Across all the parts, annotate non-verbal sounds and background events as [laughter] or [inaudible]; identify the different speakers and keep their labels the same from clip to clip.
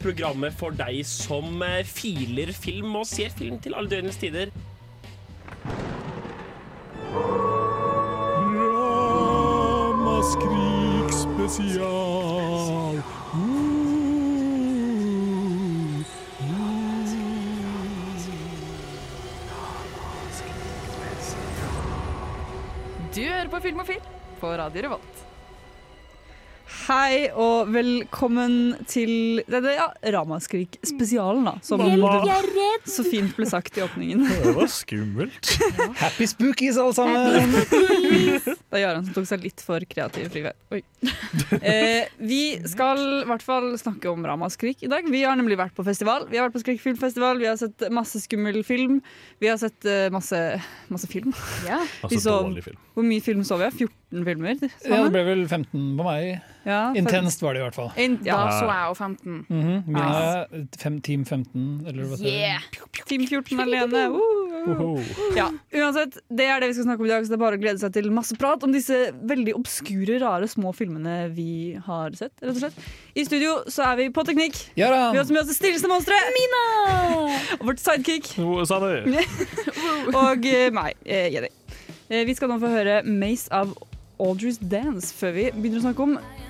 Speaker 1: programmet for deg som eh, filer film og ser film til alle døgnets tider.
Speaker 2: Ramaskrik spesial.
Speaker 3: Du hører på Filmofil på Radio Revolt.
Speaker 4: Hei og velkommen til denne ja, Ramaskrik-spesialen, da. Som [laughs] så fint ble sagt i åpningen.
Speaker 2: Det var skummelt.
Speaker 5: Happy spookies, alle sammen!
Speaker 4: Det er Jarand som tok seg litt for kreativ frihet. Oi. Eh, vi skal i hvert fall snakke om Ramaskrik i dag. Vi har nemlig vært på festival. Vi har vært på Skrik filmfestival, vi har sett masse skummel film. Vi har sett eh, masse, masse film.
Speaker 3: Ja.
Speaker 4: Vi
Speaker 2: Altså,
Speaker 4: så-
Speaker 2: dårlig film.
Speaker 4: Hvor mye film så vi? 14 filmer?
Speaker 5: Ja, det
Speaker 4: sammen?
Speaker 5: ble vel 15 på meg.
Speaker 4: Ja,
Speaker 5: Intenst var det i hvert fall.
Speaker 4: In
Speaker 3: Da
Speaker 4: ja.
Speaker 3: så jeg jo 15.
Speaker 5: Mhm, Mine er fem, Team 15, eller hva heter det?
Speaker 3: Yeah!
Speaker 4: Team 14 alene. Uh. Ja, uansett, det er det vi skal snakke om i dag, så det er bare å glede seg til masse prat om disse veldig obskure, rare små filmene vi har sett, rett og slett. I studio så er vi på teknikk. Vi har
Speaker 5: Jarand!
Speaker 4: også med oss det stilleste monsteret. Mina! Og [laughs] vårt sidekick.
Speaker 2: Noe sa du?
Speaker 4: [laughs] Og eh, meg, eh, Jenny. Eh, vi skal nå få høre Maze av Audrey's Dance før vi begynner å snakke om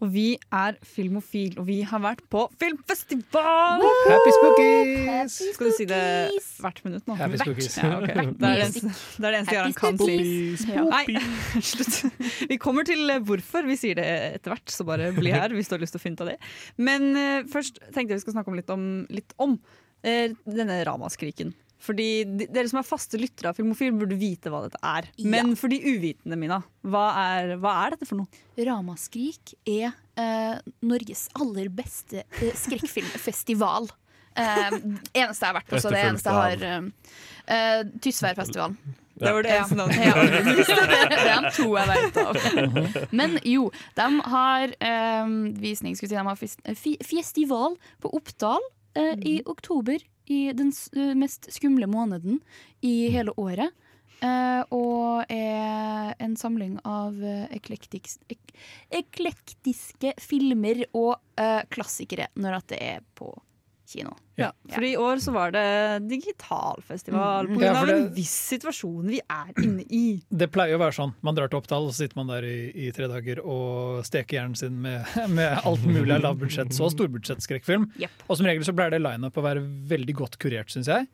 Speaker 4: Og vi er Filmofil, og vi har vært på filmfestival!
Speaker 5: Happy spookies!
Speaker 4: Skal du si det hvert minutt nå?
Speaker 5: Happy spookies.
Speaker 4: Ja, ok. Det er det eneste, det er det eneste Jarand kan si. Ja. [laughs] Nei, slutt. Vi kommer til eh, hvorfor vi sier det etter hvert, så bare bli her hvis du har lyst til å finne ut av det. Men eh, først tenkte jeg vi skal snakke om litt om, litt om eh, denne Ramaskriken. Fordi de, Dere som er faste lyttere av Filmofil, burde vite hva dette er. Men for de uvitende, Mina, hva er, hva er dette for noe?
Speaker 6: Ramaskrik er eh, Norges aller beste eh, skrekkfilmfestival. Eh, eneste jeg har vært på, så det
Speaker 2: Etterfulgt
Speaker 6: eneste jeg har eh, eh, Tysværfestivalen.
Speaker 4: Det var det eneste navnet.
Speaker 6: Ja, [laughs] det er de to jeg vet av. Men jo, de har eh, visning, skulle jeg si. De har fis- eh, fi- festival på Oppdal eh, i oktober. I den s- eh, mest skumle måneden i hele året. eh, og er en samling av eh, eklektiks, ek, eklektiske filmer og eh, klassikere, når at det er på kino.
Speaker 4: Ja, for i år så var det digitalfestival
Speaker 5: Mm.
Speaker 4: pga.
Speaker 5: Ja,
Speaker 4: av
Speaker 5: for
Speaker 4: en
Speaker 5: det-
Speaker 4: viss situasjon vi er inne i.
Speaker 5: Det pleier å være sånn. Man drar til Oppdal, og så sitter man der i, i tre dager og steker hjernen sin med, [laughs] med alt mulig av lavbudsjetts- og storbudsjettskrekkfilm.
Speaker 6: Jepp.
Speaker 5: Og som regel så pleier det line-up å være veldig godt kurert, syns jeg.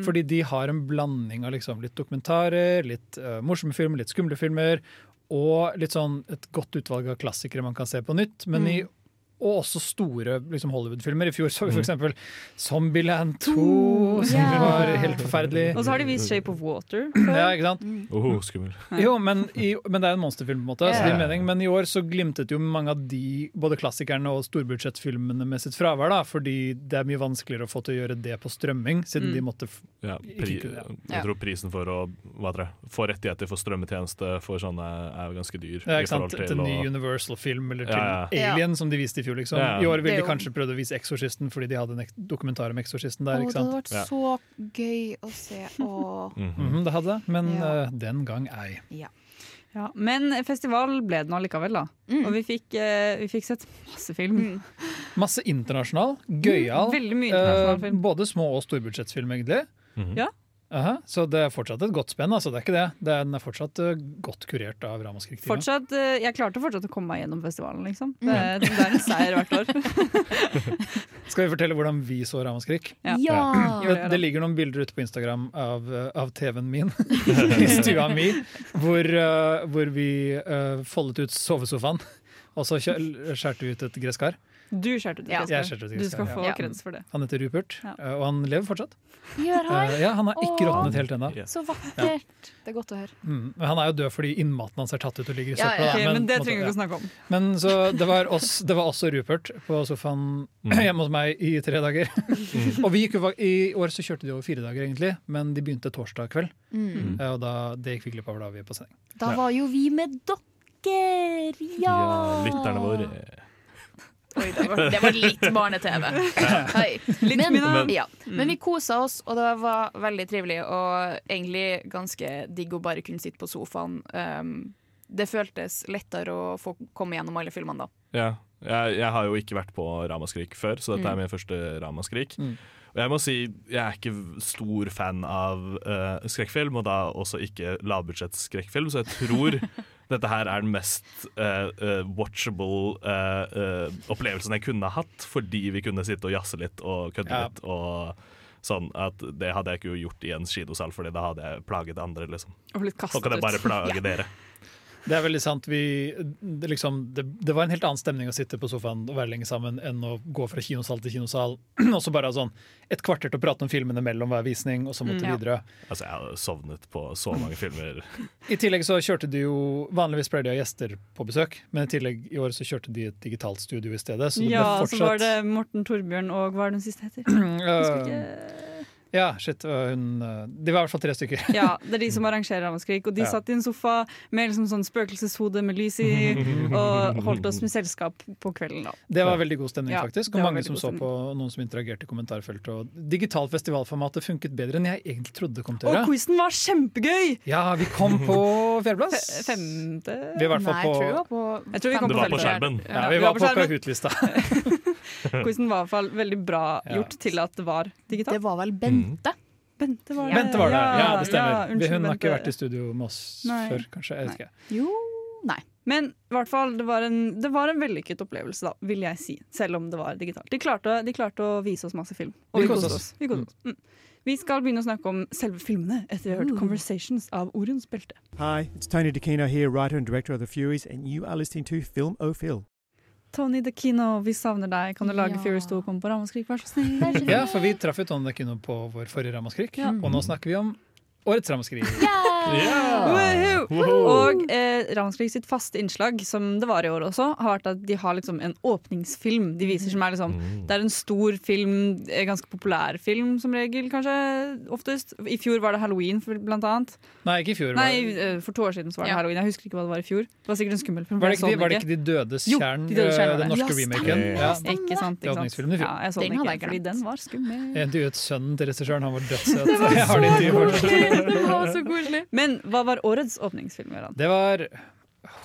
Speaker 5: Fordi de har en blanding av liksom litt dokumentarer, litt eh, morsomme filmer, litt skumle filmer. Og litt sånn et godt utvalg av klassikere man kan se på nytt. Men i, og også store liksom Hollywood-filmer. I fjor så vi f.eks. Zombieland 2, som
Speaker 6: ja.
Speaker 5: var helt forferdelig.
Speaker 4: Og så har de vist Shape of
Speaker 5: [clears throat]
Speaker 4: Water.
Speaker 5: Ja, ikke sant?
Speaker 2: Oh, skummel.
Speaker 5: Jo, men, i, men det er en monsterfilm, på en måte. Så det
Speaker 2: Ja.
Speaker 5: gir mening. Men i år så glimtet jo mange av de, både klassikerne og storbudsjettfilmene, med sitt fravær. da, Fordi det er mye vanskeligere å få til å gjøre det på strømming, siden
Speaker 6: Mm.
Speaker 5: de måtte f-
Speaker 2: Ja, pri, jeg tror prisen for å hva heter det, få rettigheter for strømmetjeneste for sånne er jo ganske dyr.
Speaker 5: ja,
Speaker 2: i
Speaker 5: ikke sant,
Speaker 2: forhold
Speaker 5: til en ny
Speaker 2: å-
Speaker 5: Universal-film eller til
Speaker 2: Ja,
Speaker 6: ja.
Speaker 5: Alien, som de viste i fjor. liksom.
Speaker 2: Ja, ja.
Speaker 5: I år
Speaker 6: Det er
Speaker 5: ville de
Speaker 6: jo-
Speaker 5: kanskje prøvd å vise Eksorsisten fordi de hadde en ek- dokumentar om Eksorsisten der.
Speaker 6: Og
Speaker 5: ikke
Speaker 6: det hadde
Speaker 5: sant?
Speaker 6: vært
Speaker 2: Ja.
Speaker 6: så gøy å se. Og
Speaker 5: Mhm, det hadde det, men
Speaker 6: Ja.
Speaker 5: eh, den gang ei.
Speaker 4: Ja, men festival ble det nå allikevel, da.
Speaker 6: Mm.
Speaker 4: Og vi fikk, eh, vi fikk sett masse film.
Speaker 5: Masse internasjonal, [laughs]
Speaker 6: Mm,
Speaker 5: gøyal.
Speaker 4: Veldig mye internasjonal
Speaker 5: eh,
Speaker 4: film.
Speaker 5: både små og storbudsjettsfilm, egentlig.
Speaker 2: Mhm.
Speaker 4: Ja.
Speaker 5: Aha, så det er fortsatt et godt spenn. altså det er ikke det. det er, den er fortsatt eh, godt kurert av Ramaskrik-teamet.
Speaker 4: Fortsatt, eh, jeg klarte fortsatt å komme meg gjennom festivalen, liksom. Det, er- det er en seier hvert år.
Speaker 5: Skal vi fortelle hvordan vi så Ramaskrik?
Speaker 4: Ja.
Speaker 6: [laughs] ja.
Speaker 4: Gjør
Speaker 5: Det,
Speaker 4: det, da.
Speaker 5: det ligger noen bilder ute på Instagram av, eh, av TV-en min
Speaker 4: [laughs]
Speaker 5: i stua mi, hvor, eh, hvor vi eh, foldet ut sovesofaen. Og så kjø- skjærte vi ut et gresskar.
Speaker 4: [laughs] Du skjærte ut
Speaker 6: Ja.
Speaker 4: Jesper.
Speaker 5: Jeg skjærte ut et
Speaker 4: Du skal
Speaker 5: gresskar,
Speaker 4: få
Speaker 5: ja.
Speaker 6: Ja.
Speaker 4: kreds for det.
Speaker 5: Han heter Rupert,
Speaker 4: Ja.
Speaker 5: eh, og han lever fortsatt.
Speaker 6: Gjør han?
Speaker 5: Eh, ja, han har ikke
Speaker 6: Åh.
Speaker 5: råtnet helt ennå.
Speaker 2: Ja.
Speaker 6: Så vakkert. Det er godt å høre.
Speaker 5: Mm. Men han er jo død fordi innmaten hans er tatt ut og ligger i
Speaker 6: Ja,
Speaker 5: søpla.
Speaker 6: ja,
Speaker 5: da,
Speaker 4: Ok, men det
Speaker 5: måtte-
Speaker 4: trenger vi ikke
Speaker 5: ja.
Speaker 4: å snakke om.
Speaker 5: Men så det var, oss, det var også Rupert på sofaen hjemme hos meg i tre dager. og vi gikk jo, fak- I år så kjørte de over fire dager, egentlig, men de begynte torsdag kveld.
Speaker 6: Mm.
Speaker 5: Eh, Og da, det gikk vi glipp av da vi var på sending.
Speaker 6: Da var jo vi med dere, ja!
Speaker 2: eh, Ja, lytterne våre.
Speaker 6: Oi, det var, det var litt [laughs] barne-TV. Hei. Men,
Speaker 4: mine.
Speaker 6: ja. Men vi kosa oss, og det var veldig trivelig. Og egentlig ganske digg å bare kunne sitte på sofaen. Um, det føltes lettere å få komme gjennom alle filmene da.
Speaker 2: Ja. Jeg, jeg har jo ikke vært på Ramaskrik før, så dette
Speaker 6: Mm.
Speaker 2: er min første Ramaskrik.
Speaker 5: Mm.
Speaker 2: Og jeg må si, jeg er ikke stor fan av eh, skrekkfilm, og da også ikke lavbudsjettskrekkfilm, så jeg tror dette her er den mest eh, eh, watchable eh, eh, opplevelsen jeg kunne hatt, fordi vi kunne sitte og jazze litt og kødde
Speaker 5: Ja.
Speaker 2: litt. og sånn at Det hadde jeg ikke gjort i en kinosal, Fordi da hadde jeg plaget andre. liksom
Speaker 4: Og blitt
Speaker 2: Nå
Speaker 4: kastet
Speaker 2: kan jeg bare
Speaker 4: ut.
Speaker 2: plage dere.
Speaker 5: Det er veldig sant. Vi, det, liksom, det, det var en helt annen stemning å sitte på sofaen og være lenge sammen enn å gå fra kinosal til kinosal [clears throat] og så bare ha sånn et kvarter til å prate om filmene mellom hver visning, og så måtte
Speaker 6: Mm. Ja.
Speaker 5: videre.
Speaker 2: Altså, jeg hadde sovnet på så mange filmer.
Speaker 5: I tillegg så kjørte de jo Vanligvis pleier de å ha gjester på besøk, men i tillegg i år så kjørte de et digitalt studio i stedet. Så det ble
Speaker 4: Ja, så var
Speaker 5: fortsatt
Speaker 4: det Morten Torbjørn og hva er det den siste heter?
Speaker 5: [clears throat] Øh,
Speaker 4: Ikke-
Speaker 5: Ja, shit. øh, Hun øh, De var i hvert fall tre stykker. [laughs]
Speaker 4: Ja, det er de som arrangerer Ramaskrik. Og de
Speaker 5: Ja.
Speaker 4: satt i en sofa med liksom sånn spøkelseshode med lys
Speaker 5: [laughs]
Speaker 4: i, og holdt oss med selskap på kvelden. da
Speaker 5: Det var veldig god stemning,
Speaker 4: Ja,
Speaker 5: faktisk.
Speaker 4: det
Speaker 5: Og
Speaker 4: var veldig
Speaker 5: mange som
Speaker 4: god
Speaker 5: så
Speaker 4: stemning.
Speaker 5: på, og noen som interagerte i kommentarfeltet. Og digital festivalformatet funket bedre enn jeg egentlig trodde det kom til å
Speaker 4: Og
Speaker 5: gjøre.
Speaker 4: quizen var kjempegøy!
Speaker 5: Ja, vi kom på
Speaker 4: [laughs]
Speaker 5: fjerdeplass.
Speaker 4: Fe- Eh, Femte
Speaker 5: Vi er i hvert fall
Speaker 6: Nei,
Speaker 5: på
Speaker 6: jeg tror vi var på
Speaker 4: Jeg tror vi kom
Speaker 2: Det var på
Speaker 4: Veldig.
Speaker 2: skjermen.
Speaker 5: ja, vi var på
Speaker 4: [laughs]
Speaker 5: plakathutlista.
Speaker 4: Quizen var i hvert fall veldig bra
Speaker 5: Ja.
Speaker 4: gjort til at det var digitalt.
Speaker 6: Det var vel
Speaker 5: Mm.
Speaker 6: Bente.
Speaker 4: Bente var det.
Speaker 5: Bente var det. Ja, det stemmer.
Speaker 4: ja, unnskyld,
Speaker 5: Hun har
Speaker 4: Bente.
Speaker 5: ikke vært i studio med oss
Speaker 4: Nei.
Speaker 5: før, kanskje. Jeg vet ikke.
Speaker 6: Jo Nei.
Speaker 4: Men i hvert fall, det var, en, det var en vellykket opplevelse, da, vil jeg si. Selv om det var digitalt. De klarte, de klarte å vise oss masse film.
Speaker 5: Vi koste oss.
Speaker 4: Vi, koste oss. Mm. vi skal begynne å snakke om selve filmene etter vi har hørt 'Conversations' av Oruns belte.
Speaker 7: Hi, it's Tony DeCino here, writer and director of The Furies, and you are listening to Film O Phil.
Speaker 4: Tony DeKino, vi savner deg. Kan du lage
Speaker 6: Ja.
Speaker 4: Furious 2 og komme på Ramaskrik, vær så snill?
Speaker 5: Ja, for vi traff jo Tom Dekino på vår forrige Ramaskrik,
Speaker 4: Ja.
Speaker 5: og nå snakker vi om årets Ramaskrik.
Speaker 4: [laughs] Woohoo!
Speaker 2: Woho!
Speaker 4: Og eh, Ramskrig sitt faste innslag, som det var i år også, har vært at de har liksom en åpningsfilm de viser som er liksom
Speaker 6: Mm.
Speaker 4: Det er en stor film, eh, ganske populær film som regel, kanskje. Oftest. I fjor var det halloween, for, blant annet.
Speaker 5: Nei, ikke i fjor.
Speaker 4: Nei,
Speaker 5: Var,
Speaker 4: eh, for to år siden så var det
Speaker 6: Ja.
Speaker 4: halloween. Jeg husker ikke hva det var i fjor. Det var sikkert en skummel film. for
Speaker 5: var,
Speaker 4: jeg
Speaker 5: det ikke,
Speaker 4: så
Speaker 5: de-
Speaker 4: den
Speaker 5: var det ikke De dødes
Speaker 4: Jo,
Speaker 5: kjern,
Speaker 4: De dødes kjern var
Speaker 5: øh, den
Speaker 4: det.
Speaker 5: norske
Speaker 6: Ja, stemmer.
Speaker 5: remaken? Ja.
Speaker 4: Ikke sant,
Speaker 5: Det er
Speaker 4: ikke sant.
Speaker 5: åpningsfilmen i fjor.
Speaker 4: Ja, jeg så den,
Speaker 6: Den
Speaker 4: ikke,
Speaker 6: hadde Sånn jeg
Speaker 4: fordi
Speaker 6: glemt.
Speaker 4: den var skummel.
Speaker 5: Jeg intervjuet sønnen til regissøren, han var dødssøt. Jeg har det intervjuet fortsatt.
Speaker 6: Det var så koselig.
Speaker 4: Men hva var årets åpningsfilm, Gøran?
Speaker 5: Det var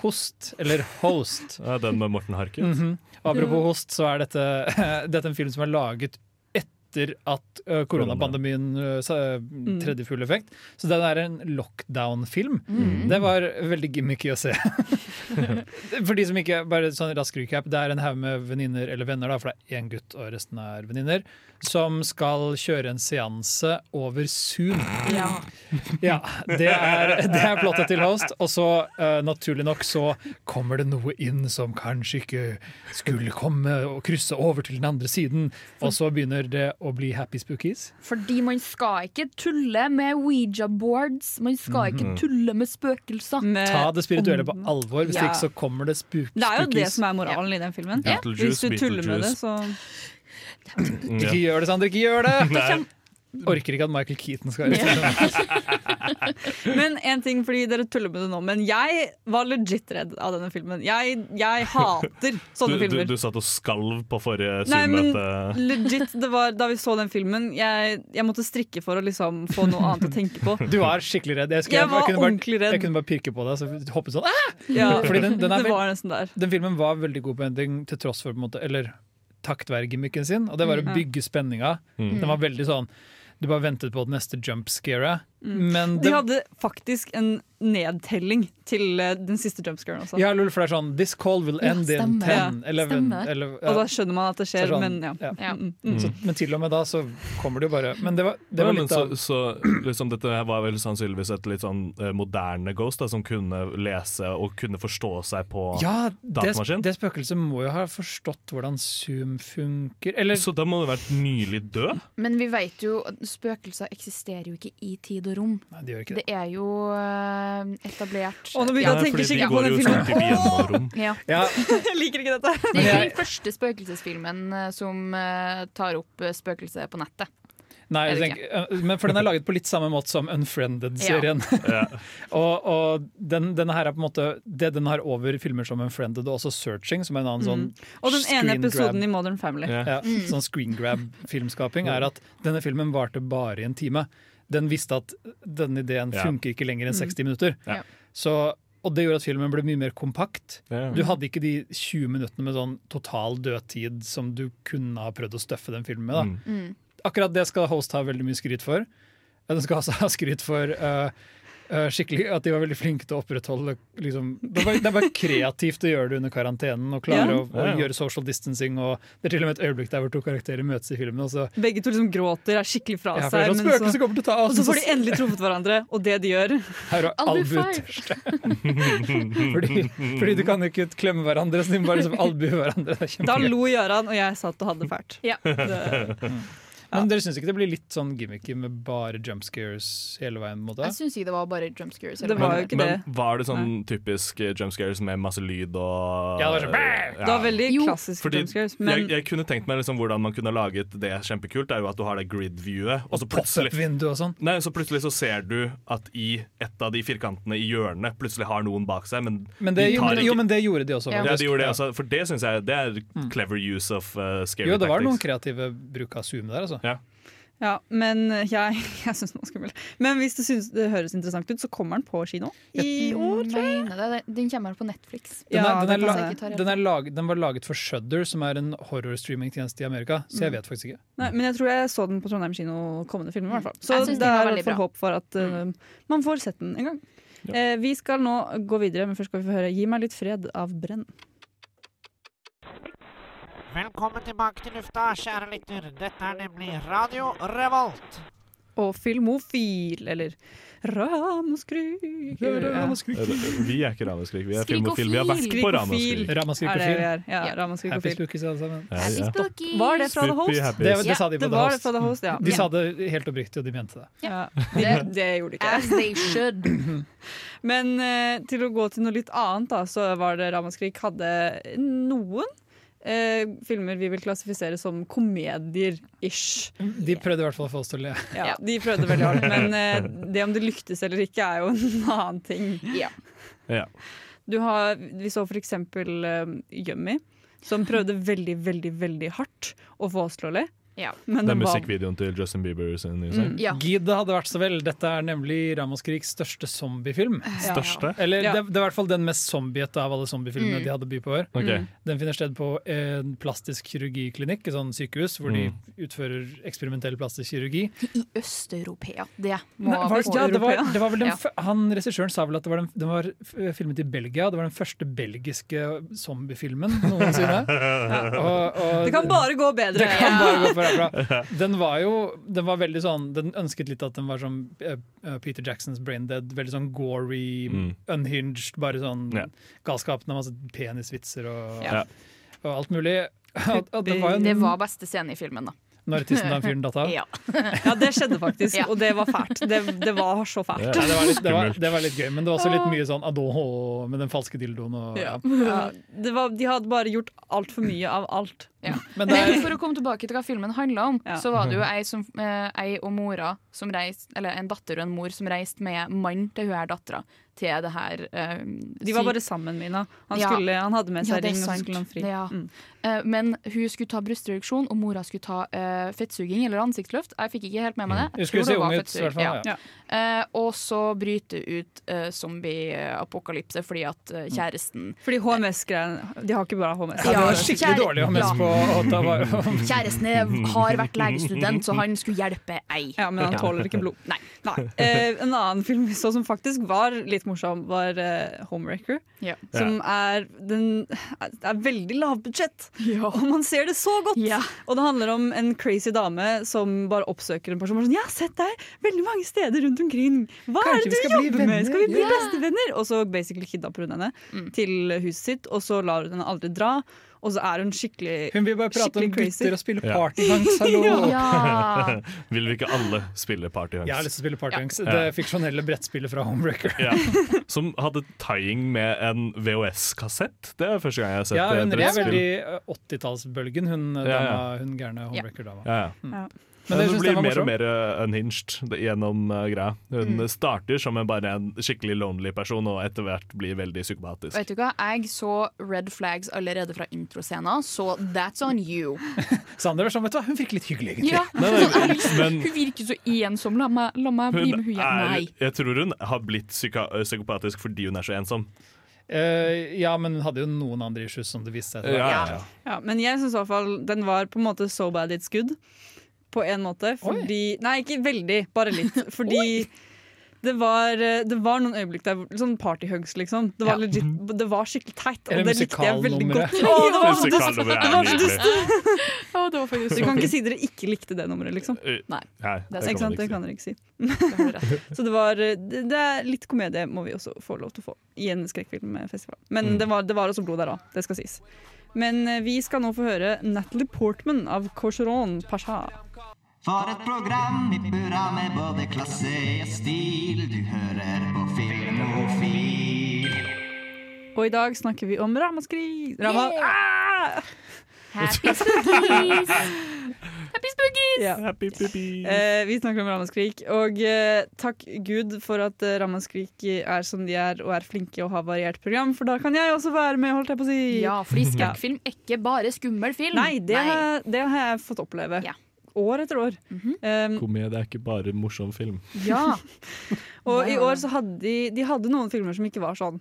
Speaker 5: Host, eller Host.
Speaker 2: Ja, den med Morten Harket.
Speaker 4: Mm.
Speaker 5: Mhm. Og Apropos host, så er dette, dette [laughs] er en film som er laget etter at ø, koronapandemien ø, sa- øh, tredde i full effekt. Så den er en lockdown-film.
Speaker 6: Mm.
Speaker 5: Det var veldig gimmicky å se. [laughs] for de som ikke, bare sånn rask recap, Det er en haug med venninner eller venner, da, for det er én gutt og resten er venninner, som skal kjøre en seanse
Speaker 4: [laughs]
Speaker 5: over Zoom.
Speaker 6: Ja.
Speaker 5: Ja, det er, det er plottet til Host. Og så, eh, naturlig nok, så kommer det noe inn som kanskje ikke skulle komme og krysse over til den andre siden. Og så begynner det å bli happy spookies.
Speaker 6: Fordi man skal ikke tulle med Ouija-boards. Man skal ikke
Speaker 4: Mhm.
Speaker 6: tulle med spøkelser.
Speaker 4: Med-
Speaker 5: Ta det spirituelle på alvor, hvis
Speaker 6: Ja.
Speaker 5: ikke så kommer det spook
Speaker 4: Eh, det er jo det
Speaker 5: spookies.
Speaker 4: som er moralen i den filmen.
Speaker 2: Ja.
Speaker 4: Hvis du
Speaker 2: Beetlejuice,
Speaker 4: tuller med det,
Speaker 2: Beetlejuice.
Speaker 4: så
Speaker 5: Ikke gjør det, Sander, ikke gjør det!
Speaker 2: [laughs] Nei,
Speaker 5: Orker ikke at Michael Keaton skal arrestere ham.
Speaker 4: Men en ting, fordi dere tuller med det nå, men jeg var legit redd av denne filmen. Jeg, jeg
Speaker 5: [laughs]
Speaker 4: hater
Speaker 2: du,
Speaker 4: sånne
Speaker 2: du,
Speaker 4: filmer.
Speaker 2: du satt og skalv på forrige
Speaker 4: Nei, men-
Speaker 2: Zoom-møte.
Speaker 4: Legit, det var Da vi så den filmen, jeg, jeg måtte strikke for å liksom få noe annet å tenke
Speaker 5: [laughs]
Speaker 4: på.
Speaker 5: [laughs] Du var skikkelig redd. Jeg, skulle-
Speaker 4: Jeg var
Speaker 5: kunne bare,
Speaker 4: ordentlig redd.
Speaker 5: Jeg kunne bare pirke på deg, så hoppet sånn. Ah!
Speaker 4: Ja,
Speaker 5: Fordi den- den er
Speaker 4: det var nesten der.
Speaker 5: Den filmen var veldig god på ending, til tross for på en måte, eller takt være gimmicken sin, og det var å
Speaker 4: Mm.
Speaker 5: bygge spenninga.
Speaker 2: Mm.
Speaker 5: Den var veldig sånn Du bare ventet på det neste jump scare.
Speaker 4: Mm.
Speaker 5: Men
Speaker 4: De
Speaker 5: det,
Speaker 4: hadde faktisk en nedtelling til eh, den siste jumpscaren også.
Speaker 5: ja, lol, for det er sånn This call will
Speaker 6: Ja,
Speaker 5: end in
Speaker 6: stemmer.
Speaker 5: 10,
Speaker 6: Ja,
Speaker 5: 11
Speaker 6: stemmer.
Speaker 5: 11 ja.
Speaker 4: Og da skjønner man at det
Speaker 5: Så
Speaker 4: skjer,
Speaker 5: sånn,
Speaker 4: men ja.
Speaker 5: ja.
Speaker 6: Ja.
Speaker 4: Mm, mm.
Speaker 5: så, Men til og med da så kommer det jo bare Men det var, det var
Speaker 2: Ja, men
Speaker 5: litt av
Speaker 2: så, så liksom, Dette her var vel sannsynligvis et litt sånn eh, moderne ghost, da, som kunne lese og kunne forstå seg på
Speaker 5: Ja, det,
Speaker 2: Datamaskin?
Speaker 5: det spøkelset må jo ha forstått hvordan Zoom funker. Eller
Speaker 2: Så da må det ha vært nylig død?
Speaker 6: Men vi vet jo at spøkelser eksisterer jo ikke i tid og rom.
Speaker 5: Nei, det gjør ikke
Speaker 6: Det
Speaker 5: det.
Speaker 6: er jo eh, etablert
Speaker 4: Og nå begynner jeg å
Speaker 2: Nei,
Speaker 4: tenke
Speaker 2: fordi de
Speaker 4: skikkelig på
Speaker 2: går
Speaker 4: den
Speaker 2: jo
Speaker 4: filmen.
Speaker 2: sånn til gjennomrom.
Speaker 6: Ja.
Speaker 5: Ja,
Speaker 4: [laughs] Jeg liker ikke dette.
Speaker 6: Det er ikke den første spøkelsesfilmen eh, som eh, tar opp eh, spøkelset på nettet.
Speaker 5: Nei,
Speaker 6: Er det
Speaker 5: jeg tenker, men for den er laget på litt samme måte som Unfriended-serien.
Speaker 2: Ja.
Speaker 5: [laughs] og og den, denne her er på en måte det den har over filmer som Unfriended og også Searching, som er en annen sånn
Speaker 4: Og den ene
Speaker 5: screen
Speaker 4: episoden
Speaker 5: grab.
Speaker 4: i Modern Family.
Speaker 2: Ja.
Speaker 5: ja, sånn screen grab-filmskaping, er at denne filmen varte bare i en time. Den visste at denne ideen
Speaker 2: Ja.
Speaker 5: funker ikke lenger enn 60 minutter.
Speaker 2: Ja.
Speaker 5: Så, og det gjorde at filmen ble mye mer kompakt.
Speaker 2: Ja.
Speaker 5: Du hadde ikke de 20 minuttene med sånn total dødtid som du kunne ha prøvd å støffe den filmen med. Da.
Speaker 2: Mm.
Speaker 5: Akkurat det skal Host ha veldig mye skryt for. Ja, Den skal også ha skryt for eh, eh, skikkelig at de var veldig flinke til å opprettholde liksom, det, var, det var kreativt å gjøre det under karantenen og klare å, å
Speaker 2: Ja, ja.
Speaker 5: gjøre social distancing. Og det er til og med et øyeblikk der hvor to karakterer møtes i filmen. altså. Og så,
Speaker 4: Begge to liksom gråter, er skikkelig fra
Speaker 5: ja, for
Speaker 4: seg.
Speaker 5: det er sånn
Speaker 4: Men
Speaker 5: spøkelse
Speaker 4: så,
Speaker 5: kommer til å ta
Speaker 4: og
Speaker 5: oss!
Speaker 4: så får de endelig truffet hverandre, og det de gjør
Speaker 5: Her er
Speaker 6: Albu
Speaker 5: albu
Speaker 6: five.
Speaker 5: tørst. [laughs] fordi, fordi du kan jo ikke klemme hverandre, så de må bare liksom albue hverandre. Det er
Speaker 4: Da
Speaker 5: kjempegøy.
Speaker 4: lo Gøran, og jeg satt og hadde det fælt. Det,
Speaker 5: Men dere syns ikke det blir litt sånn gimmicky med bare jump scares hele veien? på en måte?
Speaker 6: Jeg syns ikke det var bare jump scares.
Speaker 4: Det var jo ikke det.
Speaker 2: Men var det sånn typisk eh, jump scares med masse lyd og
Speaker 5: Ja, det var sånn, "Bæ!"
Speaker 2: Ja.
Speaker 4: det var veldig
Speaker 6: Jo,
Speaker 4: klassisk
Speaker 2: Fordi
Speaker 4: jump scares,
Speaker 2: jeg,
Speaker 4: men
Speaker 2: jeg kunne tenkt meg liksom hvordan man kunne laget det kjempekult, er jo at du har det grid-viewet, og så plutselig
Speaker 5: Pop-up-vindu og sånn.
Speaker 2: Nei, så plutselig så ser du at i et av de firkantene i hjørnet plutselig har noen bak seg, men,
Speaker 5: Men det,
Speaker 2: de
Speaker 5: jo,
Speaker 2: tar
Speaker 5: men,
Speaker 2: ikke
Speaker 5: jo, men det gjorde de også.
Speaker 6: Ja.
Speaker 2: Ja,
Speaker 5: faktisk.
Speaker 2: de gjorde det, altså, for det syns jeg det er clever use of eh, scary
Speaker 5: Mm. Jo, det var noen
Speaker 2: tactics.
Speaker 5: kreative bruk av Zoom der, altså.
Speaker 4: ja, men jeg, [laughs] jeg syns den var skummel. Men hvis du syns det høres interessant ut, så kommer den på kino i år.
Speaker 6: det. Den kommer på Netflix.
Speaker 5: Den,
Speaker 4: Ja,
Speaker 5: er, den,
Speaker 4: det
Speaker 5: er
Speaker 4: kan
Speaker 5: la,
Speaker 6: jeg ikke ta rett
Speaker 5: den, er lag, den var laget for Shudder, som er en horrorstreamingtjeneste i Amerika, så
Speaker 4: Mm.
Speaker 5: jeg vet faktisk ikke.
Speaker 4: Nei, men jeg tror jeg så den på Trondheim kino kommende film. i hvert fall. Så
Speaker 6: Jeg synes
Speaker 4: det
Speaker 6: den
Speaker 4: er
Speaker 6: var
Speaker 4: i hvert
Speaker 6: veldig
Speaker 4: fall
Speaker 6: bra.
Speaker 4: håp for at eh, man får sett den en gang. Eh, vi skal nå gå videre, men først skal vi få høre 'Gi meg litt fred' av Brenn.
Speaker 8: Velkommen tilbake til lufta, kjære lytter. Dette er nemlig Radio Revolt.
Speaker 4: Og filmofil, eller Ramaskryker. Ja.
Speaker 5: Ramaskrik.
Speaker 2: Eh, Vi er ikke Ramaskrik, vi er
Speaker 6: Skrikofil.
Speaker 2: filmofil. Vi har vært på
Speaker 4: Skrikofil.
Speaker 2: Ramaskrik.
Speaker 5: Ramaskrik
Speaker 4: Er
Speaker 5: og
Speaker 4: det vi
Speaker 5: film.
Speaker 4: er? Ja,
Speaker 6: Ja.
Speaker 5: Happy
Speaker 4: Ramaskrykerfil.
Speaker 5: spookies, alle sammen.
Speaker 2: Ja, ja.
Speaker 4: Var det fra The
Speaker 2: Happy,
Speaker 4: Host?
Speaker 2: happy.
Speaker 5: Det, det sa de
Speaker 4: Det
Speaker 5: på The
Speaker 4: var det
Speaker 5: Host.
Speaker 4: fra The Host, ja.
Speaker 5: De sa det helt oppriktig, og de mente det.
Speaker 4: Ja, det, det gjorde ikke jeg.
Speaker 6: As they should.
Speaker 4: Men eh, til å gå til noe litt annet, da, så var det Ramaskrik hadde noen eh, filmer vi vil klassifisere som komedier-ish.
Speaker 5: De prøvde i hvert fall å få oss til å le.
Speaker 4: Ja, De prøvde veldig hardt,
Speaker 5: [laughs]
Speaker 4: men eh, det om det lyktes eller ikke, er jo en [laughs] annen ting.
Speaker 2: Ja.
Speaker 4: Du har, vi så for eksempel eh, Yummy, som prøvde veldig, veldig veldig hardt å få oss til å le.
Speaker 6: Ja.
Speaker 4: Men
Speaker 2: Det er
Speaker 4: den var-
Speaker 2: musikkvideoen til Justin Bieber sin nye sang.
Speaker 6: Ja.
Speaker 5: Gid hadde vært så vel. Dette er nemlig Ramaskriks største
Speaker 4: [laughs]
Speaker 5: zombiefilm.
Speaker 2: Største?
Speaker 5: Eller
Speaker 4: Ja.
Speaker 5: det, det er i hvert fall den mest zombiete av alle zombiefilmene
Speaker 6: Mm.
Speaker 5: de hadde by på her.
Speaker 2: Ok.
Speaker 5: Den finner sted på en plastisk kirurgiklinikk, et sånn sykehus, hvor
Speaker 2: Mm.
Speaker 5: de utfører eksperimentell plastisk kirurgi.
Speaker 6: I Øst-Europea. Det må
Speaker 5: Nei, var,
Speaker 6: få-
Speaker 5: ja, det var, det var vel den,
Speaker 6: Ja.
Speaker 5: f- han Regissøren sa vel at det var, den, den var f- filmet i Belgia. Det var den første belgiske zombiefilmen noensinne. og, og,
Speaker 4: Det kan bare gå bedre.
Speaker 5: det kan bare gå for
Speaker 2: [laughs]
Speaker 5: herfra. Den var jo den var veldig sånn Den ønsket litt at den var som eh, eh, Peter Jacksons Brain Dead. Veldig sånn gory,
Speaker 2: Mm.
Speaker 5: unhinged, bare sånn
Speaker 2: Ja.
Speaker 5: galskap. Den har masse penisvitser og,
Speaker 6: Ja.
Speaker 5: og alt mulig. [laughs] At, at det var jo
Speaker 6: Det
Speaker 5: en,
Speaker 6: var beste scene i filmen, da.
Speaker 5: når tissen til han fyren datt
Speaker 6: [laughs]
Speaker 5: av.
Speaker 6: Ja.
Speaker 4: Ja, det skjedde faktisk,
Speaker 5: [laughs]
Speaker 6: Ja.
Speaker 4: og det var fælt. Det, det var så fælt.
Speaker 5: Nei, det, var litt, det, var, det var litt gøy, men det var også litt mye sånn adåhå med den falske dildoen. Og, ja.
Speaker 4: Ja, det var, de hadde bare gjort altfor mye av alt.
Speaker 6: [laughs]
Speaker 5: Men det
Speaker 6: Men
Speaker 5: er,
Speaker 6: for å komme tilbake til hva filmen handla om,
Speaker 4: Ja.
Speaker 6: så var det jo ei, som, eh, ei og mora som reiste Eller en datter og en mor som reiste med mannen til hun her dattera til det her eh,
Speaker 4: De var
Speaker 6: syk-
Speaker 4: bare sammen, Mina. Han,
Speaker 6: Ja.
Speaker 4: skulle, han hadde med
Speaker 6: Ja,
Speaker 4: seg
Speaker 6: det er
Speaker 4: ring, og så
Speaker 6: sant.
Speaker 4: skulle han fri.
Speaker 6: Ja.
Speaker 4: Mm.
Speaker 6: Eh, Men hun skulle ta brystreduksjon, og mora skulle ta eh, fettsuging eller ansiktsløft. Jeg fikk ikke helt med meg det.
Speaker 5: jeg Mm. skulle
Speaker 6: tror
Speaker 5: se
Speaker 6: det var
Speaker 5: ung ut, i
Speaker 6: fettsuging,
Speaker 5: hvert fall. Ja.
Speaker 4: ja.
Speaker 6: Eh, og så bryter ut eh, zombieapokalypse fordi at eh, kjæresten
Speaker 4: Fordi HMS-greiene De har ikke bra HMS.
Speaker 5: Ja, det
Speaker 6: Ja,
Speaker 5: var skikkelig
Speaker 6: kjære-
Speaker 5: dårlig å mest
Speaker 6: ja.
Speaker 5: på å ta vare om.
Speaker 6: [laughs] Kjæresten er, har vært legestudent, så han skulle hjelpe ei.
Speaker 4: Ja, men han tåler ikke blod.
Speaker 6: Nei. [laughs]
Speaker 4: Eh, en annen film vi så som faktisk var litt morsom, var eh, 'Homewrecker'.
Speaker 6: Ja.
Speaker 4: Som er, den, er veldig lavbudsjett,
Speaker 6: Ja.
Speaker 4: og man ser det så godt!
Speaker 6: Ja.
Speaker 4: Og det handler om en crazy dame som bare oppsøker en person. og er Sånn, 'Jeg har sett deg veldig mange steder rundt omkring. Hva er
Speaker 5: Kanskje vi
Speaker 4: det du
Speaker 5: skal bli
Speaker 4: jobber med? Skal vi bli
Speaker 6: Ja.
Speaker 4: bestevenner?' Og så basically kidnapper hun henne til huset sitt, og så lar hun henne aldri dra. Og så er hun skikkelig
Speaker 5: [laughs] Hun vil bare prate om
Speaker 4: Skikkelig crazy.
Speaker 5: gutter og spille
Speaker 2: Ja.
Speaker 5: partyhanks, hallo!
Speaker 6: [laughs] Ja.
Speaker 2: Vil vi ikke alle spille Party
Speaker 5: Jeg har
Speaker 2: Hunks?
Speaker 5: lyst til å spille partyhanks. Det fiksjonelle brettspillet fra Homewrecker.
Speaker 2: Ja. Som hadde tying med en VHS-kassett. Det er første gang jeg har sett
Speaker 5: Ja,
Speaker 2: eh,
Speaker 5: hun er
Speaker 2: brettspill.
Speaker 5: veldig eh, 80-tallsbølgen, hun, eh,
Speaker 2: Ja, ja.
Speaker 5: dama- hun gærne Homewrecker-dama.
Speaker 2: Ja, ja.
Speaker 5: Men det
Speaker 2: Hun
Speaker 5: synes jeg
Speaker 2: blir
Speaker 5: var
Speaker 2: mer og
Speaker 5: morsomt. Mm.
Speaker 2: mer eh, unhinged det- gjennom eh, greia. Hun starter som en, bare en skikkelig lonely person, og etter hvert blir veldig psykopatisk.
Speaker 6: Vet du hva, jeg så red flags allerede fra introscenen, så that's on you.
Speaker 5: Sander var sånn, vet du hva, hun virker litt hyggelig, egentlig.
Speaker 6: Ja.
Speaker 2: Nei, nei, men
Speaker 6: Hun virker så ensom. La meg, la meg bli
Speaker 2: hun
Speaker 6: med hun igjen.
Speaker 2: er,
Speaker 6: Nei.
Speaker 2: jeg tror hun har blitt psyka psykopatisk fordi hun er så ensom.
Speaker 5: Eh, ja, men hun hadde jo noen andre issues som det viste seg. etter hvert.
Speaker 2: Ja, ja.
Speaker 4: Ja, men jeg syns i hvert fall den var på en måte so bad it's good. På en måte. Fordi Nei, ikke veldig, bare
Speaker 5: [laughs]
Speaker 4: litt. Fordi det var, eh, det var noen øyeblikk der hvor- Sånn partyhugs, liksom. Det var, legit, det var skikkelig teit. Og
Speaker 5: Eller
Speaker 4: det likte jeg veldig [laughs]
Speaker 5: musikalnummeret.
Speaker 4: godt. Å, det var så dust!
Speaker 2: Musikalnummeret
Speaker 4: Det var
Speaker 2: er
Speaker 4: så
Speaker 2: nydelig.
Speaker 4: dust!
Speaker 6: Å, det var faktisk
Speaker 4: Du
Speaker 6: så
Speaker 4: kan ikke
Speaker 6: fint.
Speaker 4: si dere ikke likte det nummeret, liksom.
Speaker 2: Eh,
Speaker 6: Nei,
Speaker 2: Nei,
Speaker 6: det er
Speaker 4: Ikke
Speaker 2: det kan
Speaker 4: sant?
Speaker 2: man
Speaker 4: Det
Speaker 2: ikke
Speaker 4: kan
Speaker 2: si.
Speaker 4: dere ikke si.
Speaker 6: det har du rett i.
Speaker 4: Så det var eh, Det, det er litt komedie må vi også få lov til å få i en skrekkfilmfestival. Men
Speaker 2: Mm.
Speaker 4: det, var, det var også blod der òg, det skal sies. Men eh, vi skal nå få høre Natalie Portman av Corseron Pasha.
Speaker 9: For et program i burra med både klasse og stil. Du hører på Filmofil.
Speaker 4: Og i dag snakker vi om ramaskrik. Rama ah!
Speaker 6: Happy spookies! Happy spookies!
Speaker 4: ja.
Speaker 2: Happy puppies.
Speaker 4: Eh, vi snakker om ramaskrik, og eh, takk Gud for at eh, ramaskrik er som de er, og er flinke og har variert program, for da kan jeg også være med, holdt jeg på å si.
Speaker 6: Ja, fordi skrekkfilm er ikke bare skummel film.
Speaker 4: Nei, det, Har, det har jeg fått oppleve.
Speaker 6: Mm. Ja. Mhm.
Speaker 4: År etter år. um,
Speaker 2: Komedie er ikke bare morsom film.
Speaker 6: Ja.
Speaker 4: [laughs] og i år så hadde de, de hadde noen filmer som ikke var sånn.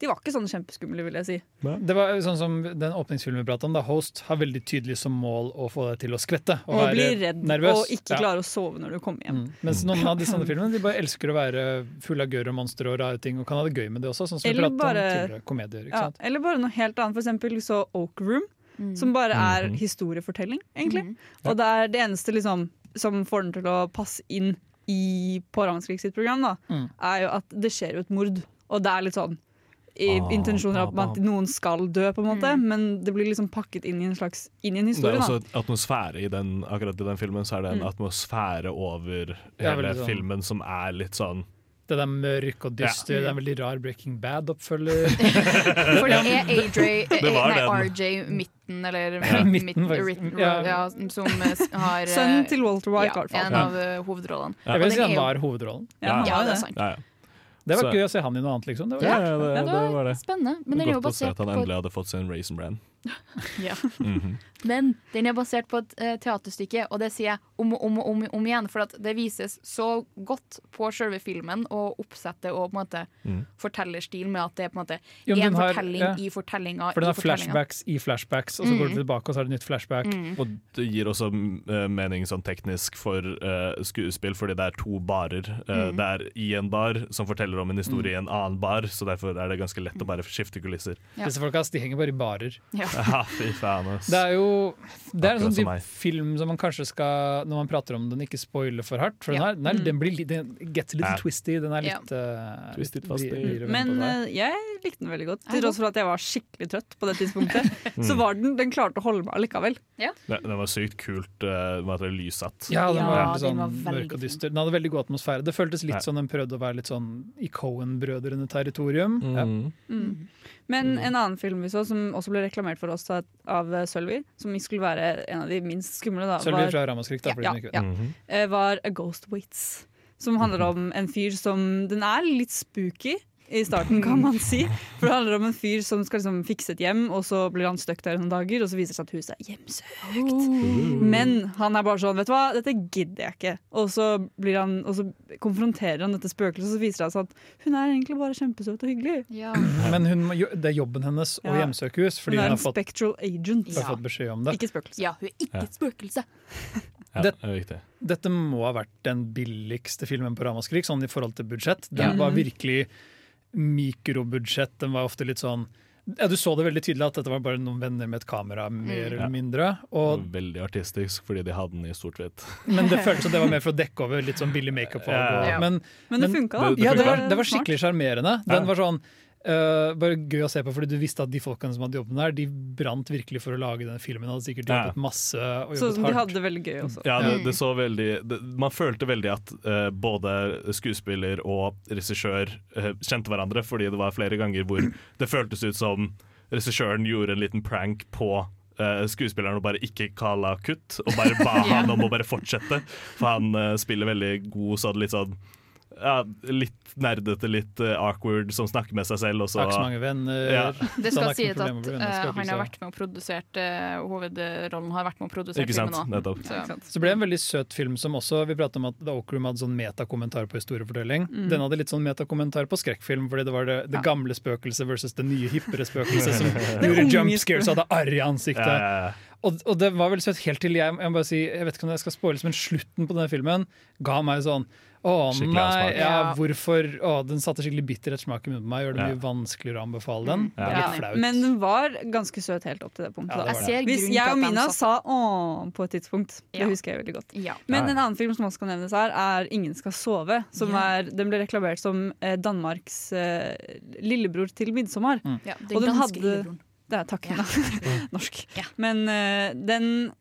Speaker 4: De var ikke sånn kjempeskumle, vil jeg si.
Speaker 5: Det var sånn som den åpningsfilmen vi pratet om, da Host har veldig tydelig som mål å få deg til å skvette.
Speaker 4: Og bli redd
Speaker 5: nervøs.
Speaker 4: og ikke
Speaker 5: Ja.
Speaker 4: klare å sove når du kommer hjem.
Speaker 5: Mm. Mens noen
Speaker 4: [laughs]
Speaker 5: av de sånne filmene De bare elsker å være full av gørr og monstre og rare ting og kan ha det gøy med det også. Sånn som vi
Speaker 4: Eller
Speaker 5: pratet
Speaker 4: bare-
Speaker 5: om tidligere komedier. Ikke
Speaker 4: Ja,
Speaker 5: sant?
Speaker 4: eller bare noe helt annet. For eksempel så Oak Room,
Speaker 6: Mm.
Speaker 4: som bare er historiefortelling, egentlig.
Speaker 6: Mhm.
Speaker 4: Og det er det eneste liksom, som får den til å passe inn i på Ragnskrig sitt program, da,
Speaker 5: Mm.
Speaker 4: er jo at det skjer jo et mord. Og det er litt sånn i,
Speaker 2: Ah,
Speaker 4: intensjoner
Speaker 2: ah,
Speaker 4: om at
Speaker 2: ah.
Speaker 4: noen skal dø, på en måte,
Speaker 6: Mm.
Speaker 4: men det blir liksom pakket inn i en slags inn i en
Speaker 2: Det
Speaker 4: historie. da.
Speaker 2: er også et atmosfære i den, akkurat i den filmen, så er det en atmosfære over
Speaker 5: Ja,
Speaker 2: hele
Speaker 5: veldig sånn.
Speaker 2: filmen som er litt sånn
Speaker 5: Det der mørk og dyster,
Speaker 2: Ja.
Speaker 5: det er en veldig rar Breaking
Speaker 6: [laughs]
Speaker 5: Bad-oppfølger.
Speaker 6: For det er AJ, eh,
Speaker 2: Det var
Speaker 6: nei,
Speaker 2: den.
Speaker 6: RJ Midten, eller
Speaker 5: Midten, faktisk.
Speaker 6: Ritten-
Speaker 5: Ja.
Speaker 6: ja, som eh, har eh,
Speaker 4: Sønnen til Walter White, i
Speaker 6: ja,
Speaker 4: hvert fall.
Speaker 6: en av eh, hovedrollene.
Speaker 5: Jeg vil
Speaker 6: Og
Speaker 5: si
Speaker 6: den
Speaker 5: han
Speaker 6: er jo-
Speaker 5: var hovedrollen.
Speaker 4: Ja, han
Speaker 6: Ja,
Speaker 4: var
Speaker 6: det
Speaker 4: det.
Speaker 6: er sant.
Speaker 2: Ja, ja.
Speaker 5: Det var
Speaker 2: Så-
Speaker 5: gøy å se han i noe annet, liksom. Det var
Speaker 2: Ja, det,
Speaker 6: Ja,
Speaker 2: det, det var det.
Speaker 6: Spennende. Men den er jo
Speaker 2: Godt å se
Speaker 6: basert
Speaker 2: at han
Speaker 6: på
Speaker 2: endelig hadde fått seg en Raisin Bran.
Speaker 6: Ja. Men den er basert på et eh, teaterstykke, og det sier jeg om og om og om, om igjen. For at det vises så godt på selve filmen og oppsettet og på en måte
Speaker 2: Mm.
Speaker 6: fortellerstilen med at det er på en måte
Speaker 5: Jo, men
Speaker 6: én
Speaker 5: den har-
Speaker 6: fortelling
Speaker 5: ja.
Speaker 6: i fortellinga
Speaker 5: For den
Speaker 6: i Mm.
Speaker 5: har
Speaker 6: fortellinga.
Speaker 5: flashbacks i flashbacks, og så går det tilbake, og så er det nytt flashback.
Speaker 6: Mm.
Speaker 2: Og det gir også eh, mening sånn teknisk for eh, skuespill, fordi det er to barer. Eh, Det er i en bar som forteller om en historie i en annen bar, så derfor er det ganske lett å bare skifte kulisser.
Speaker 6: Ja.
Speaker 5: Disse folka ass, de henger bare i barer.
Speaker 6: Ja.
Speaker 2: Ja, fy faen, ass.
Speaker 5: Det er jo det er en sånn
Speaker 2: Akkurat som
Speaker 5: type
Speaker 2: meg.
Speaker 5: film som man kanskje skal, når man prater om den, ikke spoile for hardt. For
Speaker 6: Ja. Mm.
Speaker 5: den, her, den, er, den, blir, litt- den gets litt
Speaker 2: Ja.
Speaker 5: twisty. Den er
Speaker 6: Ja.
Speaker 5: litt eh,
Speaker 2: Twisted,
Speaker 5: litt
Speaker 2: fasty.
Speaker 5: vri- vrir og
Speaker 4: Men
Speaker 5: vender på
Speaker 4: eh, jeg likte den veldig godt.
Speaker 6: Jeg
Speaker 4: Til tross for at jeg var skikkelig trøtt på det tidspunktet, så var den, den klarte å holde meg allikevel.
Speaker 2: Det, det var sykt kult eh, med at det er lyssatt.
Speaker 5: deg. ja, den var
Speaker 6: Ja,
Speaker 5: veldig
Speaker 6: den
Speaker 5: sånn
Speaker 6: var veldig
Speaker 5: mørk og dyster. Den hadde veldig god atmosfære. Det føltes litt
Speaker 2: Ja.
Speaker 5: som den prøvde å være litt sånn i Cohen-brødrene territorium.
Speaker 2: Mm.
Speaker 5: Ja.
Speaker 4: Mm. Men en annen film vi så, som også ble reklamert for oss av, av eh, Sølvi, som skulle være en av de minst skumle, da,
Speaker 5: Sølvi
Speaker 4: var,
Speaker 5: fra Ramaskrik, da.
Speaker 4: Ja,
Speaker 5: for de
Speaker 4: ja,
Speaker 5: som ikke vet.
Speaker 4: ja.
Speaker 2: Mhm.
Speaker 4: eh, var A Ghost Waits. Som handler om en fyr som Den er litt spooky i starten, kan man si. For det handler om en fyr som skal liksom fikse et hjem, og så blir han stuck der i noen dager, og så viser det seg at huset er hjemsøkt.
Speaker 5: Mm.
Speaker 4: Men han er bare sånn, vet du hva, dette gidder jeg ikke. Og så, blir han, og så konfronterer han dette spøkelset, og så viser det seg at hun er egentlig bare kjempesøt og hyggelig.
Speaker 6: Ja.
Speaker 5: Men hun, må jo- det er jobben hennes å
Speaker 4: Ja.
Speaker 5: hjemsøke hus, fordi
Speaker 4: Hun
Speaker 5: hun
Speaker 4: er
Speaker 5: har
Speaker 4: en
Speaker 5: fått,
Speaker 4: spectral agent.
Speaker 5: har fått beskjed om det.
Speaker 4: Ikke spøkelse.
Speaker 6: ja, hun er ikke et spøkelse.
Speaker 2: Ja, det er viktig.
Speaker 5: Dette må ha vært den billigste filmen på Ramaskrik, sånn i forhold til budsjett. Den var virkelig mikrobudsjett. Den var ofte litt sånn ja, Du så det veldig tydelig at dette var bare noen venner med et kamera,
Speaker 4: Mm.
Speaker 5: mer eller mindre. Og,
Speaker 2: Og veldig artistisk, fordi de hadde den i sort-hvitt.
Speaker 5: men
Speaker 4: [laughs]
Speaker 5: det føltes som det var mer for å dekke over litt sånn billig makeup.
Speaker 2: Ja.
Speaker 5: Ja. Men,
Speaker 4: Men det
Speaker 5: Men-
Speaker 4: funka, da.
Speaker 2: Det
Speaker 5: ja, det var,
Speaker 2: funker.
Speaker 5: det var skikkelig sjarmerende.
Speaker 2: Ja.
Speaker 5: Den var sånn øh, bare gøy å se på, fordi du visste at de folkene som hadde jobben der, de brant virkelig for å lage den filmen. Hadde sikkert
Speaker 2: Ja.
Speaker 5: jobbet masse
Speaker 4: Så
Speaker 5: og jobbet
Speaker 4: Sånn de
Speaker 5: hardt.
Speaker 4: hadde det veldig gøy også.
Speaker 2: Ja, det, det så veldig det, Man følte veldig at eh, både skuespiller og regissør eh, kjente hverandre, fordi det var flere ganger hvor det føltes ut som regissøren gjorde en liten prank på eh, skuespilleren å bare ikke kalle kutt, og bare ba han om å bare fortsette. For han eh, spiller veldig god sånn litt sånn ja, litt nerdete, litt eh, awkward, som snakker med seg selv. Og så,
Speaker 5: Har ikke så mange venner.
Speaker 2: Ja.
Speaker 6: Det
Speaker 5: så han
Speaker 6: skal sies at
Speaker 5: har ikke noe problem med å
Speaker 6: eh,
Speaker 5: bli venner, skal
Speaker 6: han har
Speaker 5: ikke
Speaker 6: vært med og produsert eh, Hovedrollen har vært med og produsert
Speaker 2: Ikke sant?
Speaker 6: filmen nå.
Speaker 2: Nettopp.
Speaker 6: Så.
Speaker 4: Ikke sant?
Speaker 5: Så ble det en veldig søt film som også Vi pratet om at The Okroom hadde sånn metakommentar på historiefortelling.
Speaker 4: Mm.
Speaker 5: Den hadde litt sånn metakommentar på skrekkfilm, fordi det var det, det gamle spøkelset versus det nye, hippere spøkelset
Speaker 2: [laughs]
Speaker 5: som gjorde
Speaker 4: unge
Speaker 5: jump scares og hadde arr i
Speaker 2: Ja,
Speaker 5: ansiktet.
Speaker 2: ja, ja.
Speaker 5: Og, og det var veldig søtt helt til jeg, jeg må bare si, jeg vet ikke om jeg skal spoiles, men slutten på denne filmen ga meg sånn Å
Speaker 2: Skikkelig
Speaker 5: nei,
Speaker 2: avsmak.
Speaker 5: ja,
Speaker 6: Ja.
Speaker 5: hvorfor Å, den satte skikkelig bitterhet smak i munnen på meg. Gjør det
Speaker 2: Ja.
Speaker 5: mye vanskeligere å anbefale den. Det er
Speaker 6: Ja.
Speaker 5: litt flaut.
Speaker 4: Men den var ganske søt helt opp til det punktet.
Speaker 5: Ja, det
Speaker 4: da.
Speaker 5: var
Speaker 6: Jeg ser
Speaker 4: Hvis
Speaker 6: grunnen
Speaker 4: jeg og
Speaker 6: til at
Speaker 4: Mina
Speaker 6: han
Speaker 4: sa åh på et tidspunkt,
Speaker 6: Ja.
Speaker 4: det husker jeg veldig godt.
Speaker 6: Ja.
Speaker 4: Men
Speaker 2: Ja, ja.
Speaker 4: en annen film som også kan nevnes her, er 'Ingen skal sove'. Som
Speaker 6: Ja.
Speaker 4: er, den ble reklamert som eh, Danmarks eh, lillebror til 'Midtsommer'.
Speaker 6: Ja,
Speaker 4: Og den
Speaker 6: den
Speaker 4: hadde-
Speaker 6: danske lillebroren.
Speaker 4: Det er takk,
Speaker 6: Ja.
Speaker 4: Mina. [laughs] Norsk.
Speaker 6: Ja.
Speaker 4: Men eh, den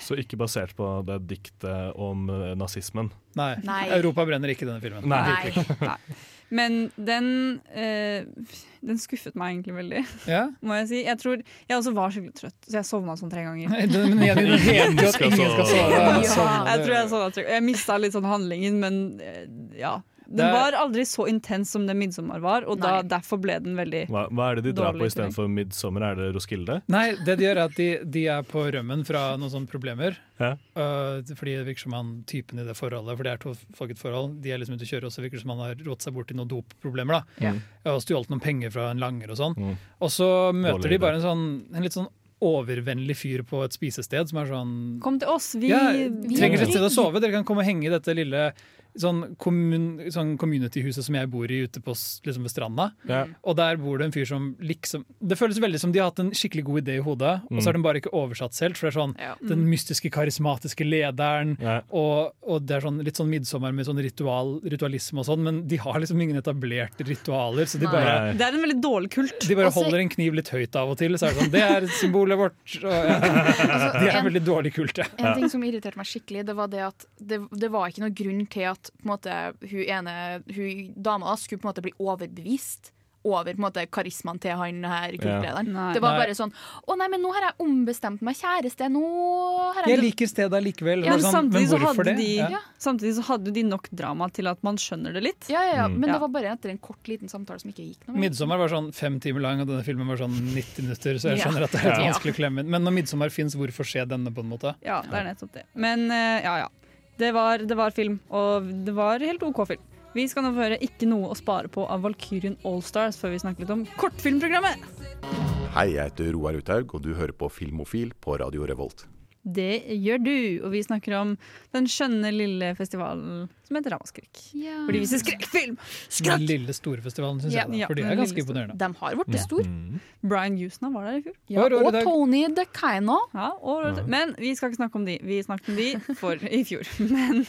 Speaker 2: Så ikke basert på det diktet om eh, nazismen.
Speaker 5: Nei.
Speaker 6: Nei.
Speaker 5: Europa brenner ikke i denne filmen.
Speaker 2: Nei.
Speaker 5: [laughs]
Speaker 6: Nei.
Speaker 4: Men den, eh, den skuffet meg egentlig veldig,
Speaker 5: Ja?
Speaker 4: må jeg si. Jeg tror, jeg også var skikkelig trøtt, så jeg sovna sånn tre ganger.
Speaker 5: Nei, den-
Speaker 2: [laughs]
Speaker 5: Men igjen, den heter jo at
Speaker 2: skal
Speaker 5: ingen
Speaker 2: sove.
Speaker 5: skal Sånn, sove.
Speaker 6: Ja.
Speaker 5: Sovne.
Speaker 4: Jeg tror jeg sovna tre Jeg mista litt sånn handlingen, men eh, ja.
Speaker 5: Det
Speaker 4: Den
Speaker 5: er-
Speaker 4: var aldri så intens som det 'Midtsommer' var, og da,
Speaker 6: Nei.
Speaker 4: derfor ble den veldig
Speaker 2: Hva, hva er det de drar
Speaker 4: Dårlig
Speaker 2: på istedenfor midtsommer? Er det Roskilde?
Speaker 5: Nei, det de gjør er at de, de er på rømmen fra noen sånne problemer.
Speaker 2: Ja.
Speaker 5: Øh, fordi det virker som han typen i det forholdet, for det er to folket forhold, de er liksom ute å kjøre, og så virker det som han har rått seg bort i noen dopproblemer. da.
Speaker 6: Ja.
Speaker 5: Og stjålet noen penger fra en langer og sånn.
Speaker 2: Mm.
Speaker 5: Og så møter
Speaker 2: Dårlig
Speaker 5: de
Speaker 2: idé.
Speaker 5: bare en, sånn, en litt sånn overvennlig fyr på et spisested som er sånn
Speaker 4: Kom til oss, vi
Speaker 5: Ja,
Speaker 4: vi-
Speaker 5: trenger et sted å sove, dere kan komme og henge i dette lille sånn, kommun, sånn community-huset som jeg bor i ute på s- liksom ved stranda.
Speaker 2: Ja.
Speaker 5: Og der bor det en fyr som liksom Det føles veldig som de har hatt en skikkelig god idé i hodet, og så har den bare ikke oversatt selv. For det er sånn
Speaker 6: Ja.
Speaker 4: Mm.
Speaker 5: den mystiske, karismatiske lederen,
Speaker 2: Ja.
Speaker 5: og, og det er sånn litt sånn midtsommer med sånn ritual, ritualisme og sånn, men de har liksom ingen etablerte ritualer, så de bare
Speaker 2: Nei.
Speaker 4: Det er en veldig dårlig kult.
Speaker 5: de bare
Speaker 6: Også-
Speaker 5: holder en kniv litt høyt av og til. Så er det sånn, det er symbolet vårt. Og
Speaker 4: [laughs]
Speaker 5: ja,
Speaker 6: Altså,
Speaker 5: de er
Speaker 6: en-
Speaker 5: veldig dårlig kult, ja.
Speaker 6: En ting som irriterte meg skikkelig, det var det at det, det var ikke noen grunn til at på en måte, hun ene hun, dama da, skulle på en måte bli overbevist over på en måte, karismaen til han her kultlederen.
Speaker 4: Nei.
Speaker 6: Det var
Speaker 5: Nei.
Speaker 6: bare sånn Å nei, men nå har jeg ombestemt meg, kjæreste. Nå har jeg
Speaker 5: Jeg liker stedet likevel.
Speaker 6: Ja,
Speaker 5: og
Speaker 4: Men
Speaker 5: sånn,
Speaker 4: samtidig så,
Speaker 5: men
Speaker 4: hadde
Speaker 5: hvorfor det?
Speaker 4: de,
Speaker 5: Ja.
Speaker 4: samtidig så hadde de nok drama til at man skjønner det litt.
Speaker 6: ja, ja, ja.
Speaker 5: Mm.
Speaker 6: Men
Speaker 4: Ja.
Speaker 6: det var bare etter en kort, liten samtale som ikke gikk noe. mer.
Speaker 5: Midtsommer var sånn fem timer lang, og denne filmen var sånn 90 minutter. Så
Speaker 6: [laughs]
Speaker 5: jeg
Speaker 6: Ja.
Speaker 5: skjønner at det er litt
Speaker 6: Ja.
Speaker 5: vanskelig å klemme inn. Men når midtsommer fins, hvorfor se denne, på en måte?
Speaker 4: Ja, det er nettopp det. Men eh, ja, ja. Det var, det var film, og det var helt OK film. Vi skal nå få høre ikke noe å spare på av Valkyrien Allstars før vi snakker litt om kortfilmprogrammet.
Speaker 10: Hei, jeg heter Roar Uthaug, og du hører på Filmofil på Radio Revolt.
Speaker 4: Det gjør du, og vi snakker om den skjønne lille festivalen som heter Ramaskrik.
Speaker 6: Ja.
Speaker 4: Hvor de viser skrekkfilm!
Speaker 5: Den lille store festivalen, syns
Speaker 6: Ja.
Speaker 5: jeg. Da,
Speaker 4: Ja,
Speaker 5: for det
Speaker 4: den
Speaker 5: er ganske
Speaker 4: lille store.
Speaker 5: imponerende.
Speaker 6: De har blitt store.
Speaker 4: Brian Houston var der i fjor.
Speaker 6: Ja,
Speaker 5: Hva er det i
Speaker 6: og
Speaker 5: dag?
Speaker 6: Tony DeCaino.
Speaker 4: Ja, og, men vi skal ikke snakke om de. Vi snakket om de for i fjor. [laughs] Men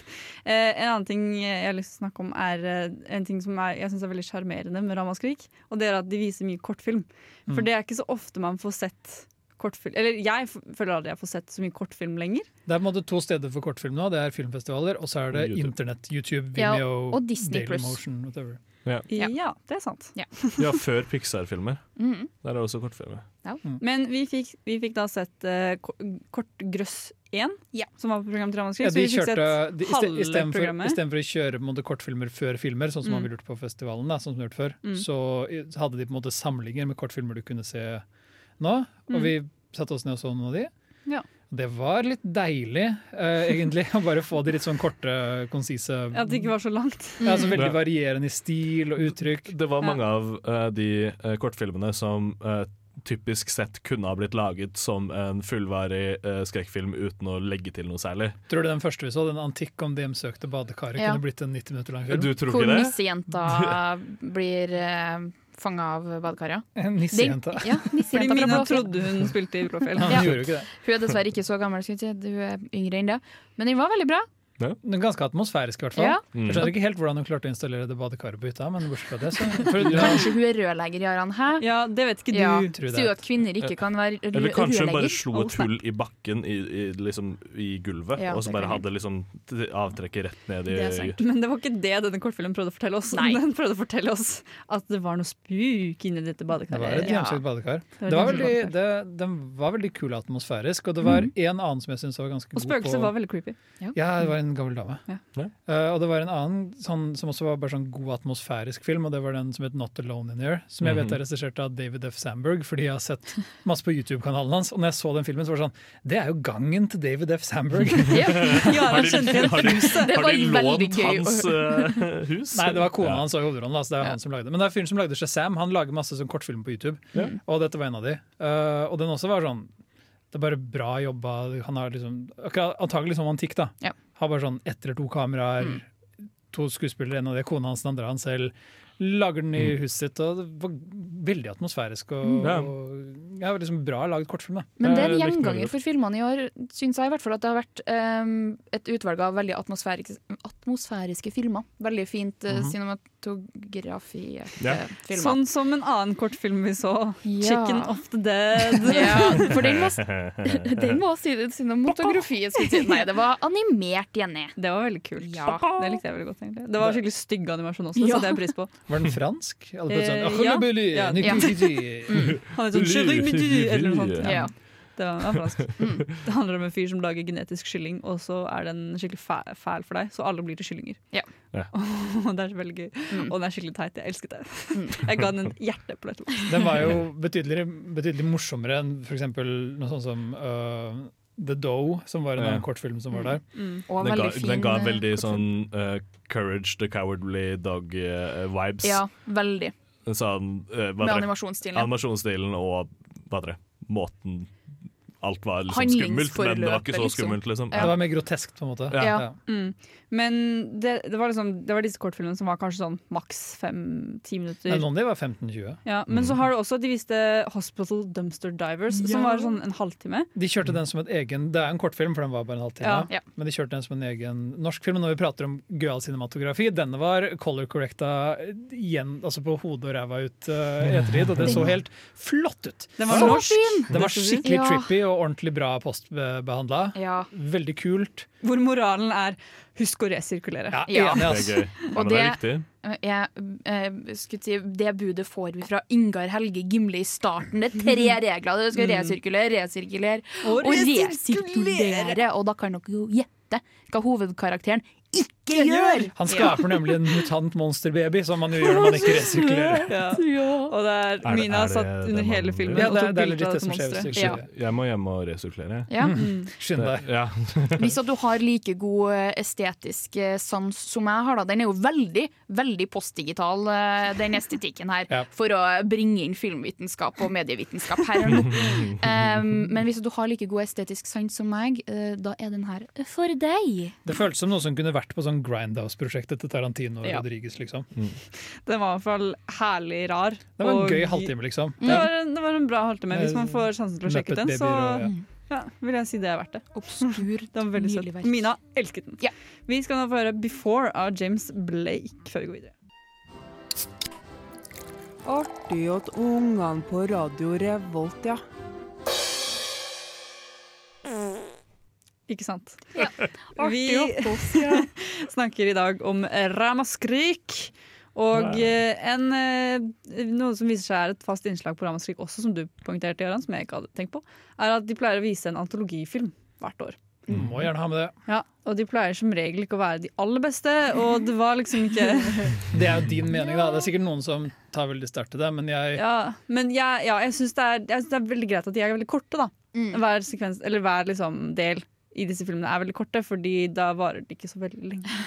Speaker 4: eh, en annen ting jeg har lyst til å snakke om, er eh, en ting som er, jeg syns er veldig sjarmerende med Ramaskrik. Og det er at de viser mye kortfilm. For det er ikke så ofte man får sett kortfilm. Eller jeg f- føler aldri jeg får sett så mye kortfilm lenger.
Speaker 5: Det er på en måte to steder for kortfilm nå. Det er filmfestivaler, og så er det
Speaker 2: Og YouTube.
Speaker 5: internett. YouTube,
Speaker 6: Ja,
Speaker 5: Vimeo,
Speaker 6: og Disney+.
Speaker 5: Dailymotion, whatever.
Speaker 6: Ja.
Speaker 4: Ja, det er sant.
Speaker 2: Ja, før Pixar-filmer.
Speaker 6: Mhm.
Speaker 2: Der er det også kortfilmer.
Speaker 4: Men vi fikk, vi fikk da sett eh, ko- Kortgrøss 1,
Speaker 6: Ja.
Speaker 4: som var på program til Ramaskrik.
Speaker 5: Ja, de
Speaker 4: så vi fikk
Speaker 5: kjørte,
Speaker 4: sett
Speaker 5: de, i sted- i
Speaker 4: halve
Speaker 5: stedet for, i
Speaker 4: programmet.
Speaker 5: stedet for å kjøre på en måte, kortfilmer før filmer, sånn som man
Speaker 4: Mm.
Speaker 5: ville gjort på festivalen, da, sånn som de gjorde før,
Speaker 4: Mm.
Speaker 5: så i- så hadde de på en måte samlinger med kortfilmer du kunne se nå. Og
Speaker 4: Mm.
Speaker 5: vi satte oss ned og så noen av de.
Speaker 4: Ja.
Speaker 5: Det var litt deilig, eh, egentlig, [laughs] å bare få de litt sånn korte, konsise
Speaker 4: At det ikke var så langt.
Speaker 5: ja, så Veldig
Speaker 2: Mm.
Speaker 5: varierende i stil og uttrykk.
Speaker 2: Det var mange av eh, de eh, kortfilmene som eh, typisk sett kunne ha blitt laget som en fullvarig eh, skrekkfilm uten å legge til noe særlig.
Speaker 5: Tror du den første vi så, den antikk om det hjemsøkte badekaret,
Speaker 6: Ja.
Speaker 5: kunne blitt en 90 minutter lang film?
Speaker 2: Du tror
Speaker 6: Hvor
Speaker 2: ikke det?
Speaker 6: nissejenta
Speaker 2: [laughs]
Speaker 6: blir uh, fanga av badekaret.
Speaker 5: En
Speaker 6: Den-
Speaker 5: [laughs] nissejente.
Speaker 6: Ja,
Speaker 4: Fordi
Speaker 6: nissejenta fra
Speaker 4: Mina
Speaker 6: Blåfjell.
Speaker 4: trodde hun
Speaker 5: [laughs]
Speaker 4: spilte i Blåfjell.
Speaker 5: Hun
Speaker 6: Ja.
Speaker 5: gjorde jo ikke det.
Speaker 6: Hun er dessverre ikke så gammel, skulle jeg si. hun er yngre enn det. Men den var veldig bra.
Speaker 5: Den er ganske atmosfærisk, i hvert fall.
Speaker 6: Ja.
Speaker 2: Mm.
Speaker 5: Jeg skjønner ikke helt hvordan hun klarte å installere det badekaret på hytta, men bortsett fra det, så for,
Speaker 6: Kanskje hun er rørlegger, Jarand? Hæ?
Speaker 4: Ja, det vet ikke du.
Speaker 6: Ja.
Speaker 5: Tror det.
Speaker 6: Sier jo at kvinner ikke kan være rø-
Speaker 2: Eller
Speaker 6: rørlegger.
Speaker 2: kanskje hun bare slo
Speaker 6: Oh,
Speaker 2: et
Speaker 6: snap.
Speaker 2: hull i bakken i, i, liksom, i gulvet,
Speaker 6: Ja,
Speaker 2: og
Speaker 6: det
Speaker 2: så bare
Speaker 6: kan
Speaker 2: hadde liksom t- avtrekket rett ned i
Speaker 6: Det er sant.
Speaker 4: Men det var ikke det denne kortfilmen prøvde å fortelle oss.
Speaker 6: Nei.
Speaker 4: Den prøvde å fortelle oss At det var noe spuk inni dette
Speaker 5: Det var et
Speaker 4: badekaret.
Speaker 6: Ja.
Speaker 5: gjennomsnitt
Speaker 4: var
Speaker 5: badekar.
Speaker 4: et
Speaker 5: Det var
Speaker 4: gjennomsnitt
Speaker 5: veldig, det, den var veldig kul atmosfærisk, og det var en annen som jeg syntes var ganske
Speaker 4: Mm. Og
Speaker 5: god
Speaker 4: spøkelset
Speaker 5: på
Speaker 4: var veldig creepy.
Speaker 5: Ja, det var en gammel dame.
Speaker 4: Ja.
Speaker 2: Ja.
Speaker 5: Eh, og det var en annen sånn, som også var bare sånn god atmosfærisk film, og det var den som het Not Alone In Here, som
Speaker 2: Mhm.
Speaker 5: jeg vet er regissert av David F. Sandberg, fordi jeg har sett masse på YouTube-kanalen hans. Og når jeg så den filmen, så var det sånn Det er jo gangen til David
Speaker 4: [laughs]
Speaker 5: F. Sandberg!
Speaker 2: [laughs] Har
Speaker 4: Jarand
Speaker 2: de-
Speaker 4: kjente igjen
Speaker 2: har
Speaker 6: [laughs]
Speaker 2: de-
Speaker 4: huset.
Speaker 6: Det
Speaker 2: Har
Speaker 6: var
Speaker 2: de
Speaker 6: veldig
Speaker 2: lånt
Speaker 6: gøy å
Speaker 2: hans eh, hus?
Speaker 5: Nei, det var kona
Speaker 2: Ja.
Speaker 5: hans og hovedrollen. Altså, det er
Speaker 6: Ja.
Speaker 5: han som lagde. Men det er fyren som lagde Shazam. Han lager masse sånn kortfilm på YouTube, og dette var en av de. Eh, og den også var sånn Det er bare bra jobba. Han har liksom akkurat, Antagelig som antikk, da.
Speaker 6: Ja.
Speaker 5: Har bare sånn ett eller to kameraer,
Speaker 4: Mm.
Speaker 5: to skuespillere, en av de, kona hans, den andre han selv. Lager den i huset sitt, og det var veldig atmosfærisk. Og,
Speaker 2: Mm. Ja.
Speaker 5: og ja, liksom bra laget kortfilm, da.
Speaker 6: Men det er
Speaker 2: Jeg
Speaker 6: en
Speaker 2: Eh, likte den
Speaker 6: gjenganger
Speaker 2: veldig
Speaker 6: for filmene i år, syns jeg. i hvert fall At det har vært ehm, et utvalg av veldig atmosfæriske, atmosfæriske filmer. Veldig fint eh, cinematografierte
Speaker 2: Ja.
Speaker 6: filmer.
Speaker 4: Sånn som en annen kortfilm vi så.
Speaker 6: Ja.
Speaker 4: 'Chicken of the Dead'.
Speaker 6: [laughs] Ja, for den var,
Speaker 2: [laughs]
Speaker 6: s- den var sin- cinematografi. skulle jeg si. Nei, det var animert, Jenny.
Speaker 4: Det var veldig kult.
Speaker 6: Ja.
Speaker 4: Det likte jeg veldig godt. egentlig Det var skikkelig stygge animasjon også,
Speaker 6: Ja.
Speaker 4: så det er pris på.
Speaker 5: Var
Speaker 2: [laughs]
Speaker 5: den fransk? Alle ble sånn,
Speaker 4: Eh,
Speaker 5: «Ah,
Speaker 4: ja.
Speaker 5: hullebully,
Speaker 4: Ja.
Speaker 5: nikkeliddy».
Speaker 4: [laughs] Han het sånn «Chiribidi», eller noe sånt.
Speaker 6: Ja.
Speaker 4: Det var, var fransk. [laughs] Det handler om en fyr som lager genetisk kylling, og så er den skikkelig fæl, fæl for deg, så alle blir til kyllinger.
Speaker 6: Ja.
Speaker 2: Ja.
Speaker 4: [laughs] Og det er så veldig gøy.
Speaker 6: Mm.
Speaker 4: Og den er skikkelig teit. Jeg elsket det. [laughs] Jeg ga den en hjerte på dette.
Speaker 5: Den var jo betydelig, betydelig morsommere enn for eksempel noe sånt som øh, The Doe, som var en
Speaker 2: Ja.
Speaker 5: annen kortfilm som var der.
Speaker 4: Mm.
Speaker 6: Og
Speaker 2: Den ga,
Speaker 6: veldig fin.
Speaker 2: den ga
Speaker 6: eh,
Speaker 2: veldig sånn eh, Courage the Cowardly eh, Dog-vibes.
Speaker 6: Ja, veldig.
Speaker 2: Sånn, eh, hva
Speaker 6: Med
Speaker 2: heter det?
Speaker 6: animasjonsstilen.
Speaker 2: animasjonsstilen og hva heter det, måten Alt var liksom skummelt, men det var
Speaker 6: Handlingsforløpet,
Speaker 2: ikke så
Speaker 6: liksom.
Speaker 2: skummelt, liksom.
Speaker 5: Det var mer grotesk, på en måte.
Speaker 2: Ja.
Speaker 6: Ja.
Speaker 4: Mm. Men det, det, var liksom, det var disse kortfilmene som var kanskje sånn maks fem-ti
Speaker 5: Men
Speaker 4: minutter.
Speaker 5: noen av de var 15-20.
Speaker 4: Ja, men så har du også de viste Hospital Dumpster Divers, som var sånn en halvtime.
Speaker 5: De
Speaker 2: Mm.
Speaker 5: kjørte den som et egen Det er en kortfilm, for den var bare en halvtime.
Speaker 4: Ja.
Speaker 6: Ja.
Speaker 5: Men de kjørte den som en egen norsk film. Og Når vi prater om gøyal cinematografi, denne var color correcta igjen, altså på hodet og ræva ut øh, i ettertid, og det så helt flott ut.
Speaker 4: Den var
Speaker 5: Så
Speaker 4: norsk.
Speaker 6: fin!
Speaker 5: Den var skikkelig
Speaker 6: Ja.
Speaker 5: trippy og ordentlig bra postbehandla.
Speaker 6: Ja.
Speaker 5: Veldig kult.
Speaker 4: Hvor moralen er 'husk å resirkulere'.
Speaker 5: Ja,
Speaker 6: Ja.
Speaker 5: Enig,
Speaker 2: Det
Speaker 5: ass.
Speaker 2: er gøy. Ja, men det er riktig.
Speaker 6: Eh, Jeg, eh, skulle si, det budet får vi fra Ingar Helge Gimle i starten. Det er tre regler. Du skal resirkulere, resirkulere Mm. og resirkulere. Og da kan dere jo gjette hva hovedkarakteren ikke gjør!
Speaker 5: Han skaper nemlig en mutant monsterbaby, som
Speaker 4: [laughs]
Speaker 5: man jo gjør når man ikke resirkulerer.
Speaker 4: Ja.
Speaker 6: Ja.
Speaker 4: Og det er,
Speaker 2: det-
Speaker 4: Mina
Speaker 2: er det
Speaker 4: satt under
Speaker 2: den
Speaker 4: hele
Speaker 2: mannen-
Speaker 4: filmen
Speaker 5: Ja,
Speaker 4: og
Speaker 5: det,
Speaker 4: tok
Speaker 5: er- det er
Speaker 4: bilder
Speaker 5: legit
Speaker 4: av
Speaker 5: det
Speaker 4: dette
Speaker 5: som skjer hvis
Speaker 4: monsteret.
Speaker 5: du ikke skjer.
Speaker 2: Jeg må hjem og resirkulere.
Speaker 6: Ja.
Speaker 5: Skynd deg.
Speaker 2: Ja.
Speaker 6: Hvis at du har like god eh, estetisk eh, sans som jeg har, da. Den er jo veldig, veldig postdigital, eh, den estetikken her.
Speaker 5: Ja.
Speaker 6: For å bringe inn filmvitenskap og medievitenskap her og nå. Em, men hvis at du har like god estetisk sans som meg, eh, da er den her for deg.
Speaker 5: Det føltes som noe som kunne vært på sånn Grindhouse-prosjektet til Tarantino og
Speaker 4: Ja.
Speaker 5: Rodriguez. liksom.
Speaker 4: Den var i hvert fall herlig rar.
Speaker 5: Det var en
Speaker 4: og-
Speaker 5: gøy halvtime, liksom.
Speaker 4: Det var, en, det var en bra halvtime. Hvis man får sjansen til å sjekke ut den,
Speaker 5: Muppet
Speaker 4: så
Speaker 5: babyer og- ja.
Speaker 4: ja, vil jeg si det er verdt det.
Speaker 6: Obskur,
Speaker 4: Den var veldig søt.
Speaker 6: nydelig verk.
Speaker 4: Mina elsket den.
Speaker 6: Ja.
Speaker 4: Vi skal nå få høre 'Before' av James Blake før vi går videre.
Speaker 11: Artig at ungene på Radio Revolt, ja.
Speaker 4: Ikke sant?
Speaker 6: Ja.
Speaker 4: Vi [laughs] snakker i dag om ramaskrik. Og eh, en, eh, noe som viser seg er et fast innslag på Ramaskrik også, som du poengterte, Jarand, som jeg ikke hadde tenkt på, er at de pleier å vise en antologifilm hvert år.
Speaker 5: Må gjerne ha med det.
Speaker 4: Ja, Og de pleier som regel ikke å være de aller beste, og det var liksom [laughs] ikke
Speaker 5: Det er jo din mening, da. Det er sikkert noen som tar veldig sterkt til det, men jeg
Speaker 4: Ja, Men jeg, ja, jeg syns det, er- jeg synes det er veldig greit at de er veldig korte, da.
Speaker 6: Mm.
Speaker 4: Hver sekvens, eller hver liksom del i disse filmene er veldig korte, fordi da varer de ikke så veldig lenge.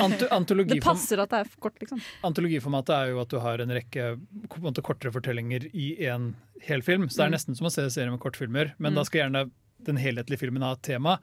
Speaker 5: anto
Speaker 4: Det
Speaker 5: antologiform
Speaker 4: passer at det er for kort, liksom.
Speaker 5: Antologiformatet er jo at du har en rekke på en måte, kortere fortellinger i en hel film. Så det er nesten som å se en serie med kortfilmer, men da skal gjerne den helhetlige filmen ha et tema.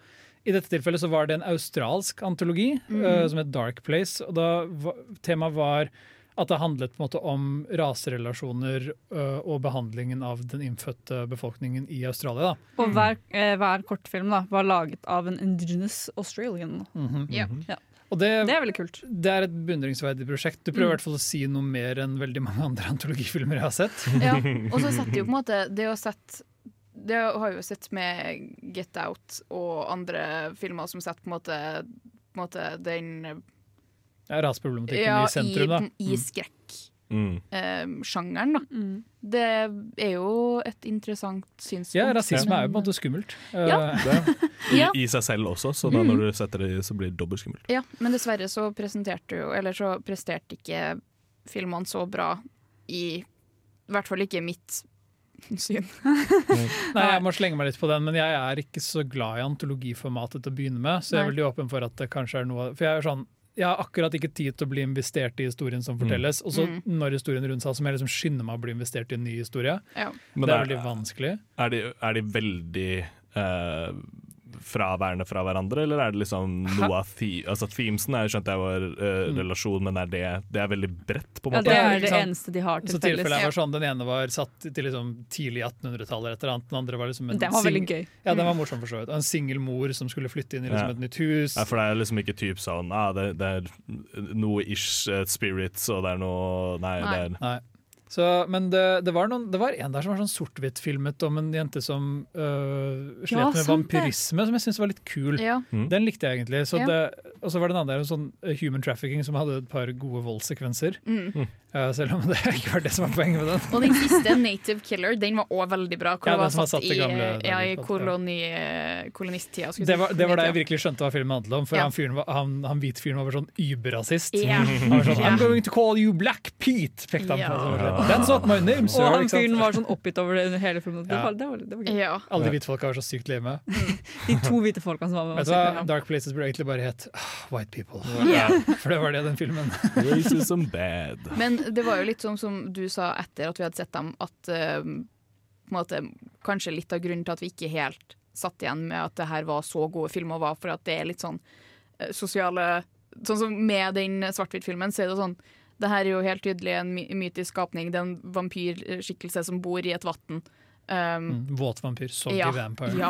Speaker 5: I dette tilfellet så var det en australsk antologi eh, som het Dark Place. og da va- Temaet var At det handlet på en måte om raserelasjoner øh, og behandlingen av den innfødte befolkningen i Australia. Da.
Speaker 4: Og hver, eh, hver kortfilm da, var laget av en indigenous Australian.
Speaker 5: Mhm.
Speaker 4: Ja. Ja.
Speaker 5: Og det,
Speaker 4: Det er veldig kult.
Speaker 5: det er et beundringsverdig prosjekt. Du prøver i
Speaker 6: Mm.
Speaker 5: hvert fall å si noe mer enn veldig mange andre antologifilmer jeg har sett.
Speaker 6: Ja, og så setter jo på en måte Det å sette det har jeg jo sett med Get Out og andre filmer som setter på en måte, på en måte den
Speaker 5: Ja, Raseproblematikken
Speaker 6: ja,
Speaker 5: i sentrum, da. Mm.
Speaker 6: i, i
Speaker 2: Mm.
Speaker 6: skrekksjangeren. da. Det er jo et interessant synspunkt.
Speaker 5: Ja, rasisme
Speaker 6: men-
Speaker 5: er jo på en måte skummelt.
Speaker 6: Ja.
Speaker 5: Eh,
Speaker 2: I,
Speaker 6: Ja.
Speaker 2: I seg selv også, så da
Speaker 6: Mm.
Speaker 2: når du setter det i, så blir det dobbelt skummelt.
Speaker 6: Ja, men dessverre så presenterte jo Eller så presterte ikke filmene så bra i I hvert fall ikke mitt syn.
Speaker 5: [laughs] Nei, jeg må slenge meg litt på den, men jeg er ikke så glad i antologiformatet til å begynne med, så jeg er
Speaker 6: Nei.
Speaker 5: veldig åpen for at det kanskje er noe For jeg er sånn jeg har akkurat ikke tid til å bli investert i historien som fortelles. Og så
Speaker 6: Mm.
Speaker 5: når historien rundt seg, så må jeg liksom skynde meg å bli investert i en ny historie.
Speaker 6: Ja.
Speaker 2: Men
Speaker 5: det er
Speaker 2: er-
Speaker 5: veldig vanskelig.
Speaker 2: Er de, er de veldig eh, fraværende fra hverandre, eller er det liksom noe av the, altså Themesen er, skjønte jeg var eh, relasjon, men er det, det er veldig bredt, på
Speaker 4: Mm. Ja,
Speaker 2: en måte?
Speaker 4: det er
Speaker 5: ikke
Speaker 4: det
Speaker 5: sant?
Speaker 4: eneste de har til
Speaker 5: Så tilfellet her var
Speaker 4: felles.
Speaker 5: sånn, Den ene var satt til liksom tidlig 1800-tallet, eller et eller annet, den andre var liksom en
Speaker 4: Den var
Speaker 5: sing-
Speaker 4: veldig gøy. Mm.
Speaker 5: Ja, den var morsom for så vidt. Og En singel mor som skulle flytte inn i liksom
Speaker 2: Ja.
Speaker 5: et nytt hus.
Speaker 2: Ja, for det er liksom ikke typ sånn ah, det, det er noe ish eh, spirits, og det er noe Nei, det er
Speaker 5: Nei. Så, men det, det, var noen, det var en der som var sånn sort-hvitt-filmet om en jente som øh, slet
Speaker 6: Ja,
Speaker 5: med
Speaker 6: sant det.
Speaker 5: vampyrisme, som jeg syntes var litt kul.
Speaker 6: Ja.
Speaker 2: Mm.
Speaker 5: Den likte jeg egentlig. Så
Speaker 6: Ja.
Speaker 5: det, og så var det en annen der, en sånn øh, human trafficking, som hadde et par gode voldssekvenser.
Speaker 6: Mm.
Speaker 5: [laughs] Øh, selv om det ikke var det som var poenget med den.
Speaker 6: Og den siste, 'Native Killer', den var òg veldig bra.
Speaker 5: Ja,
Speaker 6: det
Speaker 5: den
Speaker 6: var
Speaker 5: som var satt i gamle
Speaker 6: ja, i
Speaker 5: dager, sant, ja.
Speaker 6: koloni, kolonisttida. skulle
Speaker 5: Det
Speaker 6: jeg
Speaker 5: var,
Speaker 6: si.
Speaker 5: det var da jeg virkelig skjønte hva filmen handlet om, for
Speaker 6: Ja.
Speaker 5: han, fyren var, han, han hvit fyren var bare sånn überrasist.
Speaker 6: Ja.
Speaker 5: Han var sånn
Speaker 6: Ja.
Speaker 5: I'm going to call you Black Pete! pekte han på.
Speaker 6: Ja.
Speaker 5: Så var det sånn, That's not my name,
Speaker 4: Og
Speaker 5: sir!
Speaker 4: han
Speaker 5: ikke sant?
Speaker 4: fyren var sånn oppgitt over det under hele filmen. Det
Speaker 5: Ja.
Speaker 4: var, det var, det var gøy.
Speaker 6: Ja.
Speaker 5: Alle de hvitfolka var så sykt lame.
Speaker 4: De to hvite folkene som var med.
Speaker 5: Vet du
Speaker 4: var
Speaker 5: hva?
Speaker 4: sykt bra.
Speaker 5: Dark Places burde egentlig bare hett ah, White People.
Speaker 6: Ja.
Speaker 5: [laughs] For det var det den filmen.
Speaker 2: Racism bad.
Speaker 6: Men det var jo litt sånn som du sa etter at vi hadde sett dem, at eh, på en måte, kanskje litt av grunnen til at vi ikke helt satt igjen med at det her var så gode filmer, var for at det er litt sånn eh, sosiale Sånn som med den svart-hvitt-filmen, så er det sånn det her er jo helt tydelig en my mytisk skapning. Det er en vampyrskikkelse som bor i et vann. Um,
Speaker 5: Mm, Våt vampyr, soggy
Speaker 6: Ja,
Speaker 5: vampire. [laughs]
Speaker 6: ja.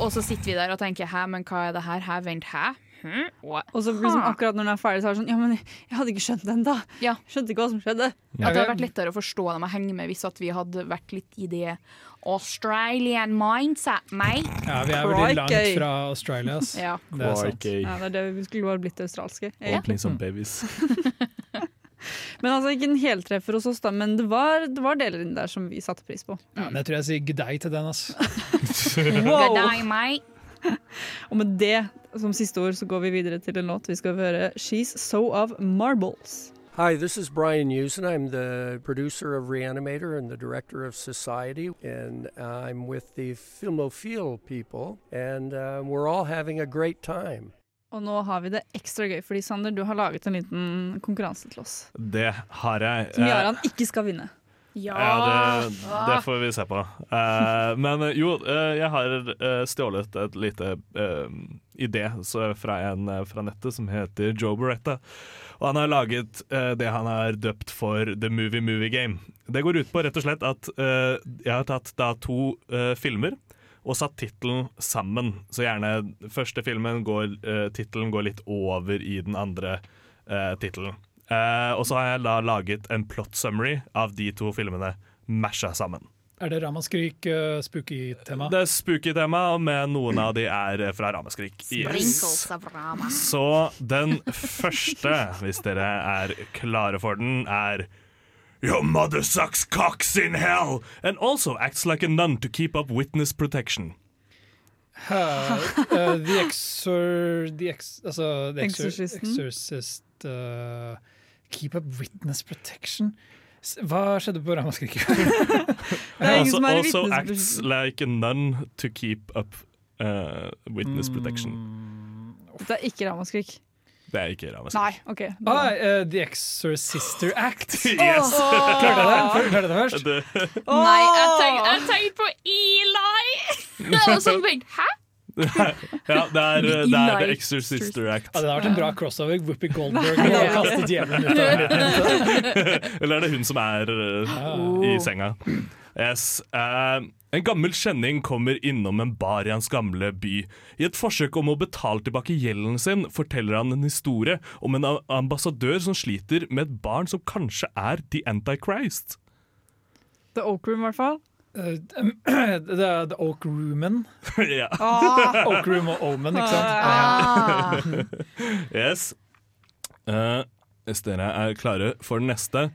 Speaker 6: Og så sitter vi der og tenker 'hæ, men hva er det her? Hæ, vent, hæ?' Hm? What?
Speaker 4: Og så liksom akkurat når den er ferdig, så er det sånn Ja, men jeg hadde ikke skjønt den da.
Speaker 6: Ja.
Speaker 4: Skjønte ikke hva som skjedde.
Speaker 6: At det hadde vært lettere å forstå dem og henge med hvis at vi hadde vært litt i det Australian mindset, mate.
Speaker 5: Ja, vi er veldig langt
Speaker 4: Crikey.
Speaker 5: fra Australia. ass.
Speaker 6: Ja.
Speaker 5: Det er sant.
Speaker 2: Crikey.
Speaker 4: Ja, det er det vi skulle bare blitt australske. Ja.
Speaker 2: Åpning som babies.
Speaker 4: Men altså ikke en heltreffer hos oss, da, men det var, det var deler inni der som vi satte pris på.
Speaker 5: Ja, men jeg tror jeg sier gdei til den. ass.
Speaker 6: Good
Speaker 4: Wow.
Speaker 6: day, mate.
Speaker 4: Og med det som siste ord så går vi videre til en låt vi skal høre 'She's So Of Marbles'.
Speaker 12: Hi, this is Brian Usen. I'm the producer of Reanimator and the director of Society, and I'm with the Filmophile people, and uh, we're all having a great time.
Speaker 4: Og nå har vi det ekstra gøy fordi Sander, du har laget en liten konkurranse til oss.
Speaker 2: Det har jeg.
Speaker 4: Som
Speaker 2: Eh,
Speaker 4: Jaran ikke skal vinne.
Speaker 2: Ja, det, det får vi se på. Eh, men eh, jo, eh, jeg har eh, stjålet et lite eh, idé så fra en eh, fra nettet som heter Joe Beretta. Og han har laget eh, det han har døpt for The Movie Movie Game. Det går ut på rett og slett at eh, jeg har tatt da to eh, filmer og satt tittelen sammen. Så gjerne første filmen går uh, tittelen går litt over i den andre uh, tittelen. Eh, og så har jeg da laget en plot summary av de to filmene masha sammen.
Speaker 5: Er det Ramaskrik, uh, spooky tema?
Speaker 2: Det er spooky tema, men noen av de er fra Ramaskrik. Yes.
Speaker 6: Sprinkles of Rama.
Speaker 2: Så den første, hvis dere er klare for den, er Your mother sucks cocks in hell and also acts like a nun to keep up witness protection.
Speaker 5: Hæ? Eh, the Exor... The ex, altså, the exor
Speaker 4: Exorcisten.
Speaker 5: Exorcist eh, Keep up witness protection? S- Hva skjedde på Ramaskrik?
Speaker 4: Det er ingen
Speaker 2: also,
Speaker 4: som er i
Speaker 2: Altså, also
Speaker 4: vitnesbyrd.
Speaker 2: acts like a nun to keep up uh, witness protection.
Speaker 4: Det er ikke ramaskrik.
Speaker 2: Det er ikke Ramaskrik.
Speaker 4: Nei. OK.
Speaker 5: ah, eh, the Exorcister Act!
Speaker 2: Yes.
Speaker 5: Klarte jeg det? Klarte jeg det først?
Speaker 2: Det-
Speaker 6: Nei, jeg tenkte jeg tenkte på Eli! Det var sånn, tenkt, Hæ?
Speaker 2: ja, det er eh, det, er
Speaker 5: Eli
Speaker 2: the Extra Sister Act.
Speaker 5: [laughs] Ja, det har vært en bra crossover. Whoopi
Speaker 4: [laughs]
Speaker 5: Goldberg
Speaker 2: Nei.
Speaker 5: og kaste djevelen ut av en liten jente.
Speaker 2: [laughs] Eller er det hun som er eh, i senga? Yes. eh, en gammel kjenning kommer innom en bar i hans gamle by. I et forsøk om å betale tilbake gjelden sin, forteller han en historie om en a- ambassadør som sliter med et barn som kanskje er The Antichrist. [laughs]
Speaker 4: The Oak Room, i hvert fall.
Speaker 5: Eh, [clears throat] Det er The Oak Roomen.
Speaker 2: ja.
Speaker 5: Ah. Oak Room og Omen, ikke sant?
Speaker 2: Ah.
Speaker 5: Ja.
Speaker 2: yes. Eh, hvis dere er klare for den neste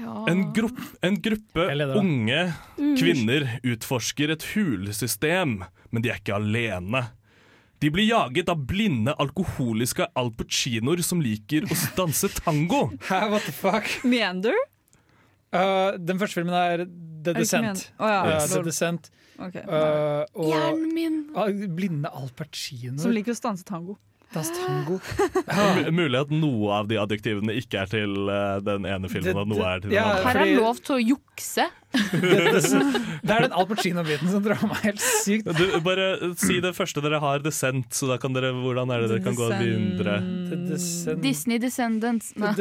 Speaker 2: En, grupp, en gruppe unge
Speaker 5: Mm.
Speaker 2: kvinner utforsker et hulesystem, men de er ikke alene. De blir jaget av blinde alkoholiske alpacinoer som liker å danse tango.
Speaker 5: [laughs] [laughs] Hæ, what the fuck?
Speaker 4: Meander?
Speaker 5: Uh, den første filmen er The
Speaker 4: ikke
Speaker 5: Descent.
Speaker 4: Meander? Å ja,
Speaker 5: Uh, The
Speaker 4: lol.
Speaker 5: Descent.
Speaker 4: Ok.
Speaker 5: Uh, og
Speaker 4: Hjernen min.
Speaker 5: Ah, blinde Al Pacino.
Speaker 4: Som liker å stanse tango.
Speaker 5: Das tango.
Speaker 2: Det er mu- Mulig at noe av de adjektivene ikke er til eh, den ene filmen, og noe er til den
Speaker 5: ja,
Speaker 2: andre.
Speaker 6: Her er lov til å jukse.
Speaker 5: Det er den Al Pacino-biten som drar meg helt sykt.
Speaker 2: Du, bare eh, si det første dere har, Descent, så da kan dere Hvordan er det dere kan gå videre?
Speaker 4: Mm.
Speaker 6: Disney Descendants. Nei.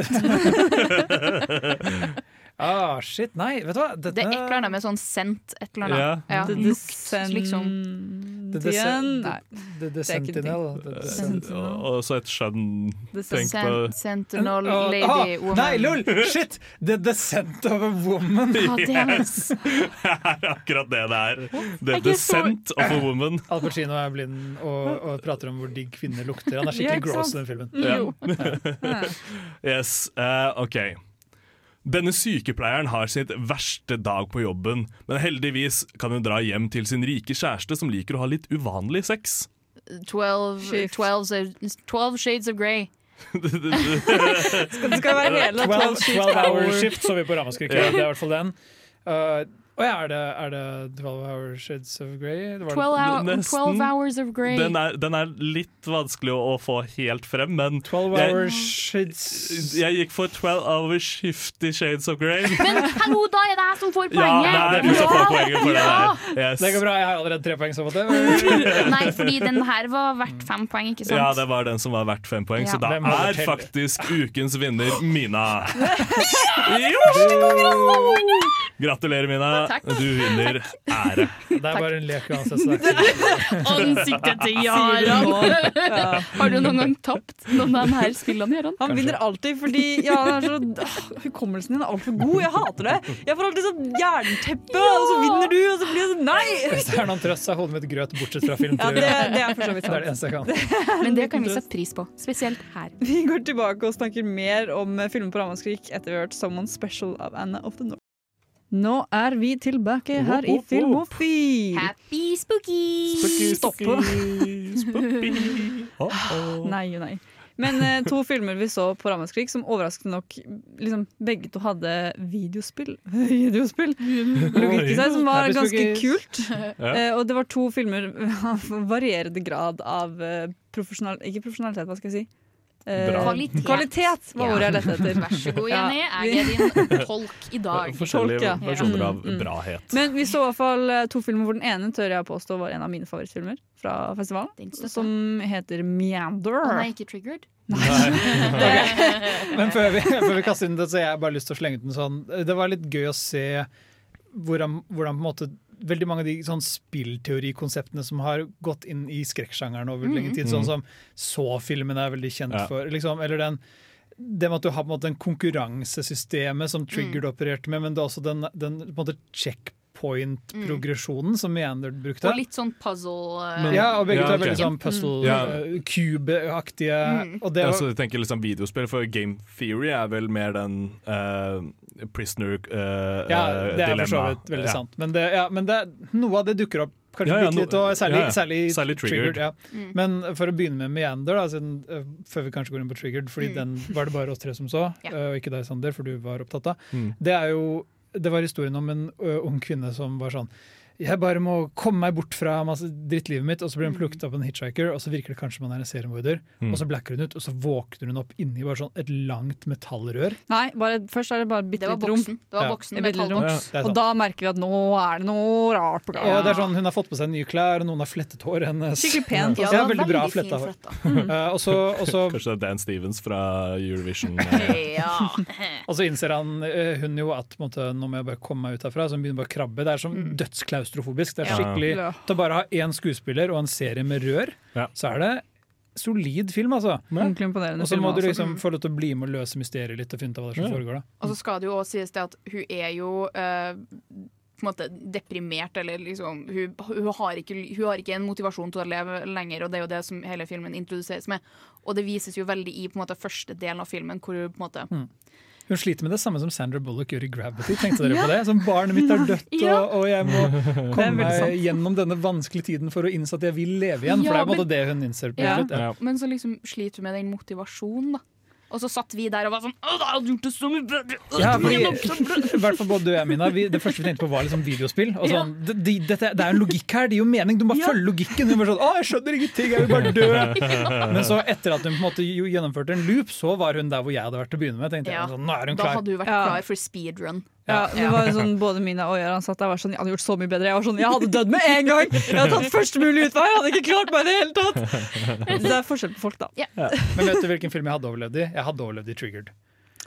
Speaker 5: Ah, shit, nei, vet du hva? Dette-
Speaker 6: Det er et eller annet med sånn sendt et eller annet.
Speaker 5: Ja.
Speaker 6: Ja.
Speaker 5: The
Speaker 6: Juks, liksom.
Speaker 5: The
Speaker 4: Dien-
Speaker 5: Descent-
Speaker 4: Nei,
Speaker 5: The
Speaker 4: det er ikke en ting.
Speaker 5: Descentinel. The Descent-
Speaker 2: Og og så et skjønn Tenk på [laughs]
Speaker 6: Sen- Sentinel
Speaker 5: Ah,
Speaker 6: Lady
Speaker 5: ah,
Speaker 6: Woman.
Speaker 5: Nei, lol! Shit! The Descent of a Woman.
Speaker 6: Ja, det er-
Speaker 2: Yes! Det er akkurat det det er. The
Speaker 5: Jeg er så-
Speaker 2: Descent of a
Speaker 5: [laughs]
Speaker 2: Woman.
Speaker 5: Al Pacino er blind og, og prater om hvor digg kvinner lukter. Han er skikkelig
Speaker 2: Ja, ikke
Speaker 5: gross i
Speaker 2: sant? Mm.
Speaker 5: den filmen.
Speaker 2: Ja.
Speaker 5: Ja.
Speaker 2: [laughs] yes, eh, ok. Denne sykepleieren har sitt verste dag på jobben, men heldigvis kan hun dra hjem til sin rike kjæreste som liker å ha litt uvanlig sex. [laughs]
Speaker 6: 12, 12, 12 Shades of Grey.
Speaker 5: skal,
Speaker 6: det skal være hele
Speaker 5: 12,
Speaker 6: 12 shift
Speaker 5: 12 hour
Speaker 6: hour.
Speaker 5: shift, så vi på Ramaskrik.
Speaker 2: Ja.
Speaker 5: Det er i hvert fall den. Uh, å ja, er det, er det 12 hour shades of grey? Det var det-
Speaker 6: 12, hour,
Speaker 2: Nesten.
Speaker 6: 12 Hours of Grey.
Speaker 2: Den er, den er litt vanskelig å, å få helt frem, men
Speaker 5: 12 hour shades
Speaker 2: Jeg gikk for 12 hour shifty shades of grey.
Speaker 6: Men hallo, da er det jeg som
Speaker 5: Oh
Speaker 6: får
Speaker 2: Ja,
Speaker 6: poenget!
Speaker 2: det er du som får poenget for det
Speaker 6: Ja.
Speaker 2: der. Yes.
Speaker 5: Det går bra, jeg har allerede tre poeng. Så på det.
Speaker 6: [laughs] Nei, fordi den her var verdt fem poeng, ikke sant?
Speaker 2: Ja, det var den som var verdt fem poeng,
Speaker 6: Ja.
Speaker 2: så da
Speaker 5: Hvem holder
Speaker 2: er
Speaker 5: til?
Speaker 2: faktisk ukens vinner
Speaker 5: [laughs]
Speaker 2: Mina. Gratulerer, Mina.
Speaker 5: Takk.
Speaker 2: Du vinner ære.
Speaker 5: Det er bare en lek uansett. så det er
Speaker 6: Ansiktet
Speaker 2: [laughs]
Speaker 6: til Jaran!
Speaker 4: Sier du nå? Ja.
Speaker 6: [laughs] Har du noen gang tapt noen av de her spillene, Jaran?
Speaker 4: Han vinner alltid fordi ja, han er så, åh, hukommelsen din er altfor god. Jeg hater det. Jeg får alltid sånn jernteppe, og så altså, vinner du, og så blir jeg sånn
Speaker 5: ikke- Hvis
Speaker 4: nei!
Speaker 5: det er noen trøst, så er hodet mitt grøt, bortsett fra film.
Speaker 4: Ja, [laughs] det, det er for så vidt
Speaker 5: Det er det eneste jeg kan.
Speaker 4: sant.
Speaker 6: Men det kan vi sette pris på, spesielt her.
Speaker 4: Vi går tilbake og snakker mer om eh, filmen på Ramaskrik etter vi har hørt 'Someone Special' av Anna of the North. Nå er vi tilbake her i Filmofil.
Speaker 6: Happy spooky!
Speaker 4: Stoppe. Nei, nei. Men eh, [laughs] to filmer vi så på Ramaskrik som overraskende nok liksom, begge to hadde videospill. [laughs] videospill. Logikk i seg, som var
Speaker 5: Happy
Speaker 4: ganske [laughs]
Speaker 5: Spookies.
Speaker 4: kult.
Speaker 5: Ja.
Speaker 4: Eh, og det var to filmer av varierende grad av eh, profesjonal... Ikke profesjonalitet, hva skal jeg si? Eh,
Speaker 6: Bra. Kvalitet.
Speaker 4: kvalitet var
Speaker 6: Ja.
Speaker 4: ordet jeg lette
Speaker 6: [laughs]
Speaker 4: etter.
Speaker 6: Vær så god,
Speaker 4: Ja.
Speaker 6: Jenny. Jeg er din tolk i dag.
Speaker 4: Tolk, ja.
Speaker 2: Forskjellige versjoner av
Speaker 4: Mm, mm.
Speaker 2: brahet.
Speaker 4: Men vi så i hvert fall eh, to filmer hvor den ene tør jeg påstå var en av mine favorittfilmer fra festivalen.
Speaker 6: støtter jeg.
Speaker 4: Som heter Meander.
Speaker 6: Å nei, ikke triggered?
Speaker 5: Men før vi, [laughs] før vi kaster inn det, så har jeg bare lyst til å slenge ut en sånn Det var litt gøy å se hvordan, hvordan på en måte Veldig mange av de sånn spillteorikonseptene som har gått inn i skrekksjangeren over
Speaker 2: Mm.
Speaker 5: lenge tid, sånn
Speaker 2: Mm.
Speaker 5: som Så-filmen er veldig kjent
Speaker 2: Ja.
Speaker 5: for, liksom, eller den det med at du har på en måte den konkurransesystemet som Triggered
Speaker 2: Mm.
Speaker 5: opererte med, men det er også den, den på en måte checkpoint-progresjonen som Meander brukte.
Speaker 6: Og litt sånn puzzle eh,
Speaker 5: Men- ja, og begge to er
Speaker 2: ok.
Speaker 5: veldig sånn
Speaker 2: Mm. Ja.
Speaker 5: puzzle-cube-aktige.
Speaker 6: Mm.
Speaker 5: Og det
Speaker 2: ja,
Speaker 5: var,
Speaker 2: så jeg tenker liksom videospill, for game theory er vel mer den eh, prisoner uh,
Speaker 5: Ja, det er for så vidt veldig sant. Men, det, ja, men det, noe av det dukker opp kanskje
Speaker 2: Ja, ja,
Speaker 5: bitte litt,
Speaker 2: no-
Speaker 5: og særlig,
Speaker 2: ja, ja.
Speaker 5: særlig,
Speaker 2: Særlig
Speaker 5: triggered. ja.
Speaker 2: triggered.
Speaker 4: Mm.
Speaker 5: Men for å begynne med Meander, da, siden, eh, før vi kanskje går inn på triggered, fordi
Speaker 2: Mm.
Speaker 5: den var det bare oss tre som så, eh, og ikke deg, Sander, for du var opptatt av.
Speaker 2: Mm.
Speaker 5: Det er jo det var historien om en ø, ung kvinne som var sånn jeg bare må komme meg bort fra masse drittlivet mitt, og så
Speaker 4: Mm.
Speaker 5: blir hun plukket opp av en hitchhiker, og så virker det kanskje man er en seriemorder,
Speaker 2: Mm.
Speaker 5: og så blacker hun ut, og så våkner hun opp inni bare sånn et langt metallrør.
Speaker 4: Nei, bare, først er det bare et bitte
Speaker 6: Det var
Speaker 4: lite rom.
Speaker 6: boksen. Det var Ja.
Speaker 4: Et
Speaker 6: boksen med
Speaker 4: bitte lite
Speaker 6: tallboks.
Speaker 5: Ja, det er
Speaker 4: rom.
Speaker 5: sant.
Speaker 4: Og da merker vi at nå er det noe rart på gang.
Speaker 5: Og det er sånn, Hun har fått på seg nye klær, og noen har flettet hår hennes.
Speaker 4: Skikkelig pent.
Speaker 5: Ja,
Speaker 4: Ja,
Speaker 5: ja,
Speaker 4: det var
Speaker 5: veldig bra
Speaker 4: veldig fin
Speaker 5: fletta hår.
Speaker 4: fletta.
Speaker 5: Eh, og så- og så
Speaker 2: Kanskje det er Dan Stevens fra Eurovision.
Speaker 5: [laughs]
Speaker 2: eh,
Speaker 6: [laughs]
Speaker 5: Og så innser han, eh, hun jo at på en måte, nå må jeg bare komme meg ut herfra, så hun begynner bare å krabbe. Det er sånn dødsklaustrofobisk. Det er
Speaker 2: Ja.
Speaker 5: skikkelig,
Speaker 2: Ja.
Speaker 5: Til å bare ha én skuespiller og en serie med rør, så er det solid film, altså.
Speaker 4: Ordentlig imponerende
Speaker 5: Og så
Speaker 4: film,
Speaker 5: må du
Speaker 4: altså.
Speaker 5: liksom
Speaker 4: Mm.
Speaker 5: få lov til å bli med og løse mysteriet litt og finne ut av hva det er som
Speaker 4: Ja.
Speaker 5: foregår. da.
Speaker 6: Og så skal det jo også sies det at hun er jo eh, på en måte deprimert, eller liksom hun, hun, har ikke, hun har ikke en motivasjon til å leve lenger, og det er jo det som hele filmen introduseres med. Og det vises jo veldig i på en måte første delen av filmen, hvor hun på en måte
Speaker 5: Mm. Hun sliter med det samme som Sandra Bullock gjør i 'Gravity'. Tenkte
Speaker 6: [laughs]
Speaker 5: dere
Speaker 6: Ja.
Speaker 5: på det? Som barnet mitt er dødt,
Speaker 6: Ja.
Speaker 5: og, og jeg
Speaker 2: [laughs]
Speaker 5: må
Speaker 2: er
Speaker 5: komme
Speaker 2: veldig sant.
Speaker 5: meg gjennom denne vanskelige tiden for å innse at jeg vil leve igjen.
Speaker 6: Ja,
Speaker 5: for det er på en
Speaker 6: men-
Speaker 5: måte det hun innser på
Speaker 6: ja.
Speaker 5: slutt. Ja.
Speaker 6: Men så liksom sliter hun med den motivasjonen, da. Og så satt vi der og var sånn Å, da hadde jeg gjort det så mye bedre! Å,
Speaker 5: Ja,
Speaker 6: det var
Speaker 5: fordi,
Speaker 6: gjennom-
Speaker 5: i hvert fall både du og jeg, Mina. Vi, det første vi tenkte på, var liksom videospill. Og
Speaker 6: Ja.
Speaker 5: sånn, det, de, dette, det er en logikk her, det gir jo mening. Du må bare følge logikken. Du må bare sånn, å, jeg skjønner ingenting, jeg vil bare dø.
Speaker 2: [laughs] Ja.
Speaker 5: Men så, etter at hun på en måte jo gjennomførte en loop, så var hun der hvor jeg hadde vært til å begynne med. Tenkte
Speaker 6: Ja.
Speaker 5: jeg, sånn, nå er hun
Speaker 6: Da
Speaker 5: klar.
Speaker 6: hadde hun vært
Speaker 4: Ja.
Speaker 6: klar for speedrun.
Speaker 4: Ja, det var jo sånn, Både Mina og Gøran satt der og var sånn, jeg hadde gjort så mye bedre. Jeg var sånn, jeg hadde dødd med en gang! Jeg hadde tatt første mulige utvei! Jeg hadde ikke klart meg i det hele tatt!
Speaker 5: [laughs]
Speaker 4: Så det er forskjell på folk, da.
Speaker 5: Ja. Men vet du hvilken film jeg hadde overlevd i? Jeg hadde overlevd i Triggered.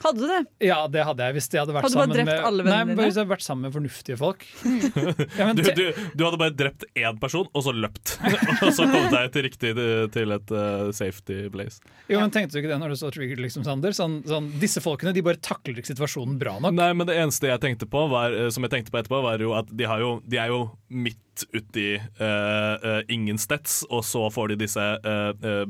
Speaker 4: Hadde du det?
Speaker 5: Ja, det hadde jeg hvis jeg hadde vært
Speaker 4: Hadde du bare drept
Speaker 5: sammen med
Speaker 4: alle
Speaker 5: Nei,
Speaker 4: vennene dine?
Speaker 5: bare hvis jeg hadde vært sammen med fornuftige folk.
Speaker 2: Mm. du, du, du hadde bare drept én person, og så løpt. [laughs] og så kom deg til riktig til et eh, safety place.
Speaker 5: Jo, men Tenkte du ikke det når du så Triggered, liksom, Sander? Sånn, sånn, disse folkene de bare takler ikke situasjonen bra nok.
Speaker 2: Nei, men det eneste jeg tenkte på var, eh, som jeg tenkte på etterpå, var jo at de, har jo, de er jo midt uti eh, eh, ingensteds, og så får de disse eh, eh,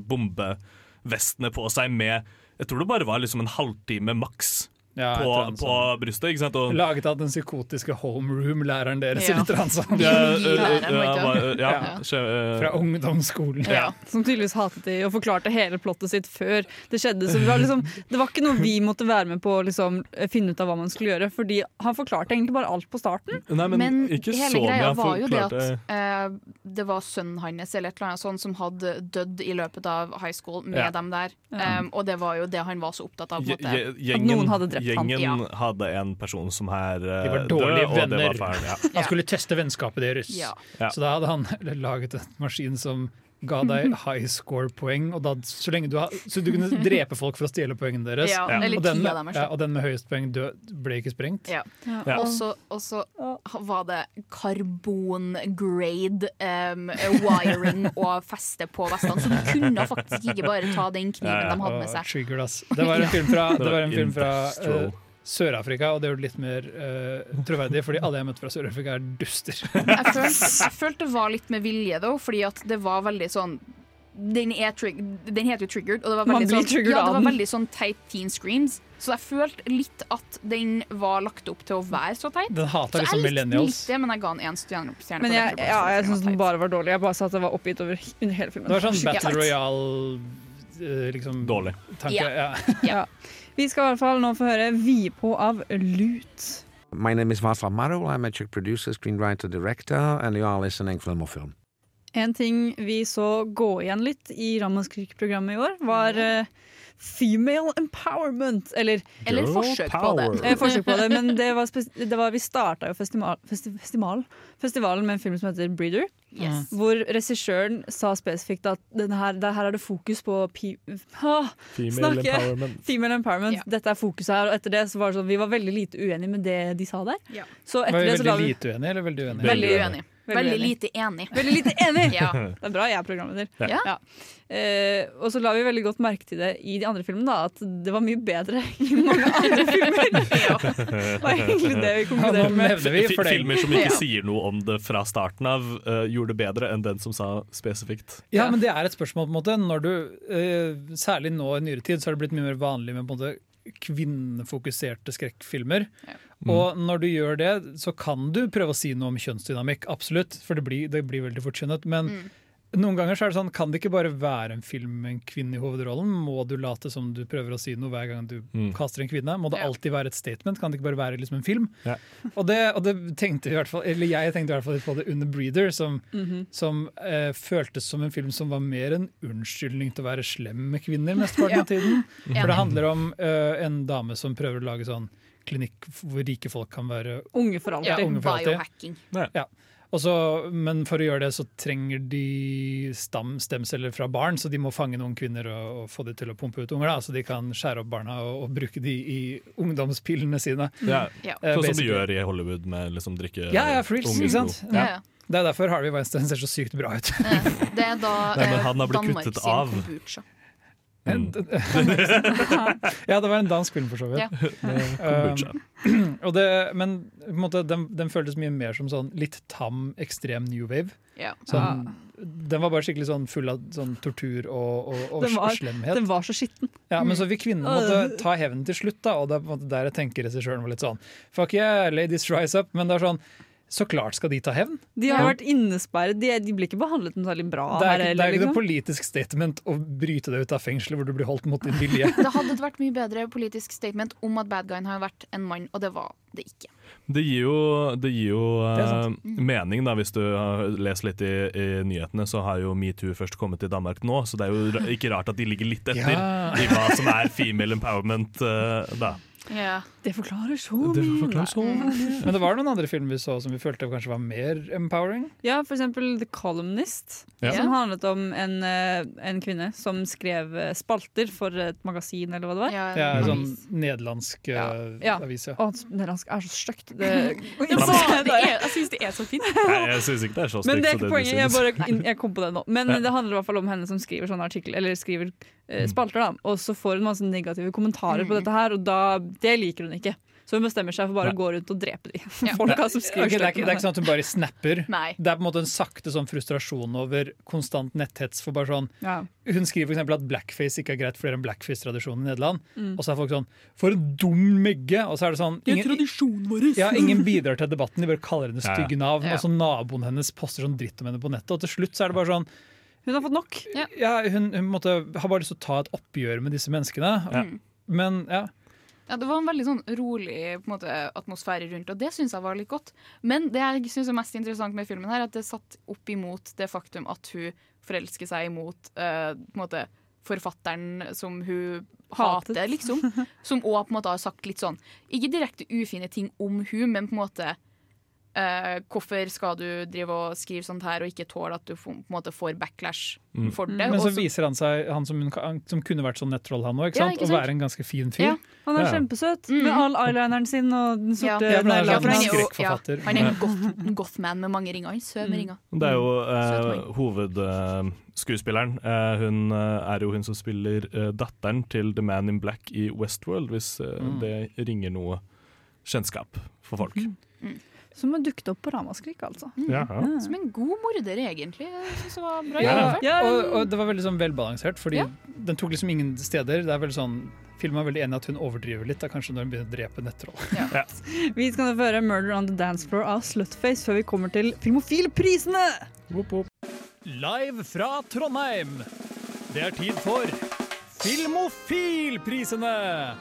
Speaker 2: bombevestene på seg med Jeg tror det bare var liksom en halvtime maks
Speaker 5: Ja,
Speaker 2: på,
Speaker 5: et eller annet
Speaker 2: på brystet. ikke sant? Og,
Speaker 5: Laget av den psykotiske homeroom-læreren deres.
Speaker 2: Ja.
Speaker 5: eller et eller annet sånt.
Speaker 2: Ja, Biologilæreren, var ikke det? eh, ja, eh, ja, skje-
Speaker 5: Fra ungdomsskolen.
Speaker 4: Ja. Som tydeligvis hatet de og forklarte hele plottet sitt før det skjedde. Så det var, liksom, det var ikke noe vi måtte være med på å liksom, finne ut av hva man skulle gjøre. Fordi han forklarte egentlig bare alt på starten.
Speaker 2: Nei, men
Speaker 6: Men
Speaker 2: ikke
Speaker 6: hele
Speaker 2: så mye
Speaker 6: greia
Speaker 2: han
Speaker 6: var jo det at
Speaker 2: forklarte.
Speaker 6: eh, det var sønnen hans eller et eller annet sånt som hadde dødd i løpet av high school med
Speaker 2: Ja.
Speaker 6: dem der.
Speaker 2: Ja.
Speaker 6: Um, og det var jo det han var så opptatt av. På en
Speaker 2: Gje-
Speaker 6: måte.
Speaker 2: gje- Gjengen, gjengen hadde en person som her eh,
Speaker 5: De var
Speaker 2: død,
Speaker 5: dårlige
Speaker 2: og det var
Speaker 5: venner.
Speaker 2: faren.
Speaker 5: [laughs]
Speaker 2: Ja.
Speaker 5: Han skulle teste vennskapet deres.
Speaker 6: Ja.
Speaker 2: Ja.
Speaker 5: Så da hadde han [laughs] laget en maskin som ga
Speaker 4: [laughs]
Speaker 5: deg high score-poeng, og da, så, lenge du ha, så du kunne drepe folk for å stjele poengene deres.
Speaker 6: Ja, Ja. eller
Speaker 5: Og, den
Speaker 6: ti av dem,
Speaker 5: med,
Speaker 6: eller
Speaker 5: ja, og den med høyest poeng død ble ikke sprengt.
Speaker 6: Ja.
Speaker 5: Ja.
Speaker 6: Og så- Og så var det karbongrade um, wiring og feste på vestene, så du kunne faktisk ikke bare ta den kniven de hadde med
Speaker 5: Og
Speaker 6: seg.
Speaker 5: Ah, Triggered, ass.
Speaker 6: [laughs]
Speaker 5: Det var en film fra,
Speaker 2: Det
Speaker 5: det var en
Speaker 2: var
Speaker 5: film fra
Speaker 2: industrial.
Speaker 5: eh, Sør-Afrika, og det gjorde det litt mer eh, troverdig, fordi alle jeg møtte fra Sør-Afrika, er duster.
Speaker 6: [laughs] Jeg følte, jeg følte det var litt med vilje, da, fordi at det var veldig sånn den, er trig den heter jo 'Triggered', og det var
Speaker 4: Man
Speaker 6: veldig,
Speaker 4: blir
Speaker 6: sånn,
Speaker 4: triggered
Speaker 6: ja, det
Speaker 4: av
Speaker 6: var
Speaker 4: den.
Speaker 6: veldig sånn teit teen screams. Så jeg følte litt at den var lagt opp til å være så teit.
Speaker 5: Den hater liksom
Speaker 6: så jeg likte den
Speaker 5: millennials.
Speaker 6: litt, men jeg ga den én stjerne. stjerne
Speaker 4: Men
Speaker 6: på
Speaker 4: jeg,
Speaker 6: Letterboxd,
Speaker 4: ja,
Speaker 6: for
Speaker 4: jeg
Speaker 6: den var
Speaker 4: syns den
Speaker 6: teit.
Speaker 4: bare var dårlig. Jeg bare sa at jeg var oppgitt over he- under hele filmen.
Speaker 5: Det var sånn
Speaker 4: Skikkelig
Speaker 5: Battle
Speaker 4: teit.
Speaker 5: Royale eh, liksom,
Speaker 2: Dårlig.
Speaker 5: Tanke,
Speaker 4: Ja.
Speaker 5: ja.
Speaker 4: Ja. Vi skal i hvert fall nå få høre Vidpå av Lut.
Speaker 13: My name is Václav Marul. I'm a Czech producer, screenwriter, director, and you are listening Film or Film.
Speaker 4: En ting vi så gå igjen litt i Ramaskrik-programmet i år, var eh, female empowerment. Eller,
Speaker 6: Eller Girl forsøk på power. det.
Speaker 4: Eh, forsøk på det, men det var spes- det var, vi starta jo festival, festi festival, festivalen med en film som heter Breeder.
Speaker 6: Yes.
Speaker 4: Hvor regissøren sa spesifikt at den her, det her er det fokus på pi ah,
Speaker 2: Female
Speaker 4: snakke. [laughs]
Speaker 2: empowerment.
Speaker 4: Female empowerment. Dette er fokuset her. Og etter det så var det sånn, vi var veldig lite uenige med det de sa der. Så
Speaker 5: Var
Speaker 4: etter
Speaker 5: vi
Speaker 4: det så la
Speaker 5: veldig
Speaker 4: vi
Speaker 5: lite uenige, eller veldig uenige?
Speaker 4: Veldig uenig.
Speaker 6: Veldig lite enig.
Speaker 4: Veldig lite enig!
Speaker 6: Ja.
Speaker 4: Det er bra jeg er programleder.
Speaker 6: Ja.
Speaker 4: Eh, og så la vi veldig godt merke til det i de andre filmene, da, at det var mye bedre [laughs] i mange andre
Speaker 5: [laughs]
Speaker 4: filmer.
Speaker 2: Det
Speaker 4: var egentlig det vi konkluderte
Speaker 5: [laughs] Ja, nå med. nevner [laughs] vi for det.
Speaker 2: Filmer som ikke
Speaker 5: Ja.
Speaker 2: sier noe om det fra starten av, eh, gjorde det bedre enn den som sa spesifikt.
Speaker 5: Ja, men det er et spørsmål på en måte. Når du, eh, særlig nå i nyere tid så har det blitt mye mer vanlig med på en måte kvinnefokuserte skrekkfilmer.
Speaker 2: Mm.
Speaker 5: Og når du gjør det,
Speaker 6: Mm.
Speaker 5: så kan du prøve å si noe om kjønnsdynamikk, absolutt, for det blir, det blir veldig fortkjønnet. Men Noen ganger så er det sånn, kan det ikke bare være en film med en kvinne i hovedrollen? Må du late som du prøver å si noe hver gang du
Speaker 2: Mm.
Speaker 5: kaster en kvinne? Må det alltid være et statement? Kan det ikke bare være liksom en film?
Speaker 2: Ja.
Speaker 5: Og, det, og det tenkte vi i hvert fall, eller jeg tenkte i hvert fall litt på det under 'Breeder', som,
Speaker 2: Mhm.
Speaker 5: som eh, føltes som en film som var mer en unnskyldning til å være slem med kvinner mesteparten av tiden.
Speaker 2: Ja.
Speaker 5: For det handler om eh, en dame som prøver å lage sånn klinikk hvor rike folk kan være
Speaker 4: Unge for alltid.
Speaker 5: Ja, unge for alltid.
Speaker 14: Biohacking.
Speaker 5: Ja. Og så- men for å gjøre det så trenger de stam, stemceller fra barn, så de må fange noen kvinner og, og få de til å pumpe ut unger, da, så de kan skjære opp barna og, og bruke de i ungdomspillene sine.
Speaker 2: Ja.
Speaker 5: Eh,
Speaker 2: Sånn som de
Speaker 5: basically.
Speaker 2: gjør i Hollywood med liksom drikke
Speaker 5: Ja, ja, freaks,
Speaker 2: unges
Speaker 5: ikke sant?
Speaker 2: blod.
Speaker 6: Ja. Eh,
Speaker 5: Det er derfor Harvey Weinstein ser så sykt bra ut.
Speaker 6: Det er da
Speaker 2: Nei, men
Speaker 6: eh,
Speaker 2: han har blitt
Speaker 6: Danmark
Speaker 2: kuttet
Speaker 6: sin
Speaker 2: av.
Speaker 6: kombucha.
Speaker 2: Mm.
Speaker 5: [laughs] ja, det var en dansk film, for så
Speaker 2: [laughs]
Speaker 5: vidt.
Speaker 6: Ja.
Speaker 5: Um, og det, men på en måte, den, den føltes mye mer som sånn litt tam, ekstrem new wave.
Speaker 6: Ja.
Speaker 5: Sånn,
Speaker 4: Ah.
Speaker 5: Den var bare skikkelig sånn full av sånn tortur og, og, og
Speaker 4: Den var-
Speaker 5: slemhet.
Speaker 4: den var så skitten.
Speaker 5: Ja, Men så vil kvinnene måtte
Speaker 4: Øh.
Speaker 5: ta hevnen til slutt, da, og det er på en måte der jeg tenker regissøren var litt sånn Fuck yeah, ladies rise up. Men det er sånn Så klart skal de ta hevn.
Speaker 4: De har vært innesperret. De, de blir ikke behandlet noe særlig bra.
Speaker 5: Det er,
Speaker 4: her
Speaker 5: ikke, det
Speaker 4: heller,
Speaker 5: er ikke noe
Speaker 4: liksom.
Speaker 5: politisk statement å bryte deg ut av fengselet hvor du blir holdt mot din
Speaker 4: [laughs]
Speaker 5: vilje.
Speaker 6: Det hadde vært mye bedre politisk statement om at bad guyen har vært en mann, og det var det ikke.
Speaker 2: Det gir jo, det gir jo
Speaker 6: Det er sant.
Speaker 2: eh, mening, da, hvis du har lest litt i, i nyhetene, så har jo metoo først kommet til Danmark nå, så det er jo ra- ikke rart at de ligger litt etter
Speaker 5: Ja.
Speaker 2: i hva som er female empowerment eh, da.
Speaker 4: Det forklarer så
Speaker 5: Det
Speaker 4: mye.
Speaker 5: forklarer
Speaker 6: Mm.
Speaker 5: så mye. Men det var noen andre filmer vi så som vi følte kanskje var mer empowering.
Speaker 4: Ja, for eksempel The Columnist,
Speaker 5: Ja.
Speaker 4: som handlet om en, eh, en kvinne som skrev eh, spalter for et magasin, eller hva det var.
Speaker 5: Det er sånn nederlandsk eh,
Speaker 4: Ja.
Speaker 5: avis, ja.
Speaker 4: Å, nederlandsk er så
Speaker 6: [laughs]
Speaker 4: stygt. Det, [laughs]
Speaker 6: Det var- det er- jeg syns det er så fint.
Speaker 5: [laughs]
Speaker 2: Nei, jeg syns ikke det er så stygt.
Speaker 4: Men det er
Speaker 2: som
Speaker 4: ikke
Speaker 2: du
Speaker 4: poenget. Jeg,
Speaker 2: synes.
Speaker 4: bare, jeg kom på det nå. Men
Speaker 2: Ja.
Speaker 4: det handler i hvert fall om henne som skriver sånne artikler, eller skriver eh,
Speaker 2: Mm.
Speaker 4: spalter, da. Og så får hun masse negative kommentarer på dette her, og da, det liker hun ikke. Så hun bestemmer seg for bare å gå rundt og drepe de folka som skriver
Speaker 5: Ok, det, er ikke, det er ikke sånn at hun bare snapper.
Speaker 4: Nei.
Speaker 5: Det er på en måte en sakte sånn frustrasjon over konstant netthets. For bare sånn,
Speaker 4: Ja.
Speaker 5: hun skriver for eksempel at blackface ikke er greit, for det er en blackface-tradisjon i Nederland.
Speaker 4: Mm.
Speaker 5: Og så er folk sånn For en dum megge! Og så er det sånn
Speaker 4: Det er tradisjonen vår!
Speaker 5: ja, ingen bidrar til debatten, de bare kaller henne
Speaker 2: Ja, ja.
Speaker 5: stygge navn.
Speaker 4: Ja.
Speaker 5: Og så naboen hennes poster sånn dritt om henne på nettet, og til slutt så er det bare sånn
Speaker 4: Hun har fått nok.
Speaker 5: Ja, hun, hun måtte, har bare lyst til å ta et oppgjør med disse menneskene.
Speaker 6: Ja.
Speaker 5: Men ja.
Speaker 6: Ja, Det var en veldig sånn rolig på en måte, atmosfære rundt, og det syns jeg var litt godt. Men det jeg synes er mest interessant med filmen, her er at det er satt opp imot det faktum at hun forelsker seg imot eh, på en måte, forfatteren som hun
Speaker 4: Hatet.
Speaker 6: hater,
Speaker 5: [laughs]
Speaker 6: liksom. Som òg på en måte har sagt litt sånn Ikke direkte ufine ting om hun, men på en måte eh, hvorfor skal du drive og skrive sånt her og ikke tåle at du får- på en måte får backlash for det?
Speaker 5: Mm. Men
Speaker 6: Og
Speaker 5: så viser han seg, han som, hun, han, som kunne vært sånn nettroll, han òg,
Speaker 6: Ja,
Speaker 5: ikke sant?
Speaker 6: ikke
Speaker 5: Å
Speaker 6: sant?
Speaker 5: være en ganske fin fyr.
Speaker 4: Han er
Speaker 5: Ja, ja.
Speaker 4: kjempesøt, med all eyelineren sin og den sorte
Speaker 5: Ja, for han er
Speaker 4: negla.
Speaker 5: sånn
Speaker 4: Ja,
Speaker 5: skrekk- skrekkforfatter. Mm.
Speaker 6: Ja, han
Speaker 5: [laughs]
Speaker 6: er en goth, goth man med mange ringer. Han Søv med ringer.
Speaker 2: Det er jo eh, hovedskuespilleren. Eh, hun eh, er jo hun som spiller eh, datteren til The Man in Black i Westworld, hvis eh,
Speaker 4: Mm.
Speaker 2: det ringer noe kjennskap for folk.
Speaker 4: Mm. Som har dukket opp på Ramaskrik, altså.
Speaker 2: Ja.
Speaker 6: Mm. Som en god morder, egentlig. Jeg synes det var bra
Speaker 5: Ja,
Speaker 6: gjennomført.
Speaker 5: Og,
Speaker 4: Um,
Speaker 5: og det var veldig sånn velbalansert, fordi
Speaker 6: Ja.
Speaker 5: den tok liksom ingen steder. Det er veldig sånn, Filmen er veldig enig i at hun overdriver litt, da, kanskje når hun begynner å drepe nettroll.
Speaker 2: Ja.
Speaker 4: Vi skal nå føre 'Murder on the Dance Floor' av Slutface før vi kommer til Filmofilprisene!
Speaker 5: Live fra Trondheim, det er tid for Filmofilprisene!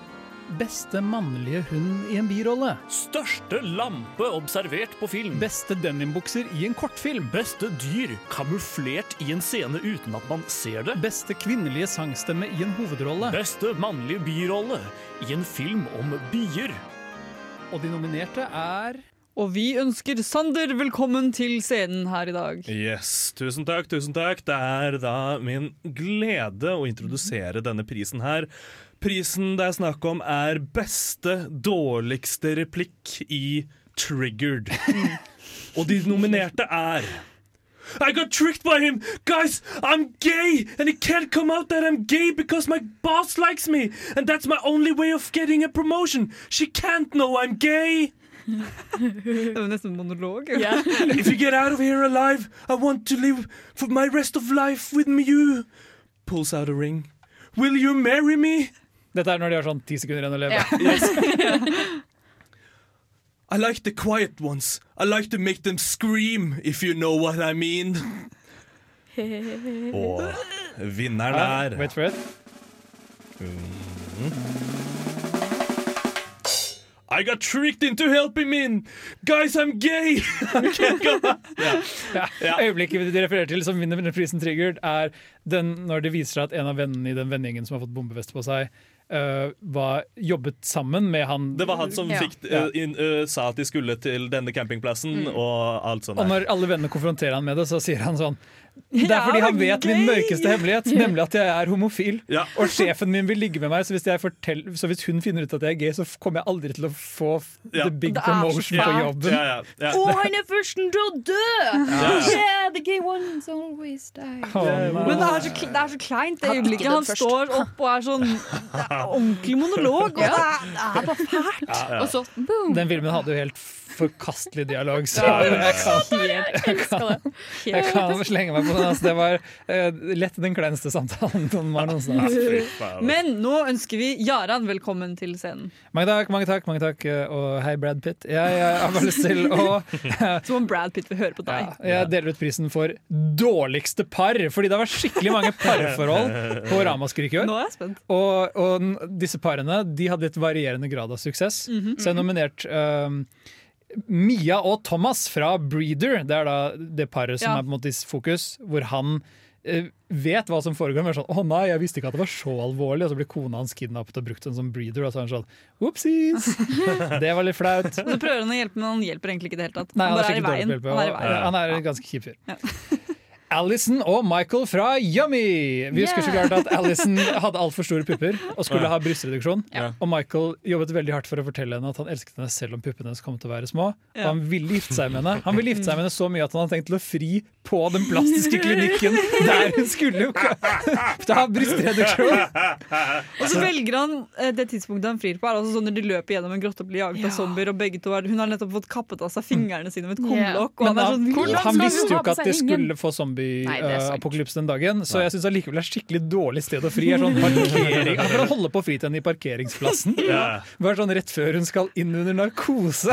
Speaker 5: Beste mannlige hund i en birolle.
Speaker 15: Største lampe observert på film.
Speaker 5: Beste denimbukser i en kortfilm.
Speaker 15: Beste dyr kamuflert i en scene uten at man ser det.
Speaker 5: Beste kvinnelige sangstemme i en hovedrolle.
Speaker 15: Beste mannlige birolle i en film om bier.
Speaker 5: Og de nominerte er
Speaker 4: Og vi ønsker Sander velkommen til scenen her i dag.
Speaker 2: Yes, tusen takk, tusen takk. Det er da min glede å introdusere denne prisen her. Prisen det er snakk om er beste dårligste replikk i Triggered. Og de nominerte er I got tricked by him! Guys, I'm gay! And it can't come out that I'm gay because my boss likes me! And that's my only way of getting a promotion! She can't know I'm gay!
Speaker 4: Det var nesten monolog.
Speaker 15: If you get out of here alive, I want to live for my rest of life with you.
Speaker 2: Pulls out a ring. Will you marry me?
Speaker 5: Dette er når de har sånn ti sekunder igjen å leve.
Speaker 15: I like the quiet ones. I like to make them scream, if you know what I mean.
Speaker 2: Og vinneren er
Speaker 5: Wait for it.
Speaker 2: I got tricked into helping me! Guys, I'm gay! I can't go back.
Speaker 5: Ja. Øyeblikket de refererer til som vinner denne prisen triggered, er den når det viser seg at en av vennene i den vennegjengen som har fått bombevest på seg, øh, var, jobbet sammen med han
Speaker 2: [laughs] Det var han som
Speaker 5: Ja.
Speaker 2: fikk,
Speaker 5: Ja.
Speaker 2: eh, inn, eh, sa at de skulle til denne campingplassen og alt sånt.
Speaker 5: Og
Speaker 2: der.
Speaker 5: når alle vennene konfronterer han med det, så sier han sånn Det er
Speaker 2: Ja,
Speaker 5: fordi han
Speaker 2: men
Speaker 5: vet min
Speaker 2: gøy!»
Speaker 5: mørkeste
Speaker 2: [laughs]
Speaker 5: hemmelighet, nemlig at jeg er homofil.
Speaker 2: Ja.
Speaker 5: Og sjefen min vil ligge med meg, så hvis, jeg fortell, så hvis hun finner ut at jeg er gay, så f- kommer jeg aldri til å få f-
Speaker 2: Ja.
Speaker 5: the big
Speaker 2: Det er så
Speaker 5: promotion på
Speaker 2: fælt.
Speaker 5: jobben.
Speaker 2: Ja, ja, ja.
Speaker 6: Å, han er førsten til å dø!
Speaker 2: Ja.
Speaker 6: Yeah, the gay ones always die.
Speaker 5: Å, nei.
Speaker 4: Men det er så, kl- det er så kleint, det
Speaker 6: Han-
Speaker 4: øyeblikket
Speaker 6: han
Speaker 4: han står opp og er sånn det er ordentlig monolog. Og det er, det er bare fælt.
Speaker 5: Ja, ja.
Speaker 4: Og så boom!
Speaker 5: Den filmen hadde jo helt forkastelig dialog, så
Speaker 4: Ja, ja, ja.
Speaker 5: jeg kan, jeg kan, jeg kan
Speaker 4: Helt-
Speaker 5: slenge meg på den. Altså, det var eh, lett den kleineste samtalen noen var noensinne. hatt.
Speaker 4: Men nå ønsker vi Jaran velkommen til scenen.
Speaker 5: Mange takk, mange takk, mange takk, eh, og hei, Brad Pitt. Jeg, jeg har bare lyst til å
Speaker 4: Som om Brad Pitt vil høre på deg.
Speaker 5: Jeg deler ut prisen for dårligste par, fordi det var skikkelig mange parforhold på Ramaskrik i år.
Speaker 4: Nå er jeg spent.
Speaker 5: Og, og n- disse parene de hadde litt varierende grad av suksess.
Speaker 4: Mhm.
Speaker 5: Så jeg har nominert um, Mia og Thomas fra Breeder. Det er da det paret som
Speaker 4: Ja.
Speaker 5: er på en måte i fokus, hvor han eh, vet hva som foregår, men er sånn 'Å nei, jeg visste ikke at det var så alvorlig', og så blir kona hans kidnappet og brukt sånn som breeder, og så er han sånn
Speaker 4: [laughs]
Speaker 5: 'opsis'. Det var litt flaut.
Speaker 4: Og så prøver han å hjelpe, men han hjelper egentlig ikke i det hele tatt.
Speaker 5: Nei, han
Speaker 4: bare
Speaker 5: er skikkelig dårlig på
Speaker 4: Han
Speaker 5: å hjelpe.
Speaker 4: er i veien.
Speaker 5: og Han er en ganske kjip fyr. [laughs] Allison og Michael fra Yummy! Vi husker så
Speaker 4: Yeah.
Speaker 5: klart at Allison hadde altfor store pupper og skulle
Speaker 2: Ja.
Speaker 5: ha brystreduksjon.
Speaker 2: Ja.
Speaker 5: Og Michael jobbet veldig hardt for å fortelle henne at han elsket henne selv om puppene hennes kom til å være små. Og
Speaker 2: Ja.
Speaker 5: han ville gifte seg med henne Han ville gifte seg med henne så mye at han hadde tenkt til å fri på den
Speaker 4: [laughs]
Speaker 5: plastiske klinikken der hun skulle [laughs] ta brystreduksjon!
Speaker 4: Og så velger han eh, det tidspunktet han frir på, er altså sånn når de løper gjennom en grotte og blir jaget av zombier, og begge to er, hun har nettopp fått kappet av seg fingrene sine med et kumlokk. og
Speaker 5: Mm.
Speaker 4: han er
Speaker 5: Men han,
Speaker 4: sånn,
Speaker 5: han,
Speaker 4: "Hvordan skal
Speaker 5: visste
Speaker 4: hun ha
Speaker 5: jo ikke
Speaker 4: på
Speaker 5: at
Speaker 4: seg
Speaker 5: de
Speaker 4: ringen?"
Speaker 5: skulle få
Speaker 4: Nei, det er sant.
Speaker 5: zombieapokalypse den dagen, så jeg syns allikevel det er skikkelig dårlig sted å fri.
Speaker 4: [laughs]
Speaker 5: Er sånn parkering. Han får holde på å fri til henne i parkeringsplassen.
Speaker 2: Ja.
Speaker 5: Bare sånn rett før hun skal inn under
Speaker 4: [laughs]
Speaker 5: narkose.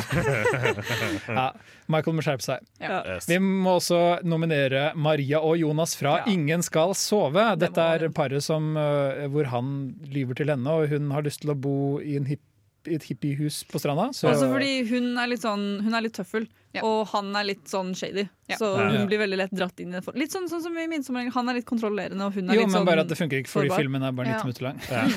Speaker 5: Ja, Michael må skjerpe seg.
Speaker 2: Ja. Yes.
Speaker 5: Vi må også nominere Maria og Jonas fra Ingen skal sove. Dette er paret som, øh, hvor han lyver til henne, og hun har lyst til å bo i en hipp, i et hippiehus på stranda. så-
Speaker 4: Også fordi hun er litt sånn Hun er litt tøffel, og han er litt sånn shady. Så
Speaker 5: Ja.
Speaker 4: hun
Speaker 5: Ja.
Speaker 4: blir veldig lett dratt inn i det. for- Litt sånn, sånn som i Midtsommeren. Han er litt kontrollerende, og hun er
Speaker 5: Jo,
Speaker 4: litt
Speaker 5: men
Speaker 4: sånn
Speaker 5: bare at det funker ikke fordi
Speaker 4: sårbar.
Speaker 5: filmen er bare 90
Speaker 4: Ja.
Speaker 5: minutter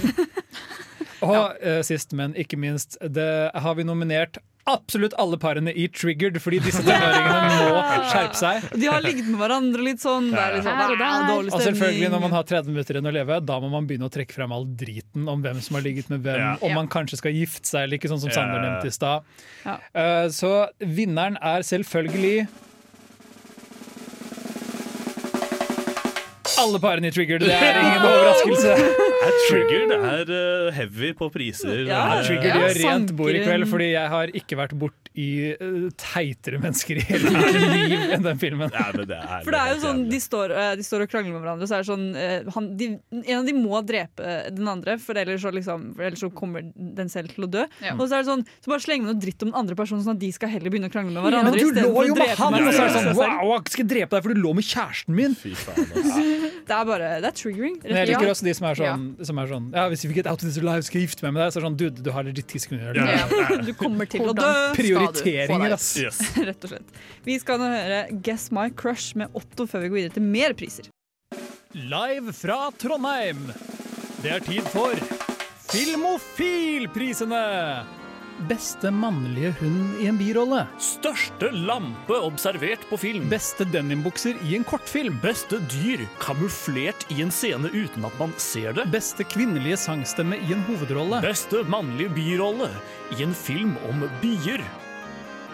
Speaker 5: lang. [laughs] Og eh, sist, men ikke minst, det har vi nominert absolutt alle parene i Triggered, fordi
Speaker 4: [laughs]
Speaker 5: disse tenåringene må skjerpe seg.
Speaker 4: De har ligget med hverandre litt sånn. Det er litt sånn,
Speaker 5: Ja.
Speaker 4: "Wow, dårlig
Speaker 5: Og selvfølgelig,
Speaker 4: stemning."
Speaker 5: når man har 30 minutter igjen å leve, da må man begynne å trekke frem all driten om hvem som har ligget med hvem,
Speaker 2: Ja.
Speaker 5: om man kanskje skal gifte seg eller ikke, sånn som
Speaker 2: Ja.
Speaker 5: Sander nevnte i stad. Eh, så vinneren er selvfølgelig alle parene i Triggered. Det er
Speaker 4: [laughs]
Speaker 5: ingen overraskelse.
Speaker 2: Er triggered er eh, heavy på priser.
Speaker 5: Ja,
Speaker 2: Eh,
Speaker 5: Trigger gjør
Speaker 4: sånn
Speaker 5: rent bord i kveld, fordi jeg har ikke vært borti uh, teitere mennesker i hele mitt liv enn den filmen.
Speaker 4: For det er jo sånn, de står, eh, de står og krangler med hverandre, så er det sånn eh, han, de, En av de må drepe eh, den andre, for ellers så, liksom, for ellers så kommer den selv til å dø.
Speaker 5: Ja.
Speaker 4: Og så er det sånn, så bare slenger man noe dritt om den andre personen, sånn at de skal heller begynne å krangle med hverandre.
Speaker 5: Men du
Speaker 4: istedenfor
Speaker 5: lå
Speaker 4: å
Speaker 5: jo med
Speaker 4: drepe
Speaker 5: han,
Speaker 4: meg
Speaker 5: og så er det
Speaker 4: selv.
Speaker 5: sånn wow, jeg skal drepe deg for du lå med kjæresten min!
Speaker 4: Det er bare Det er triggering.
Speaker 5: Men jeg liker også de som er sånn, som er sånn ja, Hvis vi get out of this alive, skal jeg gifte meg med deg. Så er det sånn, dude, du har legit ti sekunder. å gjøre det.
Speaker 4: [laughs] Du kommer til å dø.
Speaker 5: Hvordan
Speaker 4: skal
Speaker 5: [laughs] Prioriteringer,
Speaker 4: du få deg.
Speaker 5: ass.
Speaker 4: [laughs] Rett og slett. Vi skal nå høre Guess My Crush med Otto før vi går videre til mer priser.
Speaker 5: Live fra Trondheim. Det er tid for Filmofilprisene! Beste mannlige hund i en birolle.
Speaker 14: Største lampe observert på film.
Speaker 5: Beste denimbukser i en kortfilm.
Speaker 14: Beste dyr kamuflert i en scene uten at man ser det.
Speaker 5: Beste kvinnelige sangstemme i en hovedrolle.
Speaker 14: Beste mannlige birolle i en film om bier.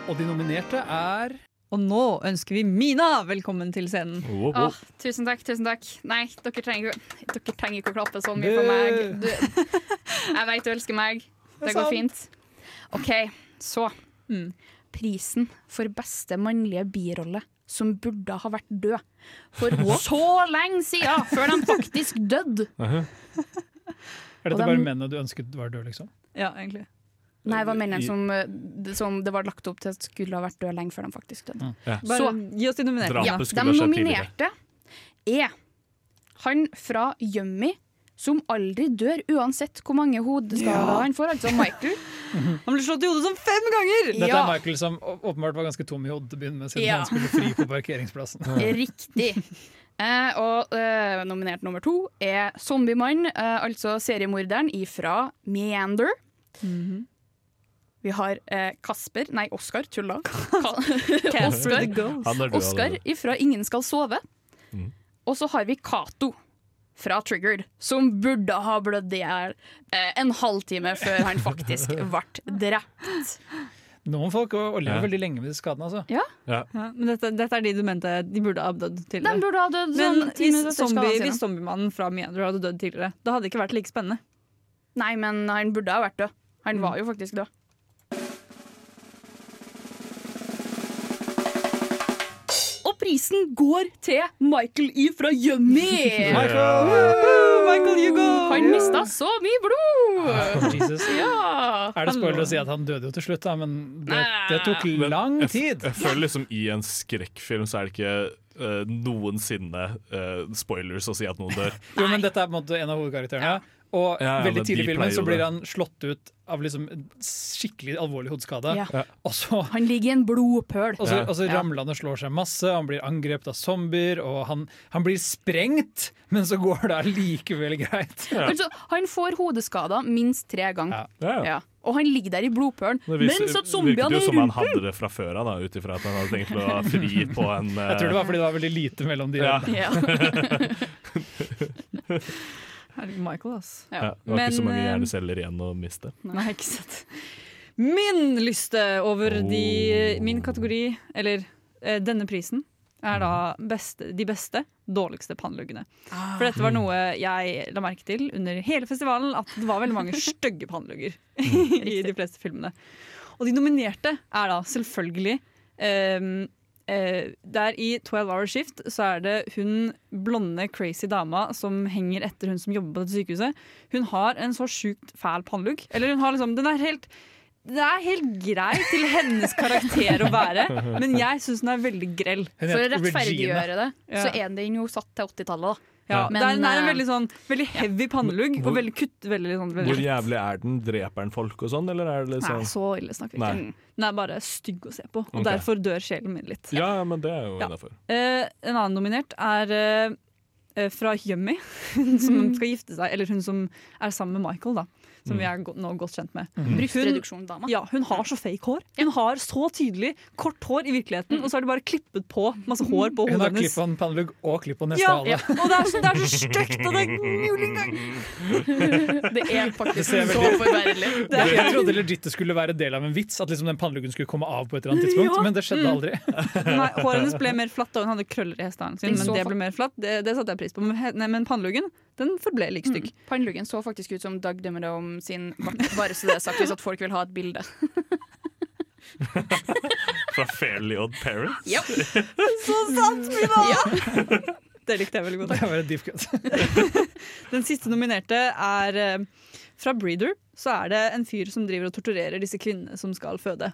Speaker 5: Og de nominerte er
Speaker 4: Og nå ønsker vi Mina velkommen til scenen.
Speaker 6: Åh, tusen takk, tusen takk. Nei, dere trenger, ikke- dere trenger ikke å klappe sånn mye for meg. Du, jeg vet du elsker meg. Det
Speaker 4: Det er
Speaker 6: går
Speaker 4: sant. Mm.
Speaker 6: fint. OK, så. Prisen for beste mannlige birolle som burde ha vært død
Speaker 5: [laughs]
Speaker 6: for så lenge siden, før de faktisk dødde.
Speaker 5: Er
Speaker 6: Og
Speaker 5: dette
Speaker 6: dem-
Speaker 5: bare mennene du ønsket var døde, liksom?
Speaker 4: Ja, egentlig.
Speaker 6: Nei, hva mener jeg som, eh, det- som det var lagt opp til at skulle ha vært død lenge før de faktisk døde.
Speaker 5: Ja.
Speaker 6: Så,
Speaker 4: Gi oss de nominerte.
Speaker 6: ja,
Speaker 4: Mina.
Speaker 6: de nominerte er han fra Yummy som aldri dør uansett hvor mange hodeskader
Speaker 4: Ja.
Speaker 6: han får. Altså
Speaker 4: [laughs]
Speaker 6: Michael.
Speaker 4: Han ble slått i hodet som fem ganger!
Speaker 5: Dette
Speaker 6: Ja.
Speaker 5: er Michael som å- åpenbart var ganske tom i hodet til å begynne med, siden
Speaker 6: Ja.
Speaker 5: han skulle fri på parkeringsplassen.
Speaker 6: [laughs] Riktig. Eh, og eh, nominert nummer to er Zombiemann, eh, altså seriemorderen ifra Meander.
Speaker 4: Mhm.
Speaker 6: Vi har eh, Kasper, nei, Oskar,
Speaker 4: [laughs]
Speaker 6: tulla.
Speaker 4: Casper
Speaker 6: Ka-
Speaker 4: the
Speaker 6: Oskar,
Speaker 4: Ghost. Han er død
Speaker 6: Oskar
Speaker 4: allerede.
Speaker 6: ifra Ingen skal sove.
Speaker 4: Mm.
Speaker 6: Og så har vi Cato fra Triggered, som burde ha blødd i hjel eh, en halvtime før
Speaker 4: [laughs]
Speaker 6: han faktisk ble drept.
Speaker 5: Noen folk lever
Speaker 2: Ja.
Speaker 5: veldig lenge med de skadene, altså.
Speaker 6: Ja.
Speaker 2: Ja.
Speaker 4: Ja, men dette, dette er de du mente de burde ha dødd tidligere.
Speaker 6: De burde ha dødd
Speaker 4: men
Speaker 6: sånn ti minutter
Speaker 4: hvis,
Speaker 6: etter
Speaker 4: zombie,
Speaker 6: skadene sine.
Speaker 4: hvis zombiemannen fra Meander hadde dødd tidligere, da hadde det ikke vært like spennende.
Speaker 6: Nei, men han burde ha vært død. Han var jo faktisk død. Og prisen går til Michael Y fra
Speaker 4: [laughs]
Speaker 6: Yummy!
Speaker 4: Michael! Michael Hugo!
Speaker 6: Han mista så mye blod!
Speaker 5: [laughs] Jesus.
Speaker 6: Ja.
Speaker 5: Er det spoiler å si at han døde jo til slutt, da, men det, det tok
Speaker 2: Men
Speaker 5: lang
Speaker 2: jeg f-
Speaker 5: tid.
Speaker 2: Jeg føler liksom i en skrekkfilm så er det ikke eh, noensinne eh, spoilers å si at noen dør.
Speaker 5: Jo, men dette er på en måte en av hovedkarakterene. Og
Speaker 2: Ja, ja,
Speaker 5: veldig
Speaker 2: men
Speaker 5: tidlig i
Speaker 2: de
Speaker 5: filmen
Speaker 2: pleier
Speaker 5: så
Speaker 2: jo
Speaker 5: blir
Speaker 2: det.
Speaker 5: han slått ut av liksom en skikkelig alvorlig hodeskade.
Speaker 6: Ja. Ja.
Speaker 5: Og så,
Speaker 6: Han ligger i en blodpøl.
Speaker 5: og så, og så
Speaker 6: Ja.
Speaker 5: ramler han og slår seg masse, han blir angrepet av zombier, og han, han blir sprengt, men så går det allikevel greit.
Speaker 6: Altså, han får hodeskader minst tre ganger.
Speaker 2: Ja.
Speaker 6: Ja. Og han ligger der i blodpølen
Speaker 2: Det vis-
Speaker 6: mens at
Speaker 2: virket
Speaker 6: zombiene
Speaker 2: jo
Speaker 6: er
Speaker 2: som
Speaker 6: rundt
Speaker 2: han hadde det fra før av, ut ifra at han hadde tenkt å ha fri på en eh,
Speaker 5: Jeg tror det var fordi det var veldig lite mellom de
Speaker 2: Ja.
Speaker 5: øynene.
Speaker 4: [laughs] Herregud, Michael, ass.
Speaker 2: Ja, det var
Speaker 4: Men,
Speaker 2: ikke så mange
Speaker 4: eh,
Speaker 2: hjerneceller igjen å miste.
Speaker 6: eh,
Speaker 4: Nei, ikke sant. Min lyste over de Min kategori, eller eh, denne prisen, er da beste, de beste, dårligste pannluggene. For dette var noe jeg la merke til under hele festivalen, at det var veldig mange stygge pannlugger [laughs] i de fleste filmene. Og de nominerte er da selvfølgelig ehm, eh, Der i 12 Hour Shift så er det hun blonde crazy dama som henger etter hun som jobber på dette sykehuset. Hun har en så sjukt fæl pannelugg. Eller hun har liksom Den er helt det er helt grei til hennes karakter å være, men jeg syns den er veldig grell.
Speaker 6: For å rettferdiggjøre det, så er den jo satt til 80-tallet. da.
Speaker 4: Ja,
Speaker 6: Men,
Speaker 4: det er, den er en
Speaker 6: eh,
Speaker 4: veldig sånn Veldig heavy pannelugg.
Speaker 2: Hvor-
Speaker 4: Og veldig kutt veldig, sånn, veldig
Speaker 2: Hvor jævlig er den? Dreper den folk og sånn, eller er det
Speaker 4: Nei,
Speaker 2: liksom
Speaker 4: så ille snakker vi
Speaker 2: Nei.
Speaker 4: ikke. Den er bare stygg å se på, og
Speaker 2: Ok.
Speaker 4: derfor dør sjelen min litt.
Speaker 2: Ja, ja, men det er jo
Speaker 4: Ja.
Speaker 2: innafor. [laughs]
Speaker 4: Eh, en annen nominert er eh, eh, fra Yummy, [laughs] hun som skal gifte seg, eller hun som er sammen med Michael, da. Som
Speaker 6: Mm.
Speaker 4: vi er go nå godt kjent med.
Speaker 6: Mhm.
Speaker 4: Hun,
Speaker 6: Brystreduksjon, dama.
Speaker 4: ja, hun har så fake hår. Hun har så tydelig kort hår i virkeligheten, og så har de bare klippet på masse hår på hodet
Speaker 5: Hun har
Speaker 4: hennes.
Speaker 5: klipp-on pannelugg og klipp-on neste
Speaker 4: Ja,
Speaker 5: hale.
Speaker 4: ja. Og det er så, det er så stygt, og det er mulig
Speaker 6: Det er
Speaker 5: Det
Speaker 6: faktisk
Speaker 5: ser
Speaker 6: så
Speaker 5: veldig-
Speaker 4: [laughs]
Speaker 6: forferdelig.
Speaker 5: Det, jeg trodde legit det skulle være del av en vits, at liksom den panneluggen skulle komme av på et eller annet tidspunkt,
Speaker 4: Ja.
Speaker 5: men det skjedde
Speaker 4: Mm.
Speaker 5: aldri.
Speaker 4: Nei, Håret hennes ble mer flatt, og hun hadde krøller i hestehalen sin.
Speaker 6: Den
Speaker 4: Men
Speaker 6: så
Speaker 4: det
Speaker 6: fa-
Speaker 4: ble mer flatt, det, det satte jeg pris på. Men, he- nei, men panneluggen, den forble like stygg.
Speaker 6: Mm. Panneluggen så faktisk ut som Dag Dømmerom sin vakt, bare så det er sagt, hvis at folk vil ha et bilde.
Speaker 2: Fra Fairly Odd Parents?
Speaker 6: Ja.
Speaker 4: Så sant, [laughs] Mina! Det likte jeg veldig godt.
Speaker 5: [laughs] Det var en deep cut.
Speaker 4: Den siste nominerte er eh, fra Breeder. Så er det en fyr som driver og torturerer disse kvinnene som skal føde.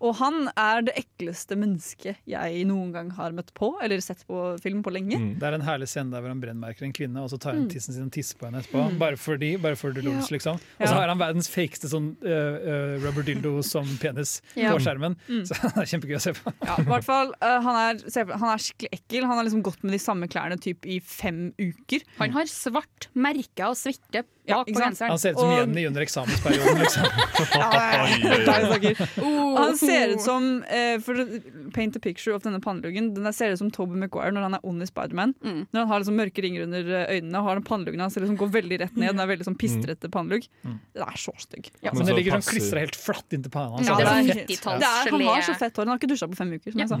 Speaker 4: Og han er det ekleste mennesket jeg noen gang har møtt på, eller sett på film på lenge.
Speaker 5: Det er en herlig scene der hvor han brennmerker en kvinne, og så tar
Speaker 4: Mm.
Speaker 5: han tissen sin og tisser på henne etterpå.
Speaker 4: Mm.
Speaker 5: Bare fordi, bare for the
Speaker 4: Ja.
Speaker 5: lulz, liksom. Og
Speaker 4: Ja.
Speaker 5: så har han verdens fakeste sånn øh, øh, rubber dildo som penis
Speaker 4: Ja.
Speaker 5: på skjermen.
Speaker 4: Mm.
Speaker 5: Så [laughs] det er kjempegøy å se på.
Speaker 4: Ja, i hvert fall, eh, han, er, se, han er skikkelig ekkel. Han har liksom gått med de samme klærne typ i fem uker.
Speaker 6: Han har svart merke og svette bak
Speaker 4: Ja,
Speaker 6: på
Speaker 4: ikke sant?
Speaker 6: genseren.
Speaker 5: Han ser ut som
Speaker 4: Og-
Speaker 5: Jenny under eksamensperioden, liksom.
Speaker 6: Oh.
Speaker 4: Han ser ut som eh, For å paint a picture of denne panneluggen. Den der ser ut som Toby Maguire når han er ond i Spiderman. Når han har liksom mørke ringer under eh, øynene og har den panneluggen hans liksom går veldig rett ned. Den er veldig sånn pistrete pannelugg.
Speaker 5: Mm.
Speaker 4: Den er så stygg.
Speaker 5: Men det ligger sånn klistra helt flatt inntil pannen hans.
Speaker 4: Ja,
Speaker 5: så
Speaker 4: det er
Speaker 5: så
Speaker 4: helt-
Speaker 5: fett.
Speaker 4: det er, han har så fett hår. Han har ikke dusja på fem uker, som jeg sa.
Speaker 2: Mm.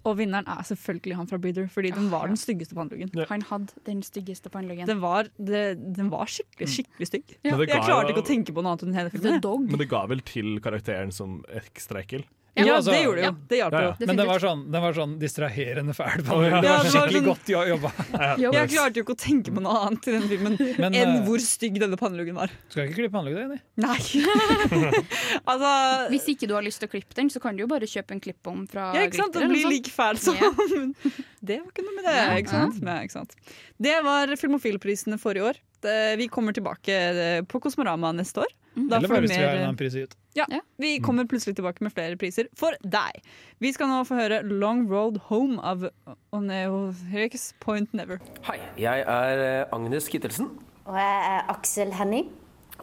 Speaker 4: Og vinneren er selvfølgelig han fra Breeder, fordi den var den styggeste panneluggen.
Speaker 6: Han hadde den styggeste panneluggen.
Speaker 4: Den var, det, den var skikkelig
Speaker 5: Mm.
Speaker 4: skikkelig stygg.
Speaker 2: Men det
Speaker 4: Jeg
Speaker 2: ga
Speaker 4: klarte
Speaker 2: jo-
Speaker 4: ikke å tenke på noe annet enn hele filmen.
Speaker 6: dog.
Speaker 2: Men det ga vel til karakteren som ekstra ekkel?
Speaker 4: Ja,
Speaker 6: altså.
Speaker 4: det gjorde det jo. Det hjalp jo.
Speaker 5: altså, Men den var, sånn, den var sånn distraherende fæl. på
Speaker 4: Å,
Speaker 5: meg.
Speaker 4: ja.
Speaker 5: Det
Speaker 4: Ja,
Speaker 5: var
Speaker 4: det var
Speaker 5: skikkelig
Speaker 4: sånn-
Speaker 5: godt jo- jobba.
Speaker 4: Jeg klarte jo ikke å tenke på noe annet i den filmen
Speaker 5: [laughs] Men,
Speaker 4: enn
Speaker 5: eh,
Speaker 4: hvor stygg denne panneluggen var.
Speaker 5: Skal ikke klippe anlegget, Jenny.
Speaker 4: Nei.
Speaker 6: [laughs]
Speaker 4: altså,
Speaker 6: Hvis ikke du har lyst til å klippe den, så kan du jo bare kjøpe en klippbom fra
Speaker 4: ja, ikke sant?
Speaker 6: Glitter.
Speaker 4: Den blir like sånn. fæl som
Speaker 6: Ja.
Speaker 4: [laughs] Men Det var ikke noe med det. Ikke sant? Nei, ikke sant? Det var Filmofilprisene forrige år. Det- Vi kommer tilbake eh, på Kosmorama neste år.
Speaker 6: Mm.
Speaker 4: Da
Speaker 5: Eller
Speaker 4: får
Speaker 5: bare
Speaker 4: du
Speaker 5: hvis vi har en
Speaker 4: mer-
Speaker 5: annen pris i ut.
Speaker 4: Ja, Vi kommer plutselig tilbake med flere priser for deg. Vi skal nå få høre 'Long Road Home' av Oneo Høyks Point Never.
Speaker 16: Jeg er eh, Agnes Kittelsen,
Speaker 17: Og jeg er Aksel Henning,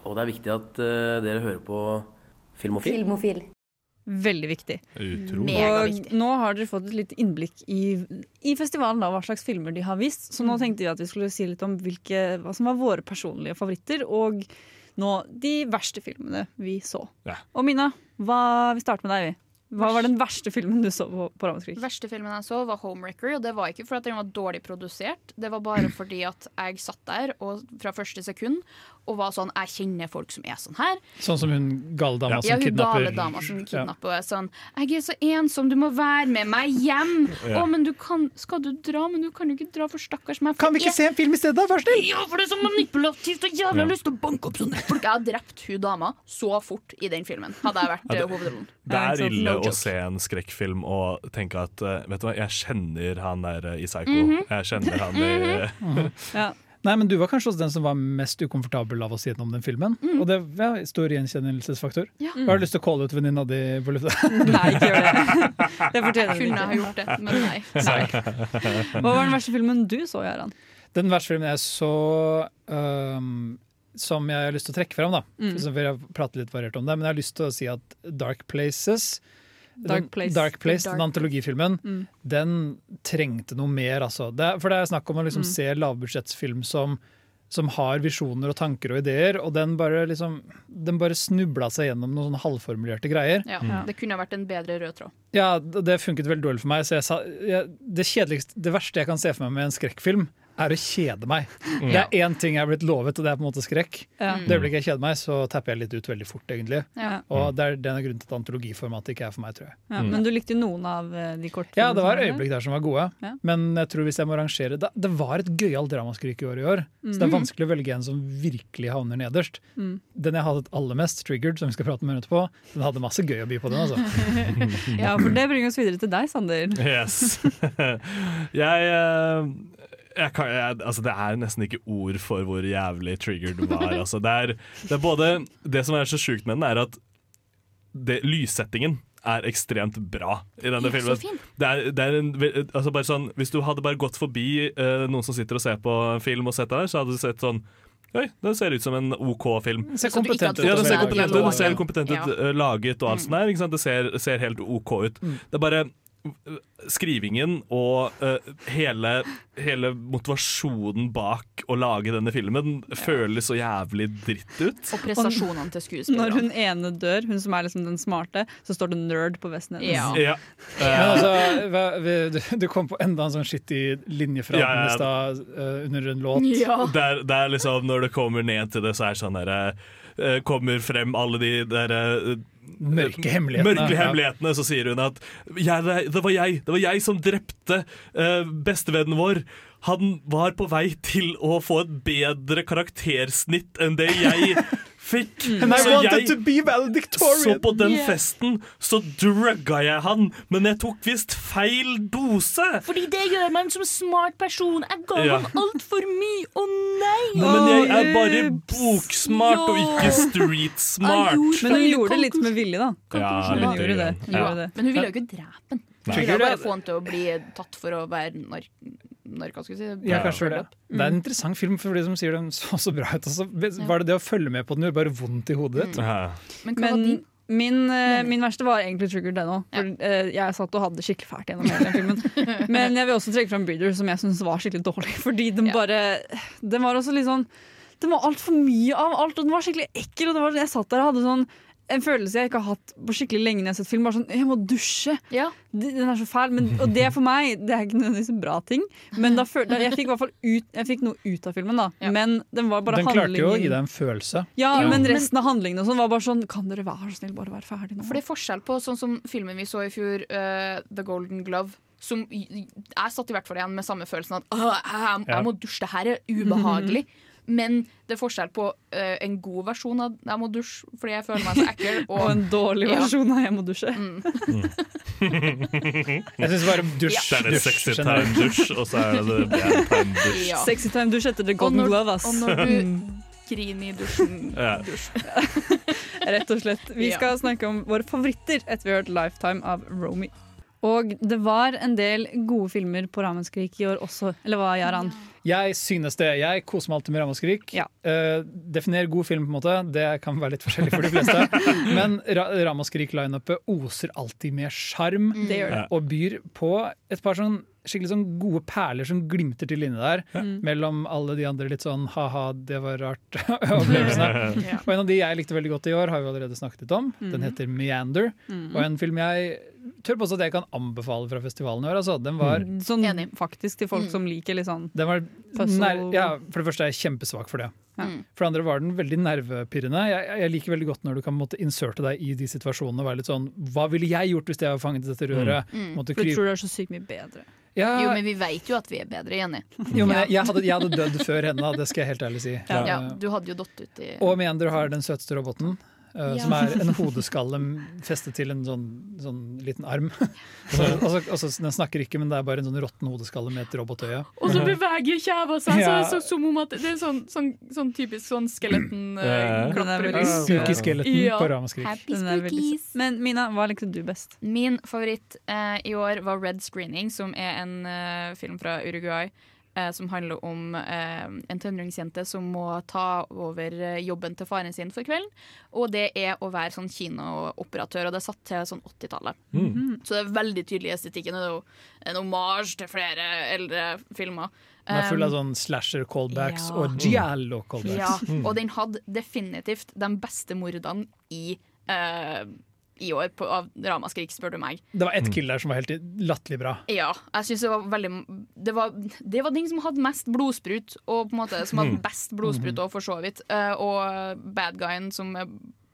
Speaker 16: og det er viktig at eh, dere hører på Filmofil.
Speaker 17: filmofil.
Speaker 4: Veldig viktig.
Speaker 16: Utrolig.
Speaker 4: Og nå har dere fått et litt innblikk i, i festivalen, da, hva slags filmer de har vist. Så nå
Speaker 6: Mm.
Speaker 4: tenkte vi at vi skulle si litt om hvilke, hva som var våre personlige favoritter, og nå de verste filmene vi så.
Speaker 2: Ja.
Speaker 4: Og Mina, hva, vi starter med deg. vi. Hva var den verste filmen du så på, på Ramaskrik?
Speaker 6: verste filmen jeg så, var 'Homewrecker'. Og det var ikke fordi at den var dårlig produsert, det var bare fordi at jeg satt der og, fra første sekund og var sånn Jeg kjenner folk som er sånn her.
Speaker 5: Sånn som hun gale dama
Speaker 6: Ja,
Speaker 5: som
Speaker 6: hun
Speaker 5: Altså, kidnapper
Speaker 6: gale dama som kidnapper og er sånn 'Jeg er så ensom, du må være med meg hjem!'
Speaker 5: Ja.
Speaker 6: 'Å, men du kan Skal du dra? Men du kan jo ikke dra, for stakkars meg.' for
Speaker 5: Kan vi
Speaker 6: jeg-
Speaker 5: ikke se en film i stedet, da? Vær snill!
Speaker 6: Ja, for det er så manipulativt og jævlig
Speaker 2: Ja.
Speaker 6: lyst til å banke opp sånne folk. Jeg hadde drept hun dama så fort i den filmen, hadde jeg vært
Speaker 2: Ja,
Speaker 6: eh,
Speaker 2: det-
Speaker 6: hovedrollen.
Speaker 2: Det er ille
Speaker 6: No
Speaker 2: å
Speaker 6: joke.
Speaker 2: se en skrekkfilm og tenke at eh, Vet du hva, jeg kjenner han der eh, i Psycho.
Speaker 6: Mhm.
Speaker 2: Jeg kjenner han i eh,
Speaker 4: Ja. [laughs]
Speaker 5: Nei, men Du var kanskje også den som var mest ukomfortabel av oss gjennom den filmen.
Speaker 4: Mm.
Speaker 5: Og det var stor gjenkjennelsesfaktor.
Speaker 6: Ja.
Speaker 5: Har du lyst til å calle ut venninna di på lufta? [laughs]
Speaker 4: Nei, ikke
Speaker 6: [laughs]
Speaker 4: gjør det. Det fortjener
Speaker 6: Kunne
Speaker 4: den
Speaker 6: ha gjort
Speaker 4: ikke.
Speaker 6: det, men
Speaker 4: [laughs]
Speaker 6: nei.
Speaker 4: Hva var den verste filmen du så, Gøran?
Speaker 5: Den verste filmen jeg så øhm, som jeg har lyst til å trekke fram, da.
Speaker 4: Mm.
Speaker 5: Så vi har pratet litt variert om det, men jeg har lyst til å si at Dark Places
Speaker 4: Dark
Speaker 5: den-
Speaker 4: Place.
Speaker 5: Dark Place,
Speaker 4: Dark-
Speaker 5: Den antologifilmen
Speaker 4: Mm.
Speaker 5: den trengte noe mer. Altså. Det, er- for det er snakk om å liksom
Speaker 4: Mm.
Speaker 5: se lavbudsjettsfilm som, som har visjoner og tanker og ideer, og den bare, liksom, den bare snubla seg gjennom noen sånne halvformulerte greier.
Speaker 6: Ja, Det kunne ha vært en bedre rød tråd.
Speaker 5: Ja, d- det funket veldig dårlig for meg. Så jeg sa, jeg, det, kjedeligste, det verste jeg kan se for meg med en skrekkfilm, er å kjede meg.
Speaker 4: Mm.
Speaker 5: Det er én ting jeg er blitt lovet, og det er på en måte skrekk.
Speaker 4: Ja.
Speaker 6: Mm.
Speaker 5: Det øyeblikket jeg kjeder meg, så tapper jeg litt ut veldig fort, egentlig.
Speaker 4: Ja.
Speaker 5: Og det er den grunnen til at antologiformatet ikke er for meg, tror jeg.
Speaker 4: Ja, Men du likte jo noen av eh, de kortfilmene?
Speaker 5: Ja, det var
Speaker 4: som der?
Speaker 5: øyeblikk der som var gode,
Speaker 4: Ja.
Speaker 5: men jeg tror hvis jeg må rangere Det, det var et gøyalt dramaskrik i år i år, så det er
Speaker 4: Mhm.
Speaker 5: vanskelig å velge en som virkelig havner nederst.
Speaker 4: Mm.
Speaker 5: Den jeg hadde aller mest, Triggered, som vi skal prate om etterpå, den hadde masse gøy å by på, den, [laughs] altså.
Speaker 4: Mm. ja, for det bringer oss videre til deg, Sander.
Speaker 2: Yes. [laughs] jeg, eh, jeg, kan, jeg Altså, det er nesten ikke ord for hvor jævlig triggered det var. Altså, det, er, det er både Det som er så sjukt med den, er at det, lyssettingen er ekstremt bra i denne
Speaker 14: Ja, så
Speaker 2: filmen.
Speaker 14: fin.
Speaker 2: Det er, det er en, ve- altså bare sånn, hvis du hadde bare gått forbi eh, noen som sitter og ser på en film, og sett det der, så hadde du sett sånn Oi, den ser ut som en OK film.
Speaker 5: Den ser Så du ikke kompetent hadde ut.
Speaker 2: Ja, den ser
Speaker 5: fått med
Speaker 2: kompetent ut, den ser
Speaker 5: dialogen.
Speaker 2: kompetent ut
Speaker 5: Ja.
Speaker 2: eh, laget og alt sånt der. Ikke sant? Det ser, ser helt OK ut. Det er bare eh, skrivingen og eh, hele, hele motivasjonen bak å lage denne filmen føles så jævlig dritt ut.
Speaker 6: Og prestasjonene
Speaker 4: Når
Speaker 6: til
Speaker 4: hun
Speaker 6: skuespillerne.
Speaker 4: ene dør, hun som er liksom den smarte, så står det 'nerd' på vesten hennes.
Speaker 2: Ja. eh,
Speaker 5: Men altså, hva, vi, du- du kom på enda en sånn skittig linje fra
Speaker 2: Ja, ja.
Speaker 5: den i stad eh, under en låt.
Speaker 6: altså-
Speaker 2: Det, er, det er liksom Når det kommer ned til det, så er det sånn derre eh, Kommer frem alle de eh, derre
Speaker 5: Mørke hemmelighetene.
Speaker 2: Mørke
Speaker 5: Ja.
Speaker 2: hemmelighetene Så sier hun at «Jeg- det var jeg Det var jeg som drepte eh, bestevennen vår. Han var på vei til å få et bedre karaktersnitt enn det jeg fikk.
Speaker 5: And I
Speaker 2: Så
Speaker 5: wanted
Speaker 2: jeg-
Speaker 5: to be valedictorian!
Speaker 2: så på den
Speaker 5: Mm. Yeah.
Speaker 2: festen så drugga jeg han, men jeg tok visst feil dose.
Speaker 18: Fordi det gjør man som smart person. Jeg ga
Speaker 2: Ja.
Speaker 18: ham altfor mye. Å nei!
Speaker 2: Men jeg er bare boksmart og ikke streetsmart.
Speaker 4: Men hun gjorde det litt med vilje, da.
Speaker 2: Ja,
Speaker 4: Hun
Speaker 2: litt
Speaker 4: gjorde det.
Speaker 2: grann.
Speaker 4: Hun gjorde det.
Speaker 6: Men hun ville jo ikke drepe den. Hun
Speaker 5: Nei.
Speaker 6: ville jo bare få han til å bli tatt for å være nark... narka, skulle jeg si.
Speaker 5: Ja, kanskje det.
Speaker 6: Mm.
Speaker 5: det er en interessant film, for de som sier den så så bra ut. Altså, var det det å følge med på den gjorde bare vondt i
Speaker 4: Mm.
Speaker 6: Mm.
Speaker 5: hodet ditt?
Speaker 4: Men, min, eh, min verste var egentlig Trigger den òg. eh, jeg satt og hadde det skikkelig fælt gjennom hele den filmen. Men jeg vil også trekke fram Breeder, som jeg syns var skikkelig dårlig. [laughs] Fordi den bare Den var også litt sånn Den var altfor mye av alt, og den var skikkelig ekkel. Og det var, jeg satt der og hadde sånn en følelse jeg ikke har hatt på skikkelig lenge når jeg har sett film. Bare sånn, jeg må dusje! D- Den er så fæl. Men, og det for meg, det er ikke nødvendigvis en bra ting. Men da føl, da, jeg fikk i hvert fall ut, jeg fikk noe ut av filmen, da. Men den var bare
Speaker 5: Den klarte jo å
Speaker 4: handlingen-
Speaker 5: gi deg en følelse.
Speaker 4: Ja, men resten av handlingene og sånn var bare sånn Kan dere være så snill bare være ferdig nå?
Speaker 6: For det er forskjell på sånn som filmen vi så i fjor, eh, The Golden Glove. Som jeg satt i hvert fall igjen med samme følelsen at «Åh, jeg, jeg må dusje, det her er ubehagelig.
Speaker 4: [laughs]
Speaker 6: Men det er forskjell på eh, en god versjon av 'jeg må dusje' fordi jeg føler meg så
Speaker 4: [laughs]
Speaker 6: ekkel, og, mm,
Speaker 4: Og en dårlig
Speaker 6: Ja.
Speaker 4: versjon av 'Jeg må dusje'.
Speaker 2: Jeg
Speaker 5: syns bare dusj.
Speaker 2: Det er det
Speaker 5: dusj
Speaker 2: sexy
Speaker 5: generelt.
Speaker 2: time-dusj, og så er det det bad time-dusj.
Speaker 4: [laughs]
Speaker 6: Ja.
Speaker 4: Sexy time dusj etter The
Speaker 6: og
Speaker 4: Golden
Speaker 6: når,
Speaker 4: Glove, ass.
Speaker 6: og når du
Speaker 4: Mm.
Speaker 6: griner i dusjen.
Speaker 2: Ja.
Speaker 4: Rett og slett. Vi skal snakke om våre favoritter etter vi har hørt 'Lifetime' av Romy. Og det var en del gode filmer på Ramaskrik i år også, eller hva, Jaran?
Speaker 5: Jeg synes det. Jeg koser meg alltid med 'Ramaskrik'. Eh, definer god film, på en måte. Det kan være litt forskjellig for de fleste. Men Ra 'Ramaskrik'-lineupet oser alltid med sjarm
Speaker 4: Mm. Det gjør det.
Speaker 5: og byr på et par sånn skikkelig sånn gode perler som glimter til inni der,
Speaker 4: Mm.
Speaker 5: mellom alle de andre litt sånn ha-ha, det var [laughs]
Speaker 2: [laughs]
Speaker 5: rart-opplevelsene.
Speaker 4: Ja.
Speaker 5: Og en av de jeg likte veldig godt i år, har vi allerede snakket litt om. Den
Speaker 4: Mhm.
Speaker 5: heter 'Meander',
Speaker 4: Mhm.
Speaker 5: og en film jeg tør påstå at jeg kan anbefale fra festivalen i år. Altså, den var
Speaker 4: Sånn faktisk til
Speaker 6: Mm.
Speaker 4: folk som liker litt sånn
Speaker 5: den var
Speaker 4: Puzzle-
Speaker 5: nær, ja, For det første er jeg kjempesvak for det.
Speaker 4: Ja. Mm.
Speaker 5: For det andre var den veldig nervepirrende. Jeg, jeg liker veldig godt når du kan måtte inserte deg i de situasjonene og være litt sånn Hva ville jeg gjort hvis jeg var fanget i dette røret? Måtte
Speaker 4: For du
Speaker 5: krype-
Speaker 4: tror det er så sykt mye bedre.
Speaker 5: Ja.
Speaker 6: mm. Jo, men vi vet jo at vi er bedre, Jenny.
Speaker 5: Jo, men jeg, jeg, hadde, jeg hadde dødd før henne, da, det skal jeg helt ærlig si.
Speaker 6: Ja. Ja,
Speaker 5: Eh,
Speaker 6: du hadde jo datt ut i
Speaker 5: Og Meander har den søteste roboten, eh,
Speaker 6: Ja.
Speaker 5: som er en hodeskalle festet til en sånn, sånn liten arm. [laughs] Så, altså, altså, den snakker ikke, men det er bare en sånn råtten hodeskalle med et robotøye.
Speaker 6: Og så beveger kjeva seg, så,
Speaker 5: Ja.
Speaker 6: så, som om at det er sånn, sånn, sånn typisk sånn skeletten
Speaker 5: Ja.
Speaker 6: eh,
Speaker 5: Den er
Speaker 6: klapper
Speaker 5: veldig
Speaker 6: rundt.
Speaker 5: Syke skeletten på Ramaskrik.
Speaker 6: Happy
Speaker 4: Den er veldig
Speaker 6: spookies.
Speaker 4: Men Mina, hva likte du best?
Speaker 6: Min favoritt eh, i år var Red Screening, som er en eh, film fra Uruguay. eh, som handler om eh, en tenåringsjente som må ta over eh, jobben til faren sin for kvelden. Og det er å være sånn kinooperatør, og det er satt til sånn 80-tallet.
Speaker 2: Mm.
Speaker 18: Mhm.
Speaker 6: Så det er veldig tydelig i estetikken. og Det er jo en omasj til flere eldre filmer.
Speaker 5: Den er full av
Speaker 6: Um,
Speaker 5: sånn slasher-callbacks
Speaker 6: ja.
Speaker 5: og giallo-callbacks.
Speaker 6: ja, og den hadde definitivt de beste mordene i, eh, i år på, av Ramaskrik, spør du meg.
Speaker 5: Det var ett kill der som var helt latterlig bra.
Speaker 6: Ja, jeg synes det var veldig Det var, det var den som hadde mest blodsprut, og på en måte som hadde
Speaker 5: Mm.
Speaker 6: best blodsprut òg, for så vidt. Eh, og bad guyen som er,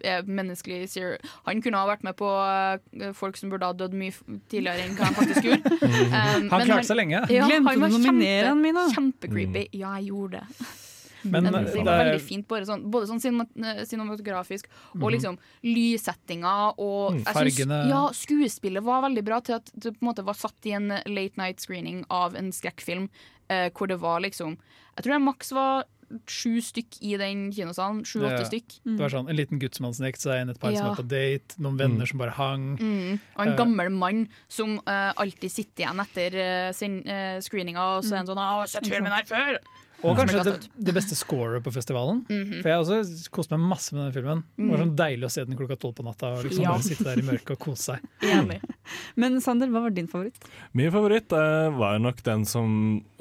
Speaker 6: er menneskelig ser- Han kunne ha vært med på eh, folk som burde ha dødd mye f- tidligere enn hva han faktisk
Speaker 5: [laughs]
Speaker 6: gjorde. Eh,
Speaker 5: Mm. Han
Speaker 6: men
Speaker 5: klarte seg lenge.
Speaker 6: Ja,
Speaker 4: Glemte
Speaker 6: han
Speaker 4: du
Speaker 6: var
Speaker 4: å nominere
Speaker 6: kjempe-
Speaker 4: han, Mina?
Speaker 5: Mm.
Speaker 6: Kjempecreepy. Ja, jeg gjorde det.
Speaker 5: Men,
Speaker 6: Men,
Speaker 5: eh,
Speaker 6: det var
Speaker 5: det er-
Speaker 6: veldig fint, bare sånn, både sånn cinemat- eh, cinematografisk og
Speaker 5: Mhm.
Speaker 6: liksom lyssettinga og
Speaker 5: Mm,
Speaker 6: jeg syns-
Speaker 5: fargene.
Speaker 6: Ja, skuespillet var veldig bra til at det på en måte var satt i en eh, late night screening av en skrekkfilm eh, hvor det var liksom Jeg tror det maks var sju stykk i den kinosalen. Sju-åtte
Speaker 5: Det-
Speaker 6: stykk.
Speaker 5: Det var sånn, En liten gutt som hadde sneket seg inn, et par som
Speaker 6: Ja.
Speaker 5: var på date, noen venner som bare hang.
Speaker 6: Mm. Og
Speaker 5: Eh,
Speaker 6: en gammel mann som eh, alltid sitter igjen etter eh, sin, eh, screeninga, og så er han sånn 'Å, sett filmen her før!'
Speaker 5: Og
Speaker 6: Som er
Speaker 5: kanskje det,
Speaker 6: kastet
Speaker 5: det beste scoret på festivalen.
Speaker 6: Mhm.
Speaker 5: For jeg også koste meg masse med den filmen. Det var sånn Deilig å se den klokka tolv på natta og liksom
Speaker 4: Ja.
Speaker 5: bare sitte der i mørket og kose seg.
Speaker 4: Men Sander, hva var din favoritt?
Speaker 2: Min favoritt eh, var nok den som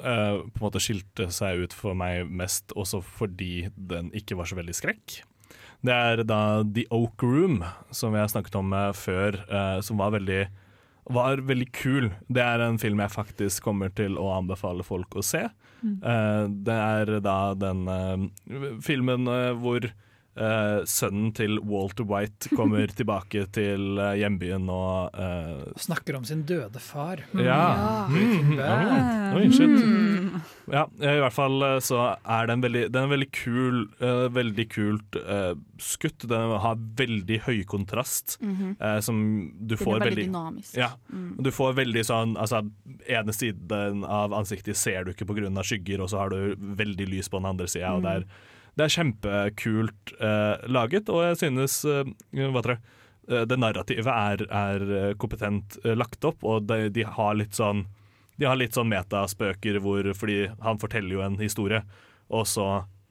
Speaker 2: eh, på en måte skilte seg ut for meg mest, også fordi den ikke var så veldig skrekk. Det er da The Oak Room, som jeg har snakket om eh, før, eh, som var veldig, var veldig kul. Det er en film jeg faktisk kommer til å anbefale folk å se.
Speaker 10: Mm.
Speaker 2: Eh, det er da den eh, filmen eh, hvor eh, sønnen til Walter White kommer tilbake til eh, hjembyen og eh,
Speaker 5: Snakker om sin døde far.
Speaker 2: ja.
Speaker 6: Mhm.
Speaker 5: Mm.
Speaker 2: Mm.
Speaker 4: Ah.
Speaker 5: Bad.
Speaker 2: Oi, shit.
Speaker 4: Mm.
Speaker 2: Ja, I hvert fall eh, så er den veldig, den er veldig kul. eh, veldig kult eh, skutt. Den har veldig høy kontrast.
Speaker 6: Mhm.
Speaker 2: eh, som du
Speaker 6: Den er
Speaker 2: får
Speaker 6: veldig
Speaker 2: veldig
Speaker 6: dynamisk.
Speaker 2: Ja,
Speaker 6: Mm.
Speaker 2: Du får veldig sånn altså, ene siden av ansiktet ser du ikke pga. skygger, og så har du veldig lys på den andre sida. og Det,
Speaker 10: Mm.
Speaker 2: er- det er kjempekult eh, laget, og jeg synes eh, hva tror jeg, eh, det narrativet er, er eh, kompetent eh, lagt opp, og de, de har litt sånn de har litt sånn metaspøker hvor Fordi han forteller jo en historie, og så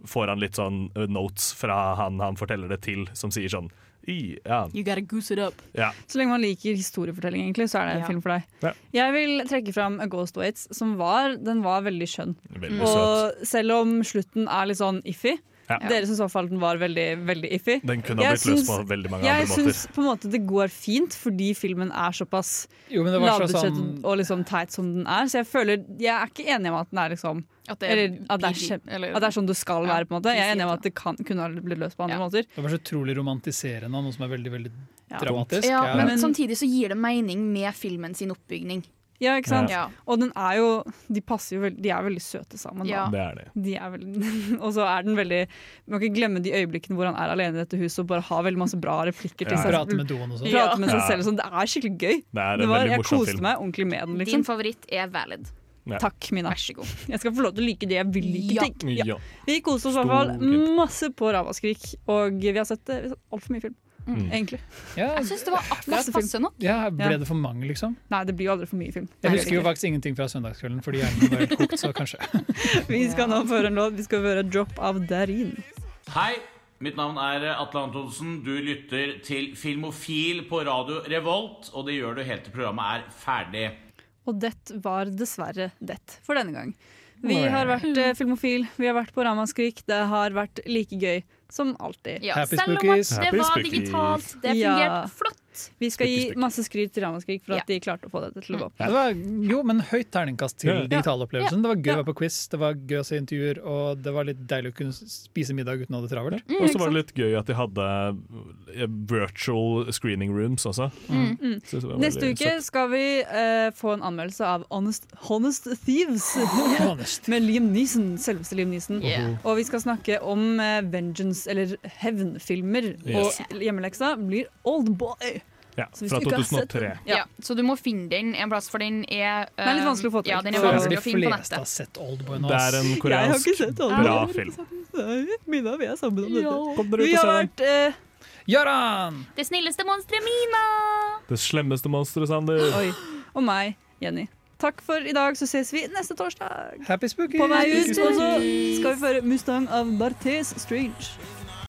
Speaker 2: får han litt sånn eh, notes fra han han forteller det til, som sier sånn I, ja,
Speaker 6: You gotta goose it up.
Speaker 2: ja.
Speaker 4: [laughs] Så lenge man liker historiefortelling, egentlig, så er det en
Speaker 6: Ja.
Speaker 4: film for deg. Jeg vil trekke fram A Ghost Waits, som var, den var veldig skjønn.
Speaker 2: Veldig
Speaker 4: og selv om slutten er litt sånn iffy,
Speaker 2: Ja.
Speaker 4: Dere syns i hvert fall den var veldig, veldig iffy.
Speaker 2: Den kunne ha
Speaker 4: Jeg
Speaker 2: blitt løst på
Speaker 4: syns-
Speaker 2: veldig mange
Speaker 4: jeg
Speaker 2: andre måter.
Speaker 4: syns på en måte det går fint, fordi filmen er såpass
Speaker 5: Jo, men det var så
Speaker 4: lavbudsjett
Speaker 5: sånn-
Speaker 4: og liksom teit som den er. Så jeg føler Jeg er ikke enig med at den er liksom
Speaker 6: At det er
Speaker 4: eller, at, det er
Speaker 6: PG,
Speaker 4: kjem-
Speaker 6: eller-
Speaker 4: at det er sånn du skal være. på en måte Jeg er
Speaker 6: PG,
Speaker 4: enig med at det kan, kunne ha blitt løst på andre måter.
Speaker 5: Det var så utrolig romantiserende av noe som er veldig veldig
Speaker 6: Ja.
Speaker 5: dramatisk.
Speaker 6: Ja,
Speaker 5: Ja.
Speaker 6: men, samtidig så gir det mening med filmen sin oppbygning.
Speaker 4: Ja, ikke sant?
Speaker 6: Ja.
Speaker 4: Og den er jo De passer jo veldig De er veldig søte sammen.
Speaker 6: Ja.
Speaker 4: Da.
Speaker 6: Det
Speaker 2: er de.
Speaker 4: De er veldig, [laughs] og så er den veldig Man kan ikke glemme de øyeblikkene hvor han er alene i dette huset og bare har veldig masse bra replikker til
Speaker 5: Ja.
Speaker 4: seg
Speaker 5: Prate med doen og sånn.
Speaker 4: Prate med seg
Speaker 2: Ja.
Speaker 4: selv og sånn. Det er skikkelig gøy.
Speaker 2: Det er en
Speaker 4: var,
Speaker 2: veldig
Speaker 4: jeg
Speaker 2: morsom
Speaker 4: koste
Speaker 2: film.
Speaker 4: meg ordentlig med den.
Speaker 6: Din
Speaker 4: Liksom.
Speaker 6: favoritt er valid.
Speaker 2: Ja.
Speaker 4: Takk, Mina. Vær så god. Jeg skal få lov til å like det jeg vil like.
Speaker 6: Ja.
Speaker 4: tenk. Ja.
Speaker 2: Ja.
Speaker 4: Vi koste oss i hvert fall masse på Ramaskrik, og vi har sett eh, altfor mye film,
Speaker 5: Mm.
Speaker 4: egentlig.
Speaker 5: Jeg
Speaker 6: syns det var
Speaker 4: Masse
Speaker 6: akkurat
Speaker 4: film.
Speaker 6: passe nok.
Speaker 5: Ja, ble
Speaker 4: Ja.
Speaker 5: det for mange, liksom?
Speaker 4: Nei, det blir jo aldri for mye film.
Speaker 5: Jeg
Speaker 4: Nei,
Speaker 5: husker jo
Speaker 4: det er
Speaker 5: faktisk ingenting fra søndagskvelden, fordi hjernen min var helt kokt, så kanskje.
Speaker 4: ikke. Vi skal nå føre en låt. Vi skal høre 'Drop of Darin'.
Speaker 19: Hei, mitt navn er Atle Antonsen. Du lytter til Filmofil på Radio Revolt, og det gjør du helt til programmet er ferdig.
Speaker 4: Og det var dessverre det for denne gang. Vi
Speaker 19: Oi.
Speaker 4: har vært eh, filmofil, vi har vært på Ramaskrik. Det har vært like gøy som alltid.
Speaker 6: Ja, Happy selv om at spookies. det Happy var spookies. digitalt, det fungerte flott.
Speaker 4: Vi skal gi masse skryt til Ramaskrik for at de klarte å få dette til å gå opp.
Speaker 5: Det var, jo, men høyt terningkast til
Speaker 4: Ja. Ja.
Speaker 5: digitalopplevelsen. Det var gøy å
Speaker 4: Ja.
Speaker 5: være på quiz, det var gøy å se intervjuer, og det var litt deilig å kunne spise middag uten å ha det travelt.
Speaker 6: Mm.
Speaker 4: Mm,
Speaker 2: Og så var det litt gøy at de hadde eh, virtual screening rooms også.
Speaker 4: Mm.
Speaker 6: Uh-huh.
Speaker 4: Mm.
Speaker 2: Så det var
Speaker 4: Neste
Speaker 2: veldig
Speaker 4: uke
Speaker 2: søtt.
Speaker 4: skal vi eh, få en anmeldelse av Honest, Honest Thieves [laughs] med Liam Neeson, selveste Liam Neeson.
Speaker 6: Yeah.
Speaker 4: Og vi skal snakke om eh, vengeance, eller hevnfilmer.
Speaker 2: Yes.
Speaker 4: Og hjemmeleksa blir Oldboy.
Speaker 2: Ja,
Speaker 4: Så hvis
Speaker 2: fra
Speaker 4: du ikke har sett
Speaker 2: 2003.
Speaker 6: Ja. så du må finne den en plass, for den er eh,
Speaker 4: Den er litt vanskelig å få til.
Speaker 6: Ja, den er
Speaker 5: Føler
Speaker 6: vanskelig
Speaker 5: de
Speaker 6: å finne på
Speaker 5: fleste
Speaker 6: nettet.
Speaker 5: har sett Oldboy nå.
Speaker 2: Det er en
Speaker 5: ass.
Speaker 2: koreansk bra film.
Speaker 4: Mina og vi er sammen om
Speaker 6: Ja. Kom
Speaker 4: dette.
Speaker 6: dere ut
Speaker 4: Vi
Speaker 6: og
Speaker 4: har
Speaker 6: se
Speaker 4: vært eh,
Speaker 5: Göran!
Speaker 6: Det snilleste monsteret Mina!
Speaker 2: Det slemmeste monsteret, Sander.
Speaker 4: Oi. Og meg, Jenny. Takk for i dag, så ses vi neste torsdag.
Speaker 5: Happy spookies!
Speaker 4: På vei ut,
Speaker 5: Spooky,
Speaker 4: og så
Speaker 5: spookies.
Speaker 4: skal vi føre Mustang av Barthes Strange.